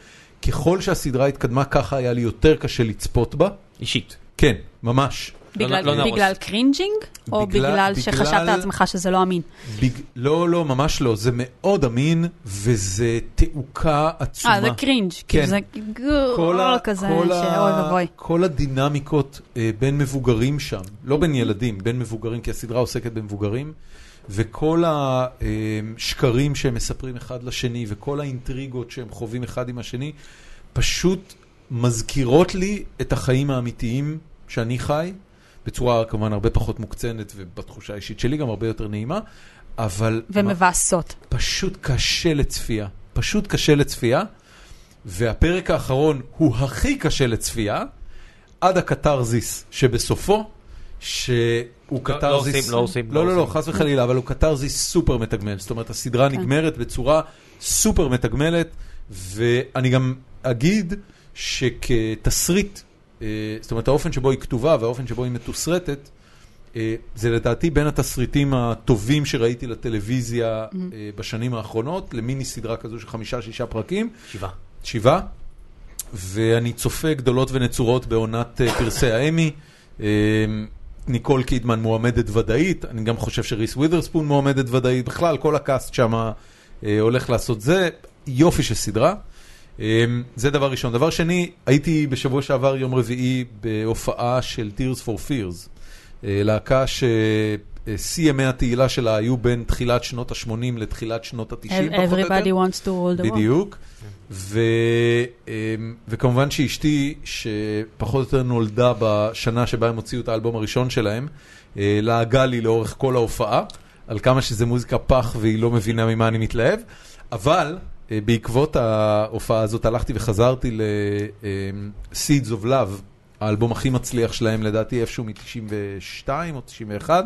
S1: ככל שהסדרה התקדמה ככה היה לי יותר קשה לצפות בה.
S2: אישית.
S1: כן, ממש.
S3: בגלל,
S2: לא נהרוס.
S3: בגלל קרינג'ינג, או
S1: בגלל-
S3: בגלל,
S1: בגלל-
S3: שחשבת לעצמך שזה לא אמין?
S1: בג... לא, לא, ממש לא. זה מאוד אמין, וזה תעוקה עצומה.
S3: אה, זה קרינג', כאילו זה
S1: כן. כל,
S3: גול
S1: ה-
S3: לא כזה,
S1: כל,
S3: שאוי ואבוי.
S1: כל הדינמיקות אה, בין מבוגרים שם, לא בין ילדים, בין מבוגרים, כי הסדרה עוסקת במבוגרים, וכל השקרים שהם מספרים אחד לשני, וכל האינטריגות שהם חווים אחד עם השני, פשוט מזכירות לי את החיים האמיתיים שאני חי, בצורה כמובן הרבה פחות מוקצנת, ובתחושה האישית שלי גם הרבה יותר נעימה, אבל...
S3: ומבאסות.
S1: פשוט קשה לצפייה. פשוט קשה לצפייה, והפרק האחרון הוא הכי קשה לצפייה, עד הקתרזיס שבסופו, שהוא
S2: לא
S1: קתרזיס...
S2: עושים, לא עושים,
S1: לא,
S2: לא
S1: לא, לא,
S2: עושים.
S1: חס וחלילה, אבל הוא קתרזיס סופר מתגמל. זאת אומרת, הסדרה
S3: כן.
S1: נגמרת בצורה סופר מתגמלת, ואני גם אגיד שכתסריט, אה, זאת אומרת, האופן שבו היא כתובה והאופן שבו היא מתוסרטת, אה, זה לדעתי בין התסריטים הטובים שראיתי לטלוויזיה אה, בשנים האחרונות, למיני סדרה כזו של חמישה-שישה פרקים,
S2: שבעה.
S1: שבעה, ואני צופה גדולות ונצורות בעונת אה, פרסי האמי. אה, ניקול קידמן מועמדת ודאית, אני גם חושב שריס ווית'רספון מועמדת ודאית, בכלל כל הקאסט שם אה, הולך לעשות זה, יופי של סדרה. אה, זה דבר ראשון. דבר שני, הייתי בשבוע שעבר יום רביעי בהופעה של Tears for Fears, אה, להקה ששיא ימי התהילה שלה היו בין תחילת שנות ה-80 לתחילת שנות ה-90 פחות או יותר.
S3: Everybody wants to rule the world.
S1: בדיוק. ו, אמ, וכמובן שאשתי, שפחות או יותר נולדה בשנה שבה הם הוציאו את האלבום הראשון שלהם, אה, לעגה לי לאורך כל ההופעה, על כמה שזה מוזיקה פח והיא לא מבינה ממה אני מתלהב, אבל אה, בעקבות ההופעה הזאת הלכתי וחזרתי ל-Seeds of Love, האלבום הכי מצליח שלהם לדעתי איפשהו מ-92 או 91.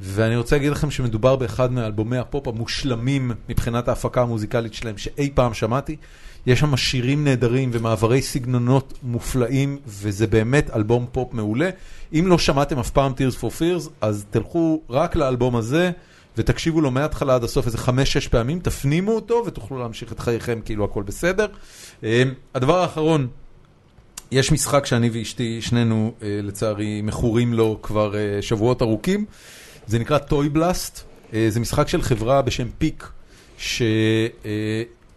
S1: ואני רוצה להגיד לכם שמדובר באחד מאלבומי הפופ המושלמים מבחינת ההפקה המוזיקלית שלהם שאי פעם שמעתי. יש שם שירים נהדרים ומעברי סגנונות מופלאים, וזה באמת אלבום פופ מעולה. אם לא שמעתם אף פעם Tears for Fears, אז תלכו רק לאלבום הזה, ותקשיבו לו מההתחלה עד הסוף איזה חמש-שש פעמים, תפנימו אותו ותוכלו להמשיך את חייכם כאילו הכל בסדר. אה, הדבר האחרון אמ, יש משחק שאני ואשתי, שנינו אה, לצערי מכורים לו כבר אה, שבועות ארוכים, זה נקרא טוי בלאסט, אה, זה משחק של חברה בשם פיק, שהם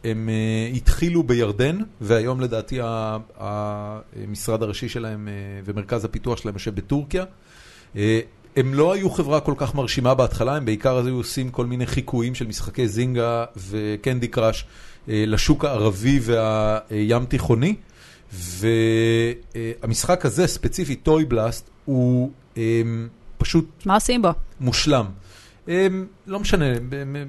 S1: אה, הם, אה, התחילו בירדן, והיום לדעתי ה- המשרד הראשי שלהם אה, ומרכז הפיתוח שלהם יושב בטורקיה. אה, הם לא היו חברה כל כך מרשימה בהתחלה, הם בעיקר אז היו עושים כל מיני חיקויים של משחקי זינגה וקנדי קראש אה, לשוק הערבי והים תיכוני. והמשחק הזה, ספציפית, טוי בלאסט, הוא אה, פשוט
S3: מה עושים בו?
S1: מושלם. הם, לא משנה, הם, הם, הם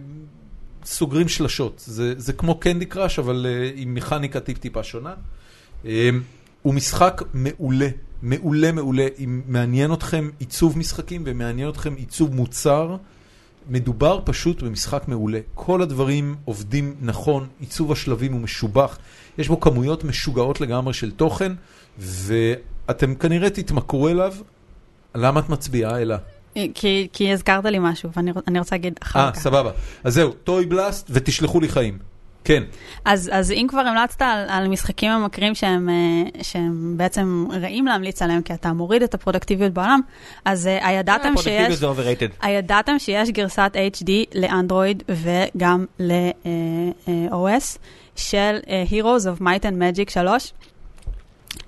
S1: סוגרים שלשות. זה, זה כמו קנדי קראש, אבל אה, עם מכניקה טיפ-טיפה שונה. הם, הוא משחק מעולה, מעולה מעולה. אם מעניין אתכם עיצוב משחקים ומעניין אתכם עיצוב מוצר, מדובר פשוט במשחק מעולה. כל הדברים עובדים נכון, עיצוב השלבים הוא משובח, יש בו כמויות משוגעות לגמרי של תוכן, ואתם כנראה תתמכרו אליו. למה את מצביעה, אלה?
S3: אה, כי, כי הזכרת לי משהו, ואני רוצ- אני רוצה להגיד אחר
S1: אה,
S3: כך.
S1: סבבה. אז זהו, טוי בלאסט ותשלחו לי חיים. כן,
S3: אז, אז אם כבר המלצת על, על משחקים ממכרים שהם, אה, שהם בעצם רעים להמליץ עליהם, כי אתה מוריד את הפרודקטיביות בעולם, אז אה, הידעתם
S2: הפרודקטיביות
S3: שיש...
S2: זה overrated.
S3: הידעתם שיש גרסת HD לאנדרואיד וגם ל-OS של אה, Heroes of Might and Magic 3?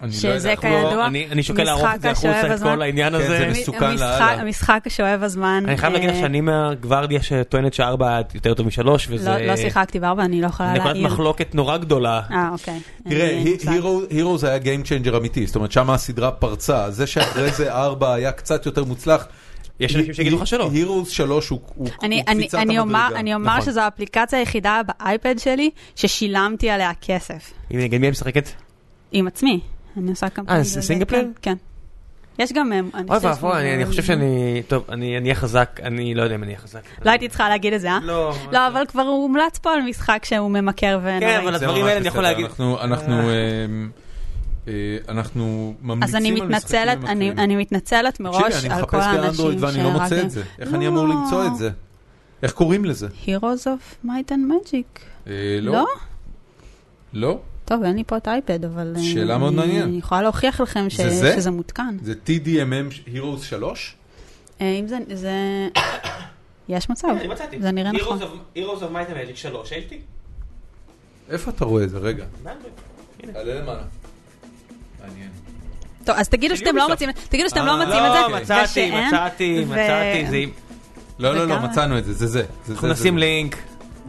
S1: אני
S3: שזה
S1: לא יודע איך
S3: כידוע,
S1: לא-
S2: לא, אני אני שוקל לערוך את זה
S3: משחק השואב
S2: החוצה, את
S3: הזמן.
S2: כל העניין
S1: כן,
S2: הזה.
S1: זה מסוכן לאללה.
S3: המשחק שואב הזמן.
S2: אני חייב להגיד לך
S3: אה,
S2: שאני מהגוורדיה שטוענת שארבע יותר טוב משלוש, וזה...
S3: לא לא שיחקתי בארבע, אני לא יכולה
S2: נקודת
S3: להעיר.
S2: מחלוקת נורא גדולה.
S3: אה, אוקיי. אין
S1: תראה,
S3: לי מושג.
S1: הירו זה היה Game Changer אמיתי, זאת אומרת, שם הסדרה פרצה, זה שאחרי זה 4 היה קצת יותר מוצלח.
S2: יש אנשים שיגידו לך שלא.
S1: הירו 3 הוא הוא- הוא
S3: אני,
S1: קפיצת המדרגה.
S3: אני, אני, אומר, אני אומר
S2: נכון.
S3: שזו האפליקציה היחידה באייפד שלי ששילמתי עליה כסף.
S2: הנה, נגד מי את משחקת?
S3: עם עצמי. אני עושה קמפיין.
S2: אה, זה
S3: וזה,
S2: סינגל פלייר?
S3: כן, כן. יש גם... אה, אני
S2: אוי
S3: חושבת
S2: ואבוי,
S3: שזה-
S2: אני- אני חושב שאני... טוב, אני אני אהיה חזק, אני לא יודע אם אני אהיה חזק.
S3: לא הייתי צריכה להגיד את זה, אה?
S2: לא.
S3: לא, אבל כבר הוא הומלץ פה על משחק שהוא ממכר ונוראי.
S2: כן, אבל
S1: זה
S2: הדברים
S1: ממש
S2: האלה אני יכול
S1: בסדר,
S2: להגיד.
S1: אנחנו- אנחנו, אמ, אה, אנחנו ממליצים
S3: אז
S1: על
S3: אני
S1: משחקים
S3: מתנצלת, אני,
S1: ממכרים.
S3: אני מתנצלת מראש
S1: תקשיבי, אני
S3: על
S1: מחפש
S3: כל האנשים
S1: באנדרואיד ואני לא מוצא
S3: שהרגתי.
S1: את זה. איך אני
S3: לא.
S1: אמור למצוא את זה? איך קוראים לזה?
S3: Heroes of Might and Magic.
S1: אה,
S3: לא?
S1: לא?
S3: טוב, אין לי פה את האייפד, אבל... אה,
S1: שאלה מאוד
S3: אני-
S1: מעניינת.
S3: אני יכולה להוכיח לכם ש-
S1: זה זה?
S3: שזה מותקן.
S1: זה TDMM Heroes 3?
S3: אה, אם זה... זה... יש מצב. זה נראה נכון.
S2: Heroes of Might and Magic 3, HD.
S1: איפה אתה רואה את זה? רגע. תעלה למעלה. מעניין.
S3: טוב, אז תגידו שאתם לא
S2: יוביסופט.
S3: מוצאים תגידו שאתם לא
S1: אה,
S3: מוצאים את
S1: לא,
S3: זה.
S2: לא, מצאתי,
S3: ושאין,
S2: מצאתי,
S3: ו-
S2: מצאתי, זה...
S1: לא, לא, לא,
S3: וכמה?
S1: מצאנו את זה, זה זה. זה
S2: אנחנו
S1: זה,
S2: נשים
S1: זה.
S2: לינק.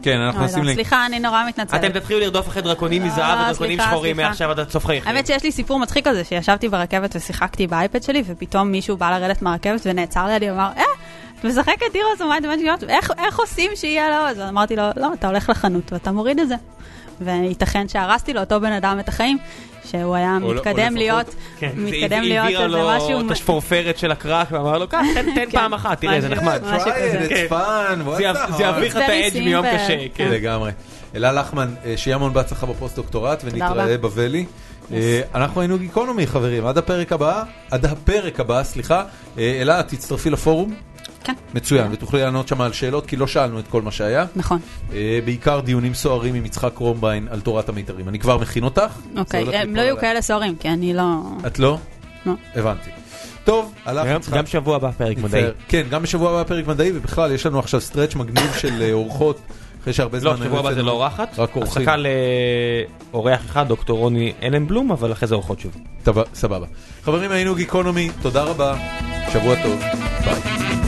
S1: כן,
S3: אוי,
S1: אנחנו
S3: לא,
S1: נשים לינק.
S3: סליחה, אני נורא
S2: אתם
S3: מתנצלת.
S2: תתחילו לרדוף אחרי דרקונים
S3: לא,
S2: מזהב ודרקונים
S3: סליחה,
S2: שחורים
S3: סליחה.
S2: מעכשיו עד עד סוף חייכם.
S3: האמת שיש לי סיפור מצחיק על זה, שישבתי ברכבת ושיחקתי באייפד שלי, ופתאום מישהו בא לרדת מהרכבת ונעצר לידי ואמר, אה, את משחקת הירוס ומאי דמי שגיאות, איך עושים שיהיה לו? אז אמרתי לו, לא, אתה הולך לחנות ואתה מוריד את זה. וייתכן שהרסתי לאותו בן אדם את החיים, שהוא היה
S1: או
S3: מתקדם
S1: לפחות-
S3: להיות,
S2: כן.
S3: מתקדם
S2: זה
S3: להיות
S2: הבהירה
S3: איזה
S2: לו
S3: משהו... כן.
S2: את השפורפרת של הקרק ואמר לו, קח, תן- תן פעם אחת, תראה, זה
S3: משהו-
S2: נחמד.
S1: Yeah,
S3: משהו
S1: try
S3: כזה.
S1: it, it's fun, what
S2: כן. זה
S1: the hell?
S2: יב- זה יביא לך את
S3: מעצבן
S2: האדג'
S3: ניסים
S2: מיום
S3: ב-
S2: קשה, כן.
S1: נכון. לגמרי. אלה לחמן, אה, שיהיה המון בהצלחה בפוסט-דוקטורט, ונתראה
S3: רבה.
S1: בבלי. אה, אנחנו היינו גיקונומי, חברים, עד הפרק הבא, עד הפרק הבא, סליחה. אה, אלה, תצטרפי לפורום,
S3: כן,
S1: מצוין, ותוכלי לענות שם על שאלות, כי לא שאלנו את כל מה שהיה.
S3: נכון.
S1: אה, בעיקר דיונים סוערים עם יצחק קרומביין על תורת המיתרים. אני כבר מכין אותך. זה הולך
S3: אוקיי, הם
S1: ליפול
S3: לא יהיו
S1: עליי.
S3: כאלה סוהרים, כי אני לא...
S1: את לא?
S3: לא.
S1: הבנתי. טוב, הלך
S2: גם-
S1: יצחק.
S2: גם שבוע הבא פרק מדעי.
S1: מצטער. כן, גם בשבוע הבא פרק מדעי, ובכלל יש לנו עכשיו סטרץ' מגניב של אה, אורחות, אחרי שהרבה זמן...
S2: לא,
S1: היו
S2: שבוע הבא זה
S1: אצלנו
S2: לא אורחת.
S1: רק אורחים.
S2: הפסקה לאורח אחד, דוקטור רוני אלנבלום, אבל אחרי זה אורחות שוב.
S1: טוב, סבבה. חברים, היינו גיקונומי, תודה רבה, שבוע טוב, ביי.